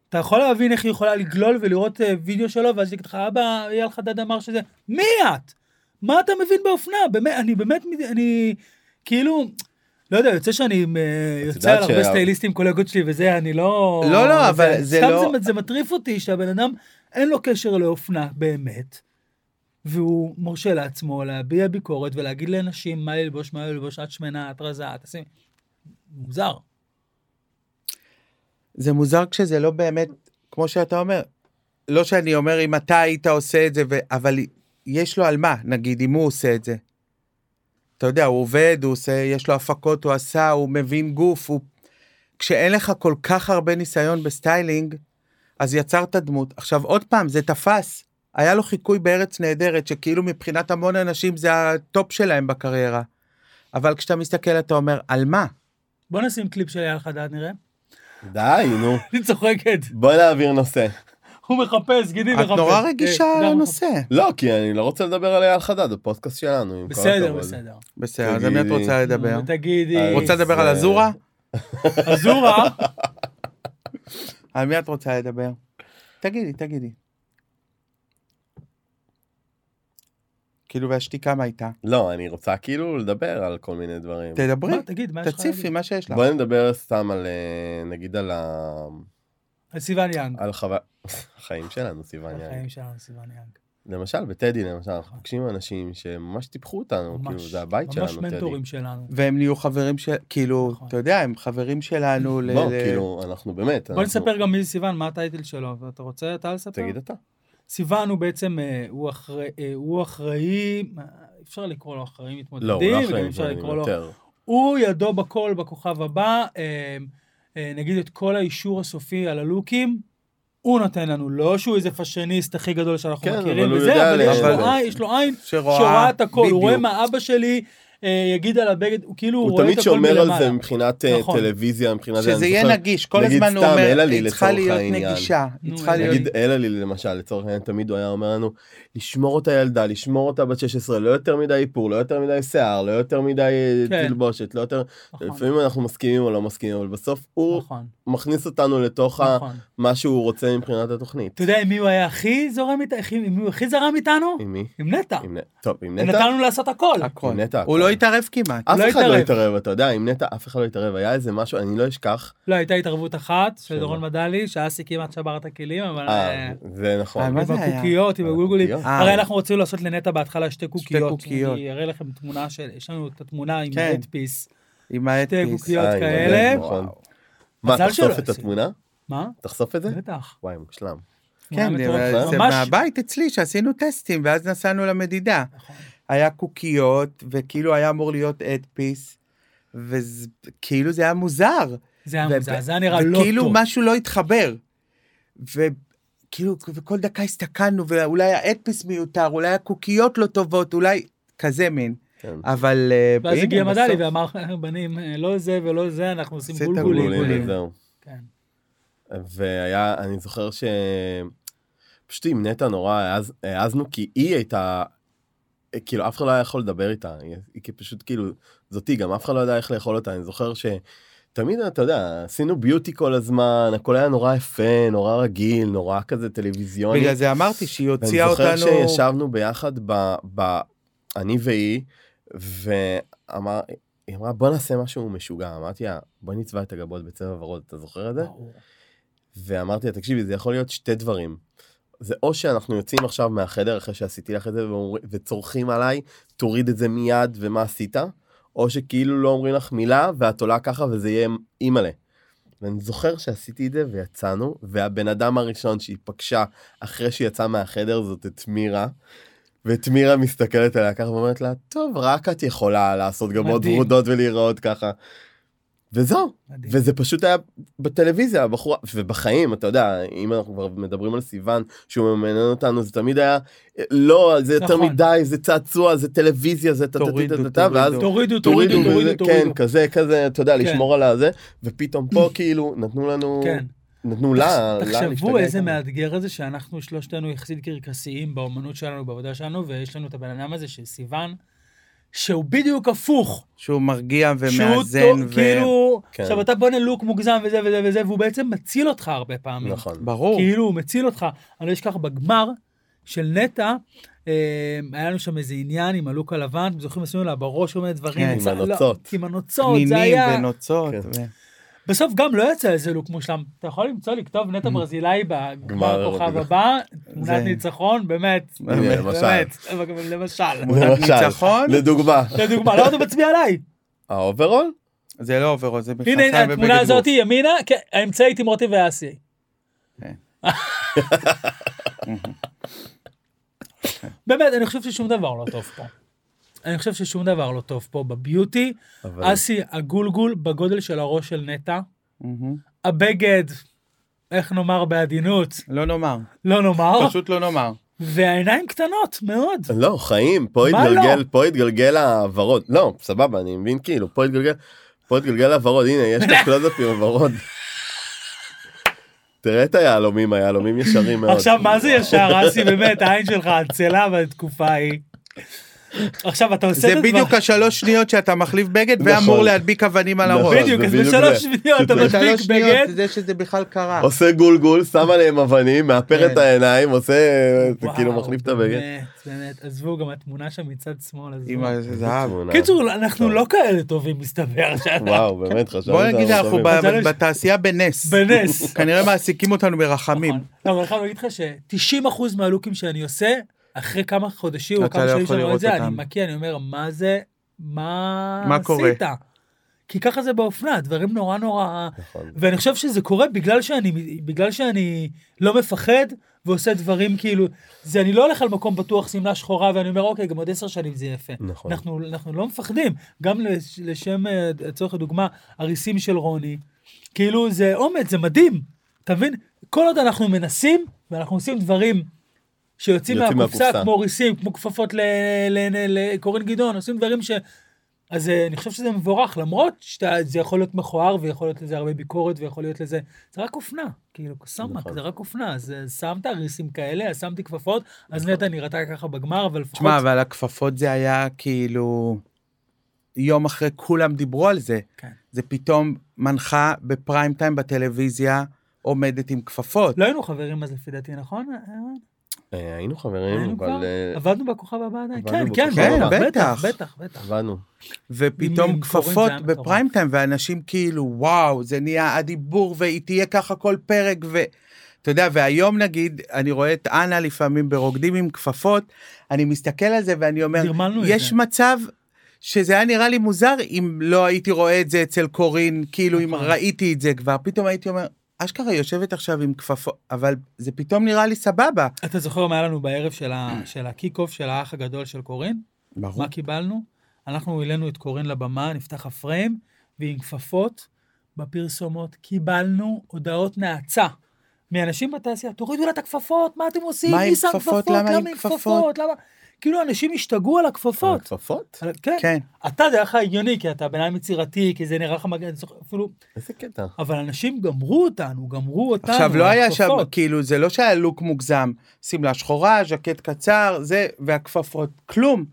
Speaker 1: אתה יכול להבין איך היא יכולה לגלול ולראות אה, וידאו שלו, ואז היא תגיד לך, אבא, אייל חדד אמר שזה... מי את? מה אתה מבין באופנה? באמת, אני באמת, מד- אני כאילו, לא יודע, יוצא שאני אה, יוצא
Speaker 2: יודעת
Speaker 1: על הרבה
Speaker 2: שה-
Speaker 1: סטייליסטים, קולגות שלי וזה, אני לא...
Speaker 3: לא, לא, אבל זה לא-
Speaker 1: סתם זה- זה מטריף אותי שהבן אדם, אין לו קשר לאופנה באמת. והוא מרשה לעצמו להביע ביקורת ולהגיד לאנשים מה ללבוש, מה לא ללבוש, את שמנה, את רזה, את עושים... מוזר.
Speaker 3: זה מוזר כשזה לא באמת, כמו שאתה אומר. לא שאני אומר אם אתה היית עושה את זה, ו... אבל יש לו על מה, נגיד, אם הוא עושה את זה. אתה יודע, הוא עובד, הוא עושה, יש לו הפקות, הוא עשה, הוא מבין גוף, הוא... כשאין לך כל כך הרבה ניסיון בסטיילינג, אז יצרת דמות. עכשיו, עוד פעם, זה תפס. היה לו חיקוי בארץ נהדרת, שכאילו מבחינת המון אנשים זה הטופ שלהם בקריירה. אבל כשאתה מסתכל, אתה אומר, על מה?
Speaker 1: בוא נשים קליפ של אייל חדד, נראה.
Speaker 2: די, נו.
Speaker 1: אני צוחקת.
Speaker 2: בוא נעביר נושא.
Speaker 1: הוא מחפש, גידי
Speaker 3: את
Speaker 1: מחפש.
Speaker 3: נורא
Speaker 1: כן,
Speaker 3: רגישה
Speaker 1: אתה מחפש.
Speaker 3: לנושא.
Speaker 2: לא, כי אני לא רוצה לדבר על אייל חדד, הפודקאסט שלנו. עם כל
Speaker 1: בסדר,
Speaker 2: הכבוד.
Speaker 1: בסדר.
Speaker 3: בסדר, אז על מי את רוצה לדבר?
Speaker 1: נו, תגידי,
Speaker 2: אה,
Speaker 3: רוצה
Speaker 2: אז,
Speaker 3: לדבר על
Speaker 2: אה,
Speaker 3: אזורה?
Speaker 1: אזורה,
Speaker 3: על מי את רוצה לדבר? תגידי, תגידי. כאילו, והשתיקה מה הייתה?
Speaker 2: לא, אני רוצה כאילו לדבר על כל מיני דברים.
Speaker 3: תדברי,
Speaker 1: מה, תגיד, מה יש לך
Speaker 3: תציפי
Speaker 1: להגיד?
Speaker 3: מה שיש לך.
Speaker 2: בואי נדבר סתם על, אה, נגיד על ה...
Speaker 1: על אה, סיוון יאנג.
Speaker 2: על חווה... החיים שלנו, אה, סיוון יאנג.
Speaker 1: החיים שלנו, סיוון יאנג.
Speaker 2: למשל, בטדי, למשל, אנחנו פוגשים אנשים שממש טיפחו אותנו, כאילו,
Speaker 1: ממש,
Speaker 2: זה הבית שלנו,
Speaker 1: ממש
Speaker 2: טדי.
Speaker 1: מנטורים שלנו.
Speaker 3: והם נהיו חברים של... כאילו,
Speaker 1: נכון.
Speaker 3: אתה יודע, הם חברים שלנו ל...
Speaker 2: בוא,
Speaker 3: ל-
Speaker 2: כאילו, אנחנו באמת,
Speaker 1: בוא
Speaker 2: אנחנו-
Speaker 1: נספר גם מי זה סיוון, מה הטייטל שלו, ואתה רוצה אתה לספר?
Speaker 2: תגיד אתה.
Speaker 1: סיוון הוא בעצם, אה, הוא אחראי, אה, הוא אחראי, אה, אפשר לקרוא לו אחראי מתמודדים,
Speaker 2: לא, הוא לא
Speaker 1: וגם
Speaker 2: אחראי,
Speaker 1: אפשר
Speaker 2: מתמודדים
Speaker 1: לקרוא לו
Speaker 2: יותר.
Speaker 1: הוא ידו בכל בכוכב הבא, אה, אה, נגיד את כל האישור הסופי על הלוקים, הוא נותן לנו, לא שהוא איזה פאשיניסט הכי גדול שאנחנו
Speaker 2: כן,
Speaker 1: מכירים
Speaker 2: אבל הוא
Speaker 1: וזה,
Speaker 2: יודע
Speaker 1: אבל יש
Speaker 2: לאן
Speaker 1: לו
Speaker 2: ללכת.
Speaker 1: עין, יש לו עין
Speaker 3: שרואה...
Speaker 1: שרואה את הכל, הוא רואה
Speaker 3: בדיוק.
Speaker 1: מה אבא שלי אה, יגיד על הבגד, הוא כאילו
Speaker 2: הוא
Speaker 1: רואה את
Speaker 2: תמיד
Speaker 1: הכל
Speaker 2: שומר על
Speaker 1: מלמעלה.
Speaker 2: זה מבחינת אה,
Speaker 1: נכון.
Speaker 2: טלוויזיה, מבחינת...
Speaker 3: שזה
Speaker 2: אני
Speaker 3: יהיה
Speaker 2: זוכר-
Speaker 3: נגיד, כל
Speaker 2: נגיד
Speaker 3: הזמן הוא
Speaker 2: סתם,
Speaker 3: אומר,
Speaker 2: אלה לי
Speaker 3: היא צריכה
Speaker 2: לצורך
Speaker 3: להיות
Speaker 2: העניין."
Speaker 3: נגישה. היא
Speaker 1: נו,
Speaker 3: צריכה
Speaker 1: אלה לי.
Speaker 3: להיות...
Speaker 2: נגיד אלה לי למשל לצורך העניין תמיד הוא היה אומר לנו לשמור אותה ילדה לשמור אותה בת 16 לא יותר מדי איפור לא יותר מדי שיער לא יותר מדי אה,
Speaker 1: כן.
Speaker 2: תלבושת לא יותר
Speaker 1: נכון,
Speaker 2: לפעמים אנחנו מסכימים או לא מסכימים אבל בסוף הוא
Speaker 1: נכון,
Speaker 2: מכניס אותנו לתוך ה-
Speaker 1: נכון.
Speaker 2: מה שהוא רוצה מבחינת התוכנית.
Speaker 1: אתה יודע עם מי הוא היה הכי זורם איתנו? עם מי הוא הכי זרם איתנו?
Speaker 2: עם מי?
Speaker 1: עם נטע.
Speaker 2: עם נ- טוב עם נטע?
Speaker 1: נתנו לעשות הכל.
Speaker 3: הכל.
Speaker 2: עם נטע,
Speaker 3: הוא
Speaker 2: הכל.
Speaker 3: לא לא התערב כמעט.
Speaker 2: אף
Speaker 1: לא
Speaker 2: אחד לא
Speaker 1: התערב.
Speaker 2: התערב, אתה יודע, עם נטע אף אחד לא התערב, היה איזה משהו, אני לא אשכח.
Speaker 1: לא, הייתה התערבות אחת של
Speaker 2: שלא.
Speaker 1: דורון מדלי, שאסי כמעט שבר את הכלים, אבל...
Speaker 2: אה,
Speaker 1: אה,
Speaker 2: זה נכון.
Speaker 3: מה זה היה?
Speaker 1: בקוקיות, עם
Speaker 2: אה,
Speaker 1: הגולגולים.
Speaker 2: קוקיות.
Speaker 3: אה.
Speaker 1: הרי אנחנו רצינו לעשות לנטע בהתחלה שתי קוקיות.
Speaker 3: קוקיות.
Speaker 1: אני אראה לכם תמונה של... יש לנו את התמונה עם
Speaker 3: כן.
Speaker 1: הדפיס. שתי
Speaker 3: עם האדפיס.
Speaker 1: קוקיות
Speaker 2: אה, עם
Speaker 1: כאלה.
Speaker 2: הדלת, נכון. מה,
Speaker 1: מזל שלא
Speaker 2: תחשוף את
Speaker 1: עשינו.
Speaker 2: התמונה?
Speaker 1: מה?
Speaker 2: תחשוף את זה?
Speaker 1: בטח.
Speaker 2: וואי, מושלם.
Speaker 3: כן,
Speaker 1: תמונה
Speaker 3: אבל
Speaker 1: מטורפת.
Speaker 3: זה
Speaker 1: ממש-
Speaker 3: מהבית אצלי שעשינו טסטים ואז נסענו למדידה.
Speaker 1: נכון.
Speaker 3: היה קוקיות וכאילו היה אמור להיות אדפיס. וכאילו כאילו זה היה מוזר.
Speaker 1: זה היה
Speaker 3: ו-
Speaker 1: מוזר, זה היה נראה לא טוב.
Speaker 3: וכאילו משהו לא התחבר. וכאילו, וכל דקה הסתכלנו, ואולי האדפיס מיותר, אולי הקוקיות לא טובות, אולי כזה מין.
Speaker 2: כן.
Speaker 3: אבל... אה,
Speaker 1: ואז
Speaker 3: הנה,
Speaker 1: הגיע מדלי
Speaker 3: בסוף-
Speaker 1: ואמר, בנים, אה, לא זה ולא זה, אנחנו עושים
Speaker 3: עשית
Speaker 1: גולגולים.
Speaker 3: גולגולים.
Speaker 2: וזהו.
Speaker 1: כן.
Speaker 2: והיה, אני זוכר ש... פשוט עם נטע נורא העז- העזנו, כי היא הייתה... כאילו, אף אחד לא היה יכול לדבר איתה. היא- היא כי פשוט כאילו, זאתי, גם אף אחד לא ידע איך לאכול אותה. אני זוכר שתמיד, אתה יודע, עשינו ביוטי כל הזמן, הכל היה נורא יפה, נורא רגיל, נורא כזה טלוויזיוני.
Speaker 3: בגלל זה אמרתי שהיא הוציאה
Speaker 2: ואני
Speaker 3: אותנו...
Speaker 2: זוכר שישבנו ביחד ב... ב... אני והיא, ואמר... היא אמרה, בוא נעשה משהו משוגע. אמרתי לה, בוא נצבע את הגבות בצבע ורוד, אתה זוכר את זה?
Speaker 1: ברור.
Speaker 2: ואמרתי לה, תקשיבי, זה יכול להיות שתי דברים. זה או שאנחנו יוצאים עכשיו מהחדר אחרי שעשיתי לך את זה ואומר- וצורכים עליי, תוריד את זה מיד ומה עשית, או שכאילו לא אומרים לך מילה ואת עולה ככה וזה יהיה אימא'לה. ואני זוכר שעשיתי את זה ויצאנו, והבן אדם הראשון שהיא פגשה אחרי שהיא יצאה מהחדר זאת את מירה, ואת מירה מסתכלת עליה ככה ואומרת לה, טוב, רק את יכולה לעשות גמות
Speaker 1: מדהים.
Speaker 2: ורודות ולהיראות ככה. וזהו,
Speaker 1: מדהים.
Speaker 2: וזה פשוט היה בטלוויזיה, הבחורה, ובחיים, אתה יודע, אם אנחנו כבר מדברים על סיוון, שהוא ממנן אותנו, זה תמיד היה, לא, זה יותר
Speaker 1: נכון.
Speaker 2: מדי, זה צעצוע, זה טלוויזיה, זה
Speaker 3: תורידו,
Speaker 2: טה-טה-טה-טה, ואז
Speaker 1: תורידו,
Speaker 3: תורידו.
Speaker 1: תורידו, תורידו,
Speaker 2: וזה- כן,
Speaker 1: תורידו.
Speaker 2: כזה, כזה, אתה יודע,
Speaker 1: כן.
Speaker 2: לשמור על הזה, ופתאום פה כאילו נתנו לנו,
Speaker 1: כן.
Speaker 2: נתנו לה, לה
Speaker 1: תחשבו
Speaker 2: להשתגע
Speaker 1: איזה
Speaker 2: איתנו.
Speaker 1: מאתגר זה שאנחנו שלושתנו יחסית קרקסיים באומנות שלנו, בעבודה שלנו, ויש לנו את הבן אדם הזה של סיוון, שהוא בדיוק הפוך.
Speaker 3: שהוא מרגיע
Speaker 1: שהוא
Speaker 3: ומאזן.
Speaker 1: טוב,
Speaker 3: ו-
Speaker 1: כאילו,
Speaker 2: כן.
Speaker 1: עכשיו אתה בונה לוק מוגזם וזה וזה וזה, והוא בעצם מציל אותך הרבה פעמים.
Speaker 2: נכון.
Speaker 3: ברור.
Speaker 1: כאילו, הוא מציל אותך. אני לא אשכח, בגמר של נטע, אה, היה לנו שם איזה עניין עם הלוק הלבן, אתם זוכרים, עשינו לה בראש כל מיני דברים.
Speaker 3: כן,
Speaker 2: עם
Speaker 1: לא,
Speaker 2: הנוצות.
Speaker 1: עם הנוצות, זה
Speaker 3: פנינים
Speaker 1: היה...
Speaker 3: ונוצות.
Speaker 2: כן.
Speaker 3: ו-
Speaker 1: בסוף גם לא יצא איזה לוק מושלם. אתה יכול למצוא, לכתוב נטע ברזילאי בגמר
Speaker 2: גמר
Speaker 1: הכוכב
Speaker 2: הרביעי.
Speaker 1: הבא, תמונת
Speaker 3: זה-
Speaker 1: ניצחון, באמת.
Speaker 2: הנה,
Speaker 1: באמת, למשל.
Speaker 3: תמונת
Speaker 2: אה, למשל,
Speaker 3: ניצחון?
Speaker 2: לדוגמה,
Speaker 1: לדוגמה, למה אתה מצביע עליי?
Speaker 2: האוברול?
Speaker 3: זה לא עובר, זה
Speaker 1: הנה,
Speaker 3: מכנסיים
Speaker 1: הנה,
Speaker 3: ובגד
Speaker 1: התמונה הזאת
Speaker 3: גוף.
Speaker 1: ימינה, כן, האמצעית עם רותי ואסי.
Speaker 3: כן.
Speaker 1: באמת, אני חושב ששום דבר לא טוב פה. אני חושב ששום דבר לא טוב פה בביוטי.
Speaker 2: אבל-
Speaker 1: אסי, הגולגול בגודל של הראש של נטע.
Speaker 3: מהמם.
Speaker 1: הבגד, איך נאמר בעדינות,
Speaker 3: לא נאמר,
Speaker 1: לא נאמר.
Speaker 3: פשוט לא נאמר.
Speaker 1: והעיניים קטנות מאוד.
Speaker 2: לא, חיים, פה
Speaker 1: מה
Speaker 2: התגלגל,
Speaker 1: לא?
Speaker 2: פה התגלגל הוורוד. לא, סבבה, אני מבין כאילו, פה התגלגל, פה התגלגל הוורוד, הנה, יש את הקלוזאפים הוורוד. תראה את היהלומים, היהלומים ישרים מאוד.
Speaker 1: עכשיו, מה זה ישר, אסי? באמת, העין שלך עצלה בתקופה ההיא. עכשיו, אתה עושה
Speaker 3: זה
Speaker 1: את הדבר...
Speaker 3: בדיוק השלוש שניות שאתה מחליף בגד
Speaker 2: נכון.
Speaker 3: ואמור להדביק אבנים על
Speaker 2: נכון.
Speaker 3: הראש.
Speaker 1: בדיוק,
Speaker 2: זה
Speaker 1: אז
Speaker 2: בדיוק
Speaker 1: בשלוש
Speaker 2: זה.
Speaker 1: שניות אתה
Speaker 2: זה
Speaker 1: מדביק
Speaker 3: שלוש
Speaker 1: בגד,
Speaker 3: שניות זה שזה בכלל קרה.
Speaker 2: עושה גולגול, שם עליהם אבנים, מאפר את
Speaker 3: כן.
Speaker 2: העיניים, עושה,
Speaker 1: וואו,
Speaker 2: כאילו מחליף את הבגד.
Speaker 1: באמת, באמת, עזבו גם התמונה שם מצד שמאל, עזבו.
Speaker 3: עם הזהב.
Speaker 2: תמונה.
Speaker 1: קיצור, אנחנו לא כאלה טובים, מסתבר, שאנחנו
Speaker 2: נכון. וואו, באמת, חשבנו.
Speaker 3: בוא
Speaker 2: שאנחנו
Speaker 3: נגיד אנחנו
Speaker 2: טובים.
Speaker 1: אתה
Speaker 3: ב-
Speaker 1: לא-
Speaker 3: בתעשייה בנס.
Speaker 1: בנס.
Speaker 3: כנראה מעסיקים אותנו ברחמים.
Speaker 1: נכון. לא, אבל אני חייב להגיד לך ש-90% מהלוקים שאני עושה, אחרי כמה חודשים או
Speaker 3: אתה
Speaker 1: כמה
Speaker 3: לא
Speaker 1: שנים
Speaker 3: יכול
Speaker 1: שאני רואה את
Speaker 3: לראות
Speaker 1: זה,
Speaker 3: אותם.
Speaker 1: אני מקיא, אני אומר, מה זה, מה
Speaker 3: מה קורה?"
Speaker 1: עשית? כי ככה זה באופנה, דברים נורא נורא...
Speaker 2: נכון.
Speaker 1: ואני חושב שזה קורה בגלל שאני, בגלל שאני לא מפחד ועושה דברים כאילו, זה אני לא הולך על מקום בטוח, שמלה שחורה, ואני אומר, אוקיי, גם עוד עשר שנים זה יהיה יפה.
Speaker 2: נכון.
Speaker 1: אנחנו, אנחנו לא מפחדים, גם לש- לשם, אה, לצורך הדוגמה, הריסים של רוני, כאילו זה אומץ, זה מדהים, אתה מבין? כל עוד אנחנו מנסים, ואנחנו עושים דברים שיוצאים
Speaker 2: יוצאים
Speaker 1: מהקופסה,
Speaker 2: מהקופסה.
Speaker 1: כמו ריסים, כמו כפפות ל- ל- ל- לקורין גדעון, עושים דברים ש... אז אה, אני חושב שזה מבורך, למרות שזה יכול להיות מכוער ויכול להיות לזה הרבה ביקורת ויכול להיות לזה, זה רק אופנה, כאילו, סמק,
Speaker 2: נכון.
Speaker 1: זה רק אופנה, אז אה, שמת ריסים כאלה, אז שמתי כפפות, אז
Speaker 2: נכון.
Speaker 1: נטע נראתה ככה בגמר, אבל לפחות...
Speaker 3: תשמע, אבל הכפפות זה היה כאילו... יום אחרי כולם דיברו על זה.
Speaker 1: כן.
Speaker 3: זה פתאום מנחה בפריים טיים בטלוויזיה עומדת עם כפפות.
Speaker 1: לא היינו חברים אז לפי דעתי, נכון? אה, אה?
Speaker 2: אה, היינו חברים,
Speaker 1: היינו כבר?
Speaker 2: אבל אה,
Speaker 1: עבדנו בכוכב הבא עדיין.
Speaker 2: עבדנו
Speaker 1: כן,
Speaker 2: בכוכב
Speaker 1: כן,
Speaker 3: הבא.
Speaker 1: ברור,
Speaker 3: כן,
Speaker 1: בטח,
Speaker 3: בטח.
Speaker 1: בטח, בטח.
Speaker 2: עבדנו.
Speaker 1: עם- עם
Speaker 3: ופתאום כפפות
Speaker 1: קוראים, זה היה
Speaker 3: בפריים טיים, ואנשים כאילו, וואו, זה נהיה הדיבור, והיא תהיה ככה כל פרק, ו... אתה יודע, והיום נגיד, אני רואה את אנה לפעמים ברוקדים עם כפפות, אני מסתכל על זה ואני אומר,
Speaker 1: נרמלנו את זה.
Speaker 3: יש מצב שזה היה נראה לי מוזר אם לא הייתי רואה את זה אצל קורין, כאילו אם
Speaker 1: נכון.
Speaker 3: ראיתי את זה כבר, פתאום הייתי אומר, אשכרה יושבת עכשיו עם כפפות, אבל זה פתאום נראה לי סבבה.
Speaker 1: אתה זוכר מה היה לנו בערב של ה- של הקיק-אוף של האח הגדול של קורין?
Speaker 3: ברור.
Speaker 1: מה קיבלנו? אנחנו העלינו את קורין לבמה, נפתח הפריים, ועם כפפות בפרסומות קיבלנו הודעות נאצה. מאנשים בתעשייה, תורידו לה את הכפפות, מה אתם עושים?
Speaker 3: מה עם
Speaker 1: מי שם
Speaker 3: כפפות?
Speaker 1: כפפות?
Speaker 3: למה עם
Speaker 1: למה עם כפפות? למה... כאילו, אנשים השתגעו על הכפפות.
Speaker 2: כפפות?
Speaker 1: על- כן.
Speaker 3: כן.
Speaker 1: אתה זה היה לך הגיוני, כי אתה בן אדם יצירתי, כי זה נראה לך מגן, אפילו...
Speaker 2: איזה קטע.
Speaker 1: אבל אנשים גמרו אותנו, גמרו אותנו.
Speaker 3: עכשיו לא
Speaker 1: על
Speaker 3: היה שם,
Speaker 1: הכפפות.
Speaker 3: כאילו, זה לא שהיה לוק מוגזם, שמלה שחורה, ז'קט קצר, זה, והכפפות, כלום.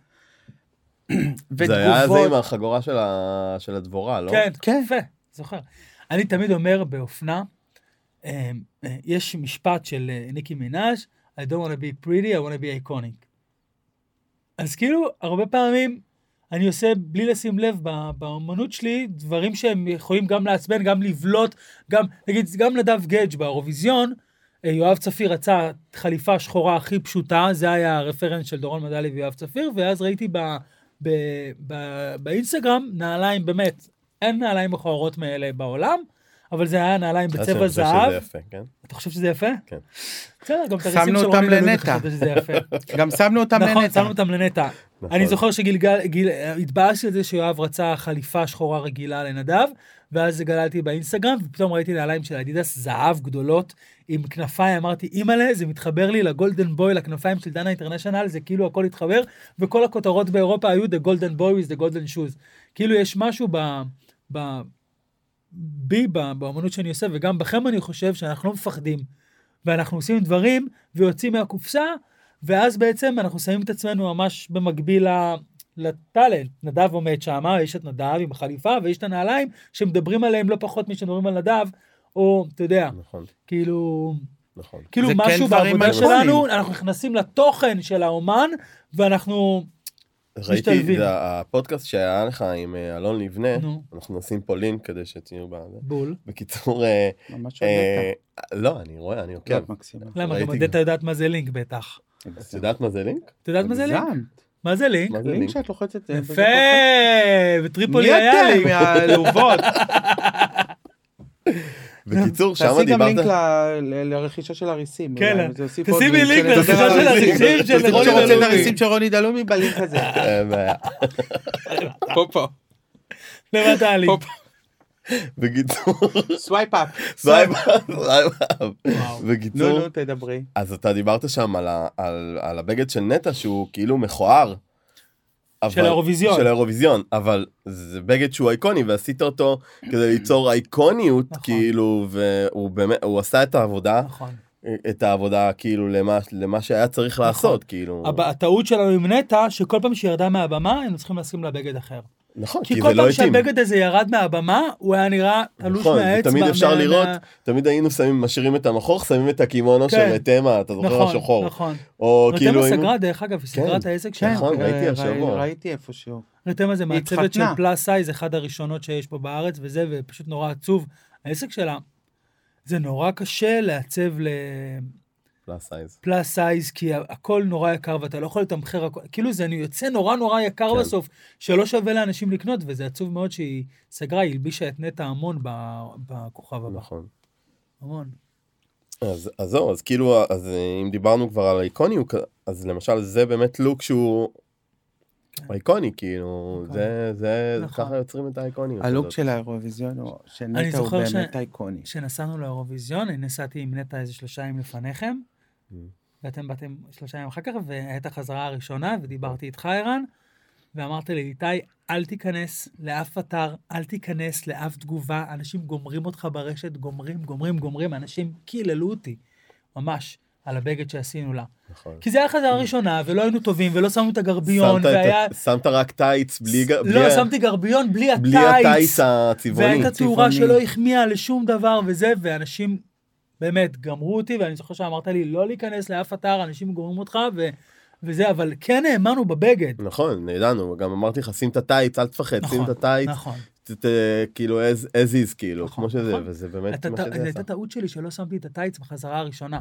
Speaker 2: זה היה זה עם
Speaker 3: ותגובות,
Speaker 2: החגורה של ה- של הדבורה, לא?
Speaker 1: כן, כן.
Speaker 3: כן.
Speaker 1: יפה, זוכר. אני תמיד אומר באופנה, אה, אה, יש משפט של אה, ניקי מנאז' I don't want to be pretty, I want to be iconic. אז כאילו, הרבה פעמים אני עושה בלי לשים לב ב- באמנות שלי דברים שהם יכולים גם לעצבן, גם לבלוט, גם, נגיד, גם נדב גדג' באירוויזיון, אה, יואב צפיר רצה חליפה שחורה הכי פשוטה, זה היה הרפרנס של דורון מדלי ויואב צפיר, ואז ראיתי ב, ב, ב, באינסטגרם נעליים, באמת, אין נעליים מכוערות מאלה בעולם, אבל זה היה נעליים
Speaker 2: אז שאני
Speaker 1: בצבע
Speaker 2: חושב
Speaker 1: זהב.
Speaker 2: אה, שזה יפה, כן?
Speaker 1: אתה חושב שזה יפה?
Speaker 2: כן.
Speaker 1: בסדר, גם את
Speaker 3: שמנו
Speaker 1: הריסים של
Speaker 3: אותם
Speaker 1: רוני דלוק,
Speaker 3: לנטע.
Speaker 1: אתה חושב שזה יפה.
Speaker 3: גם שמנו אותם
Speaker 1: נכון,
Speaker 3: לנטע.
Speaker 1: שמנו אותם לנטע.
Speaker 2: נכון.
Speaker 1: אני זוכר שהתבאסתי על זה שיואב רצה חליפה שחורה רגילה לנדב, ואז גללתי באינסטגרם, ופתאום ראיתי נעליים של אדידס זהב גדולות, עם כנפיים, אמרתי, אימא'לה, זה מתחבר לי לגולדן בוי, לכנפיים של דנה אינטרנשיונל, זה כאילו הכל התחבר, וכל הכותרות באירופה היו The Golden Boy is the Golden Shoes. כאילו יש משהו ב... ב... בי, ב- באמנות שאני עושה, וגם בכם אני חושב שאנחנו לא מפחדים, ואנחנו עושים דברים ויוצאים מהקופסה, ואז בעצם אנחנו שמים את עצמנו ממש במקביל ל- לטאלנט. נדב עומד שמה, יש את נדב עם החליפה ויש את הנעליים שמדברים עליהם לא פחות משמדברים על נדב, או אתה יודע,
Speaker 2: נכון,
Speaker 1: כאילו,
Speaker 2: נכון.
Speaker 1: כאילו
Speaker 3: זה כן
Speaker 1: משהו
Speaker 3: דברים
Speaker 1: בעבודה
Speaker 3: איקונים.
Speaker 1: שלנו, אנחנו נכנסים לתוכן של האומן, ואנחנו,
Speaker 2: ראיתי
Speaker 1: משתלבים.
Speaker 2: את ה- הפודקאסט שהיה לך עם אה, אלון לבנה,
Speaker 1: נו.
Speaker 2: אנחנו נשים פה לינק כדי שתהיו בזה.
Speaker 1: בול.
Speaker 2: בקיצור, אה,
Speaker 3: ממש
Speaker 2: אה, לא, אני רואה, אני עוקב.
Speaker 3: הודעת. כן. מקסימה.
Speaker 1: למה, גם
Speaker 2: ראיתי
Speaker 1: הדטה יודעת מה זה לינק בטח.
Speaker 2: את יודעת מה זה לינק?
Speaker 1: את יודעת מה זה לינק?
Speaker 3: מגזם.
Speaker 1: מה זה לינק?
Speaker 2: מה זה
Speaker 3: לינק
Speaker 2: לינק?
Speaker 3: שאת לוחצת. אה,
Speaker 1: יפה,
Speaker 3: וזה קופץ.
Speaker 1: וטריפולי היה
Speaker 3: מי
Speaker 1: לי.
Speaker 3: אתם מהעלובות?
Speaker 2: בקיצור, שם
Speaker 3: תעשי גם לינק
Speaker 2: דיברת...
Speaker 3: ל- ל- לרכישה של הריסים.
Speaker 1: כן,
Speaker 3: אולי, זה יוסיף
Speaker 1: תשימי
Speaker 3: עוד לינק
Speaker 1: לינק
Speaker 3: לדבר
Speaker 1: לרכישה
Speaker 3: על
Speaker 1: של
Speaker 3: הריסים.
Speaker 1: הריסים של
Speaker 3: מי
Speaker 1: רוני
Speaker 3: שרוצה את
Speaker 1: דלומי.
Speaker 3: הריסים של רוני דלומי בלינק הזה.
Speaker 2: אה, וה-
Speaker 3: פה פה.
Speaker 1: למטה היה לי.
Speaker 3: הופ.
Speaker 2: בקיצור,
Speaker 3: סווייפ אפ.
Speaker 2: סלייב סלייב.
Speaker 1: וואו.
Speaker 3: נו
Speaker 2: בקיצור,
Speaker 3: נו תדברי.
Speaker 2: אז אתה דיברת שם על ה- על- על הבגד של נטע שהוא כאילו מכוער.
Speaker 1: של
Speaker 2: אבל-
Speaker 1: האירוויזיון.
Speaker 2: של האירוויזיון, אבל זה בגד שהוא איקוני ועשית אותו כדי ליצור אייקוניות
Speaker 1: נכון.
Speaker 2: כאילו והוא באמת הוא עשה את העבודה
Speaker 1: נכון.
Speaker 2: את העבודה כאילו למה למה שהיה צריך לעשות כאילו
Speaker 1: הב- הטעות שלנו עם נטע, שכל פעם שהיא ירדה מהבמה, היינו צריכים לשים לה בגד אחר.
Speaker 2: נכון
Speaker 1: כי
Speaker 2: כי
Speaker 1: כל
Speaker 2: זה לא
Speaker 1: פעם
Speaker 2: התאים
Speaker 1: שהבגד הזה ירד מהבמה, הוא היה נראה תלוש
Speaker 2: נכון,
Speaker 1: מהאצבע.
Speaker 2: ותמיד אפשר
Speaker 1: מה-
Speaker 2: לראות
Speaker 1: מה-
Speaker 2: תמיד היינו שמים משאירים את המכוך שמים את
Speaker 1: כן.
Speaker 2: הקימונו של מתמה אתה זוכר
Speaker 1: נכון,
Speaker 2: השחור
Speaker 1: נכון.
Speaker 2: או כאילו
Speaker 1: רתמה
Speaker 2: היינו-
Speaker 1: סגרה, דרך אגב, היא סגרה
Speaker 2: כן,
Speaker 1: את העסק שלה.
Speaker 2: נכון. ראיתי
Speaker 3: אה,
Speaker 2: השבוע.
Speaker 3: ראי- ראיתי איפשהו.
Speaker 1: רתמה זה
Speaker 3: היא
Speaker 1: מעצבת של
Speaker 3: התחתנה.
Speaker 1: פלאס סייז, אחד הראשונות שיש פה בארץ, וזה, ופשוט נורא עצוב. העסק שלה, זה נורא קשה לעצב ל-
Speaker 2: לא עשה את זה.
Speaker 1: פלאס סייז, כי ה- הכל נורא יקר ואתה לא יכול לתמחר, הכל- כאילו זה יוצא נורא נורא יקר
Speaker 2: כן.
Speaker 1: בסוף, שלא שווה לאנשים לקנות, וזה עצוב מאוד שהיא סגרה, היא הלבישה את נטע המון ב- בכוכב הבא.
Speaker 2: נכון.
Speaker 1: המון.
Speaker 2: אז אז זהו אז כאילו אז אה, אם דיברנו כבר על איקוניות אז למשל זה באמת לוק שהוא איקוני כאילו
Speaker 1: כן. איקוני.
Speaker 2: זה זה
Speaker 1: נכון.
Speaker 2: ככה יוצרים את האיקוניות.
Speaker 3: הלוק
Speaker 2: הזאת.
Speaker 3: של האירוויזיון הוא
Speaker 1: אני
Speaker 3: שנטע הוא
Speaker 1: זוכר ש-
Speaker 3: באמת אייקוני.
Speaker 1: כשנסענו לאירוויזיון, אני נסעתי עם נטע איזה שלושה ימים לפניכם,
Speaker 2: Mm.
Speaker 1: ואתם באתם שלושה ימים אחר כך, והייתה חזרה הראשונה, ודיברתי איתך, ערן, ואמרת לי, איתי, אל תיכנס לאף אתר, אל תיכנס לאף תגובה, אנשים גומרים אותך ברשת, גומרים, גומרים, גומרים, אנשים קיללו אותי, ממש, על הבגד שעשינו לה.
Speaker 2: נכון.
Speaker 1: כי זה היה חזרה ראשונה, ולא היינו טובים, ולא שמנו את הגרביון,
Speaker 2: שמת את ה-
Speaker 1: והיה...
Speaker 2: שמת רק טייץ בלי ג- בלי
Speaker 1: לא,
Speaker 2: ה-
Speaker 1: שמתי גרביון בלי
Speaker 2: בלי
Speaker 1: הטייץ.
Speaker 2: הטייץ הצבעוני.
Speaker 1: והייתה תאורה
Speaker 3: צבעוני.
Speaker 1: שלא החמיאה לשום דבר וזה, ואנשים באמת, גמרו אותי, ואני זוכר שאמרת לי לא להיכנס לאף אתר, אנשים גורמים אותך, ו... וזה, אבל כן האמנו בבגד.
Speaker 2: נכון, ידענו, גם אמרתי לך, שים את הטייץ, אל תפחד, שים את
Speaker 1: נכון,
Speaker 2: הטייץ,
Speaker 1: נכון.
Speaker 2: ת- ת- כאילו as as is, כאילו,
Speaker 1: נכון,
Speaker 2: כמו שזה,
Speaker 1: נכון.
Speaker 2: וזה באמת
Speaker 1: אתה-
Speaker 2: מה
Speaker 1: אתה-
Speaker 2: שזה
Speaker 1: זו
Speaker 2: עשה.
Speaker 1: הייתה טעות שלי שלא שמתי את הטייץ בחזרה הראשונה.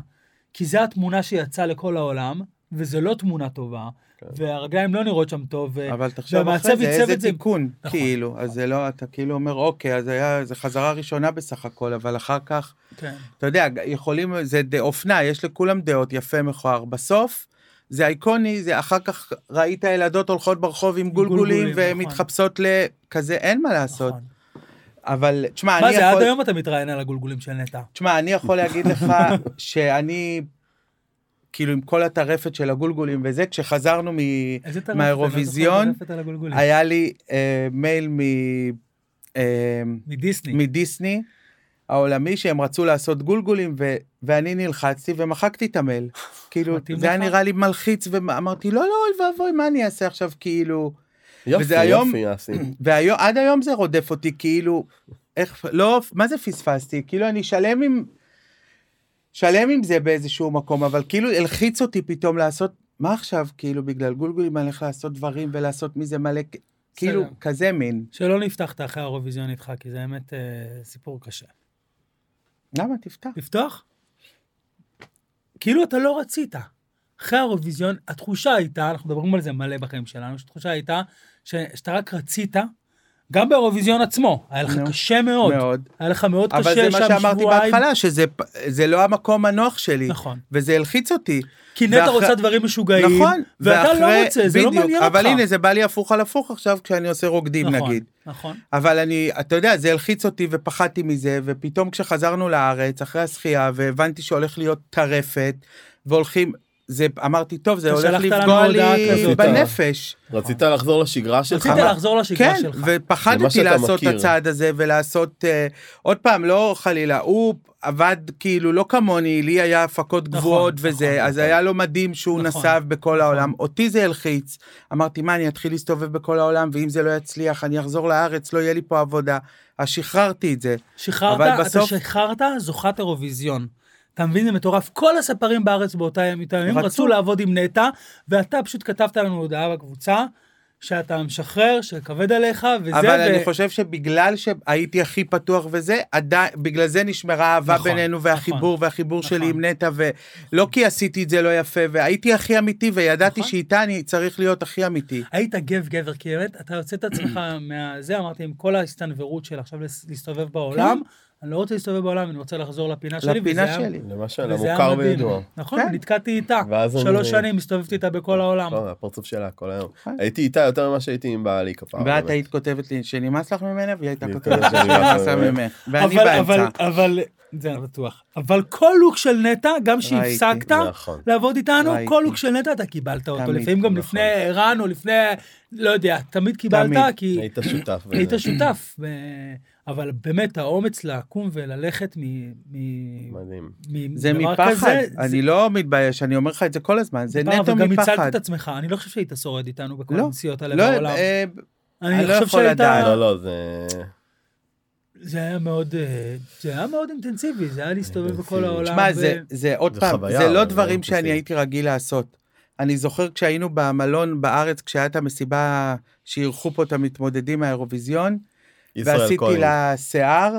Speaker 1: כי זו התמונה שיצאה לכל העולם, וזו לא תמונה טובה, והרגליים לא נראות שם טוב. ו-
Speaker 3: כן. אבל תחשוב
Speaker 1: והמעצב
Speaker 3: אחרי זה
Speaker 1: עיצב
Speaker 3: איזה
Speaker 1: את לא, זה-
Speaker 3: תיקון,
Speaker 1: נכון.
Speaker 3: כאילו, אז זה לא, אתה כאילו אומר, אוקיי, אז היה, זה חזרה ראשונה בסך הכל, אבל אחר כך,
Speaker 1: כן.
Speaker 3: אתה יודע, יכולים, זה ד- אופנה, יש לכולם דעות, יפה מכוער. בסוף, זה אייקוני, זה אחר כך ראית ילדות הולכות ברחוב עם גולגולים,
Speaker 1: גולגולים,
Speaker 3: ומתחפשות לכזה, אין מה לעשות.
Speaker 1: נכון.
Speaker 3: אבל, תשמע,
Speaker 1: מה
Speaker 3: אני
Speaker 1: זה, עד
Speaker 3: יכול...
Speaker 1: היום אתה מתראיין על הגולגולים של נטע.
Speaker 3: תשמע, אני יכול להגיד לך שאני, כאילו, עם כל הטרפת של הגולגולים וזה, כשחזרנו מ...
Speaker 1: איזה טרפת,
Speaker 3: מהאירוויזיון,
Speaker 1: אני לא זוכר טרפת על הגולגולים.
Speaker 3: היה לי אה, מייל מ... אה,
Speaker 1: מדיסני.
Speaker 3: מדיסני העולמי שהם רצו לעשות גולגולים ו... ואני נלחצתי ומחקתי את המייל. כאילו
Speaker 1: מתאים
Speaker 3: זה היה
Speaker 1: לך?
Speaker 3: נראה לי מלחיץ ואמרתי לא לא אוי ואבוי מה אני אעשה עכשיו כאילו
Speaker 2: יופי,
Speaker 3: וזה היום-
Speaker 2: יופי, אסי.
Speaker 3: והיום עד היום זה רודף אותי כאילו איך לא מה זה פספסתי כאילו אני שלם עם שלם עם זה באיזשהו מקום אבל כאילו הלחיץ אותי פתאום לעשות מה עכשיו כאילו בגלל גולגולים אני הולך לעשות דברים ולעשות מזה מלא כאילו
Speaker 1: בסדר.
Speaker 3: כזה מין
Speaker 1: שלא נפתח את האחרי האירוויזיון איתך, כי זה באמת אה, סיפור קשה.
Speaker 3: למה תפתח
Speaker 1: לפתוח? כאילו אתה לא רצית. אחרי האירוויזיון, התחושה הייתה, אנחנו מדברים על זה מלא בחיים שלנו, שהתחושה הייתה ש, שאתה רק רצית, גם באירוויזיון עצמו, היה לך
Speaker 3: נו,
Speaker 1: קשה מאוד.
Speaker 3: מאוד.
Speaker 1: היה לך מאוד קשה
Speaker 3: אבל
Speaker 1: שם
Speaker 3: זה
Speaker 1: שבועיים.
Speaker 3: מה שאמרתי בהתחלה שזה פ- זה לא המקום הנוח שלי
Speaker 1: נכון.
Speaker 3: וזה הלחיץ אותי
Speaker 1: כי נטע
Speaker 3: ואחרי-
Speaker 1: רוצה דברים משוגעים,
Speaker 3: נכון
Speaker 1: ואתה
Speaker 3: ואחרי-
Speaker 1: לא רוצה, זה לא
Speaker 3: בדיוק,
Speaker 1: מעניין אותך.
Speaker 3: אבל הנה זה בא לי הפוך על הפוך עכשיו כשאני עושה רוקדים
Speaker 1: נכון,
Speaker 3: נגיד.
Speaker 1: נכון.
Speaker 3: אבל אני, אתה יודע, זה הלחיץ אותי ופחדתי מזה, ופתאום כשחזרנו לארץ אחרי השחייה, והבנתי שהולך להיות טרפת, והולכים, זה, אמרתי, טוב, זה
Speaker 1: אתה
Speaker 3: הולך
Speaker 1: שלחת לנו
Speaker 3: לפגוע לי
Speaker 1: הודעה כזאת.
Speaker 3: בנפש.
Speaker 2: רצית לחזור לשגרה שלך?
Speaker 1: רצית
Speaker 3: חמה.
Speaker 1: לחזור לשגרה
Speaker 3: כן,
Speaker 1: שלך.
Speaker 2: למה
Speaker 3: ופחדתי
Speaker 2: שאתה
Speaker 3: לעשות את
Speaker 2: מכיר.
Speaker 3: הצעד הזה ולעשות, אה, עוד פעם, לא חלילה, הוא עבד כאילו לא כמוני, לי היה הפקות
Speaker 1: נכון,
Speaker 3: גבוהות
Speaker 1: נכון,
Speaker 3: וזה, אז
Speaker 2: נכון.
Speaker 3: היה לו מדהים שהוא
Speaker 1: נכון,
Speaker 3: נסב בכל העולם, אותי זה הלחיץ. אמרתי, מה, אני אתחיל להסתובב בכל העולם, ואם זה לא יצליח, אני אחזור לארץ, לא יהיה לי פה עבודה. אז שחררתי את זה. אבל
Speaker 1: שחררת,
Speaker 3: בסוף-
Speaker 1: אתה שחררת זוכת אירוויזיון. אתה מבין, זה מטורף. כל הספרים בארץ באותה ימיתה ימים
Speaker 3: רצו.
Speaker 1: רצו לעבוד עם נטע, ואתה פשוט כתבת לנו הודעה בקבוצה, שאתה משחרר, שכבד עליך, וזה...
Speaker 3: אבל
Speaker 1: ו-
Speaker 3: אני חושב שבגלל שהייתי הכי פתוח וזה, עדיין, בגלל זה נשמרה האהבה
Speaker 1: נכון,
Speaker 3: בינינו והחיבור,
Speaker 1: נכון,
Speaker 3: והחיבור שלי
Speaker 1: נכון.
Speaker 3: עם נטע, ולא כי עשיתי את זה לא יפה, והייתי הכי אמיתי, וידעתי
Speaker 1: נכון.
Speaker 3: שאיתה אני צריך להיות הכי אמיתי.
Speaker 2: אה,
Speaker 1: היית גב גבר, כי באמת, אתה יוצא את עצמך מהזה, אמרתי, עם כל ההסתנוורות של עכשיו לס- להסתובב בעולם, אני לא רוצה להסתובב בעולם, אני רוצה לחזור לפינה שלי. וזה
Speaker 3: כן. לפינה
Speaker 1: היה-
Speaker 3: שלי.
Speaker 2: למה ש...
Speaker 1: וזה היה
Speaker 2: למוכר
Speaker 1: מדהים.
Speaker 2: וידוע.
Speaker 1: נכון,
Speaker 3: כן.
Speaker 1: נתקעתי איתה.
Speaker 2: ואז אני-
Speaker 1: שלוש שנים הסתובבתי איתה בכל העולם.
Speaker 2: נכון, הפרצוף שלה כל היום.
Speaker 3: נכון.
Speaker 2: הייתי איתה יותר ממה שהייתי עם בעלי כפרה.
Speaker 3: ואת
Speaker 2: באמת.
Speaker 3: היית כותבת לי שנמאס לך ממנה, והיא הייתה
Speaker 2: אני
Speaker 3: כותבת
Speaker 2: כותבת
Speaker 3: לי
Speaker 2: שאני לא
Speaker 3: שנמאס לה
Speaker 2: ממנה.
Speaker 3: ממך. ואני
Speaker 1: אבל, אבל,
Speaker 3: באמצע.
Speaker 1: אבל, זה אני לא בטוח. אבל כל לוק של נטע, גם
Speaker 3: ראיתי.
Speaker 1: שהפסקת
Speaker 2: נכון.
Speaker 1: לעבוד איתנו,
Speaker 3: ראיתי.
Speaker 1: כל לוק של נטע, אתה קיבלת אותו.
Speaker 3: תמיד,
Speaker 1: לפעמים גם
Speaker 2: נכון.
Speaker 1: לפני ערן או לפני, לא יודע, תמיד
Speaker 3: תמיד.
Speaker 1: קיבלת, כי
Speaker 2: היית שותף. בזה.
Speaker 1: היית שותף. ו- אבל באמת, האומץ לקום וללכת מ- מ-
Speaker 2: מדהים.
Speaker 1: מ-
Speaker 3: זה
Speaker 1: דבר
Speaker 3: מפחד,
Speaker 1: כזה,
Speaker 3: אני לא מתבייש, אני אומר לך את זה כל הזמן, זה
Speaker 1: פעם,
Speaker 3: נטו
Speaker 1: וגם הצלת
Speaker 3: מפחד.
Speaker 1: את עצמך, אני לא חושב שהיית שורד איתנו בכל
Speaker 3: לא,
Speaker 1: הנסיעות האלה
Speaker 3: לא,
Speaker 1: בעולם.
Speaker 3: אה,
Speaker 1: אני
Speaker 3: אני לא
Speaker 1: חושב
Speaker 3: יכול
Speaker 1: שהיית...
Speaker 3: לדעת.
Speaker 2: לא, לא, זה...
Speaker 1: זה היה מאוד, אה, זה היה מאוד אינטנסיבי, זה היה להסתובב בכל
Speaker 2: אינטנסיבי.
Speaker 1: העולם.
Speaker 3: שמע,
Speaker 1: ו-
Speaker 3: זה, זה עוד
Speaker 2: זה
Speaker 3: פעם,
Speaker 2: חוויה,
Speaker 3: זה
Speaker 2: אבל
Speaker 3: לא
Speaker 2: זה
Speaker 3: דברים
Speaker 2: מאוד
Speaker 3: שאני
Speaker 2: בסיסי.
Speaker 3: הייתי רגיל לעשות. אני זוכר כשהיינו במלון בארץ, כשהייתה מסיבה שאירחו פה את המתמודדים מהאירוויזיון,
Speaker 2: ישראל
Speaker 3: ועשיתי
Speaker 2: כהן.
Speaker 3: לה שיער,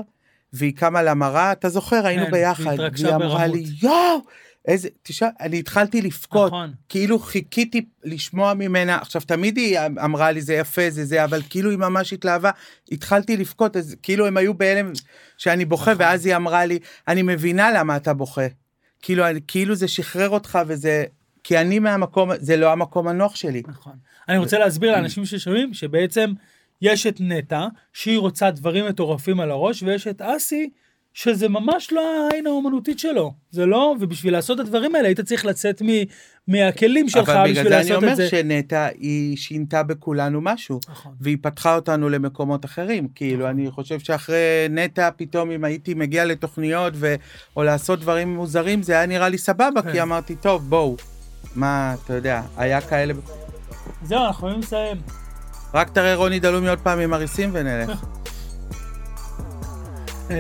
Speaker 3: והיא קמה למראה, אתה זוכר, היינו
Speaker 1: כן,
Speaker 3: ביחד,
Speaker 1: והתרגשה
Speaker 3: והיא אמרה
Speaker 1: ברמות.
Speaker 3: לי, יואו, איזה, תשאל, אני התחלתי לבכות,
Speaker 1: נכון.
Speaker 3: כאילו חיכיתי לשמוע ממנה, עכשיו תמיד היא אמרה לי זה יפה זה זה, אבל כאילו היא ממש התלהבה, התחלתי לבכות, אז כאילו הם היו בהלם שאני בוכה,
Speaker 1: נכון.
Speaker 3: ואז היא אמרה לי, אני מבינה למה אתה בוכה. כאילו, אני- כאילו זה שחרר אותך וזה, כי אני מהמקום, זה לא המקום הנוח שלי.
Speaker 1: נכון. אני רוצה להסביר לאנשים ששומעים שבעצם יש את נטע, שהיא רוצה דברים מטורפים על הראש, ויש את אסי, שזה ממש לא העין האומנותית שלו. זה לא, ובשביל לעשות את הדברים האלה היית צריך לצאת מ, מהכלים שלך
Speaker 3: אבל בגלל
Speaker 1: בשביל
Speaker 3: זה אני
Speaker 1: לעשות את זה.
Speaker 3: אומר שנטע, היא שינתה בכולנו משהו.
Speaker 1: נכון.
Speaker 3: והיא פתחה אותנו למקומות אחרים. כאילו, אני חושב שאחרי נטע, פתאום אם הייתי מגיע לתוכניות ו... או לעשות דברים מוזרים, זה היה נראה לי סבבה,
Speaker 1: כן.
Speaker 3: כי אמרתי, טוב, בואו. מה, אתה יודע, היה כאלה...
Speaker 1: זהו, אנחנו יכולים לסיים.
Speaker 3: רק תראה רוני דלומי עוד פעם עם הריסים ונלך.
Speaker 1: אמ,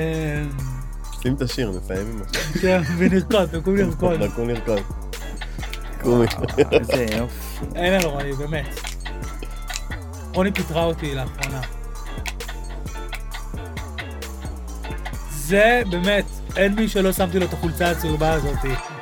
Speaker 2: שים את השיר, נסיים עם השיר.
Speaker 1: כן, ונרקוד, תקום לרקוד.
Speaker 2: נקום לרקוד. קומי.
Speaker 3: איזה יופי.
Speaker 1: אין על רועי, באמת. רוני פיטרה אותי לאחרונה. זה באמת, אין מי שלא שמתי לו את החולצה הצהובה הזאתי.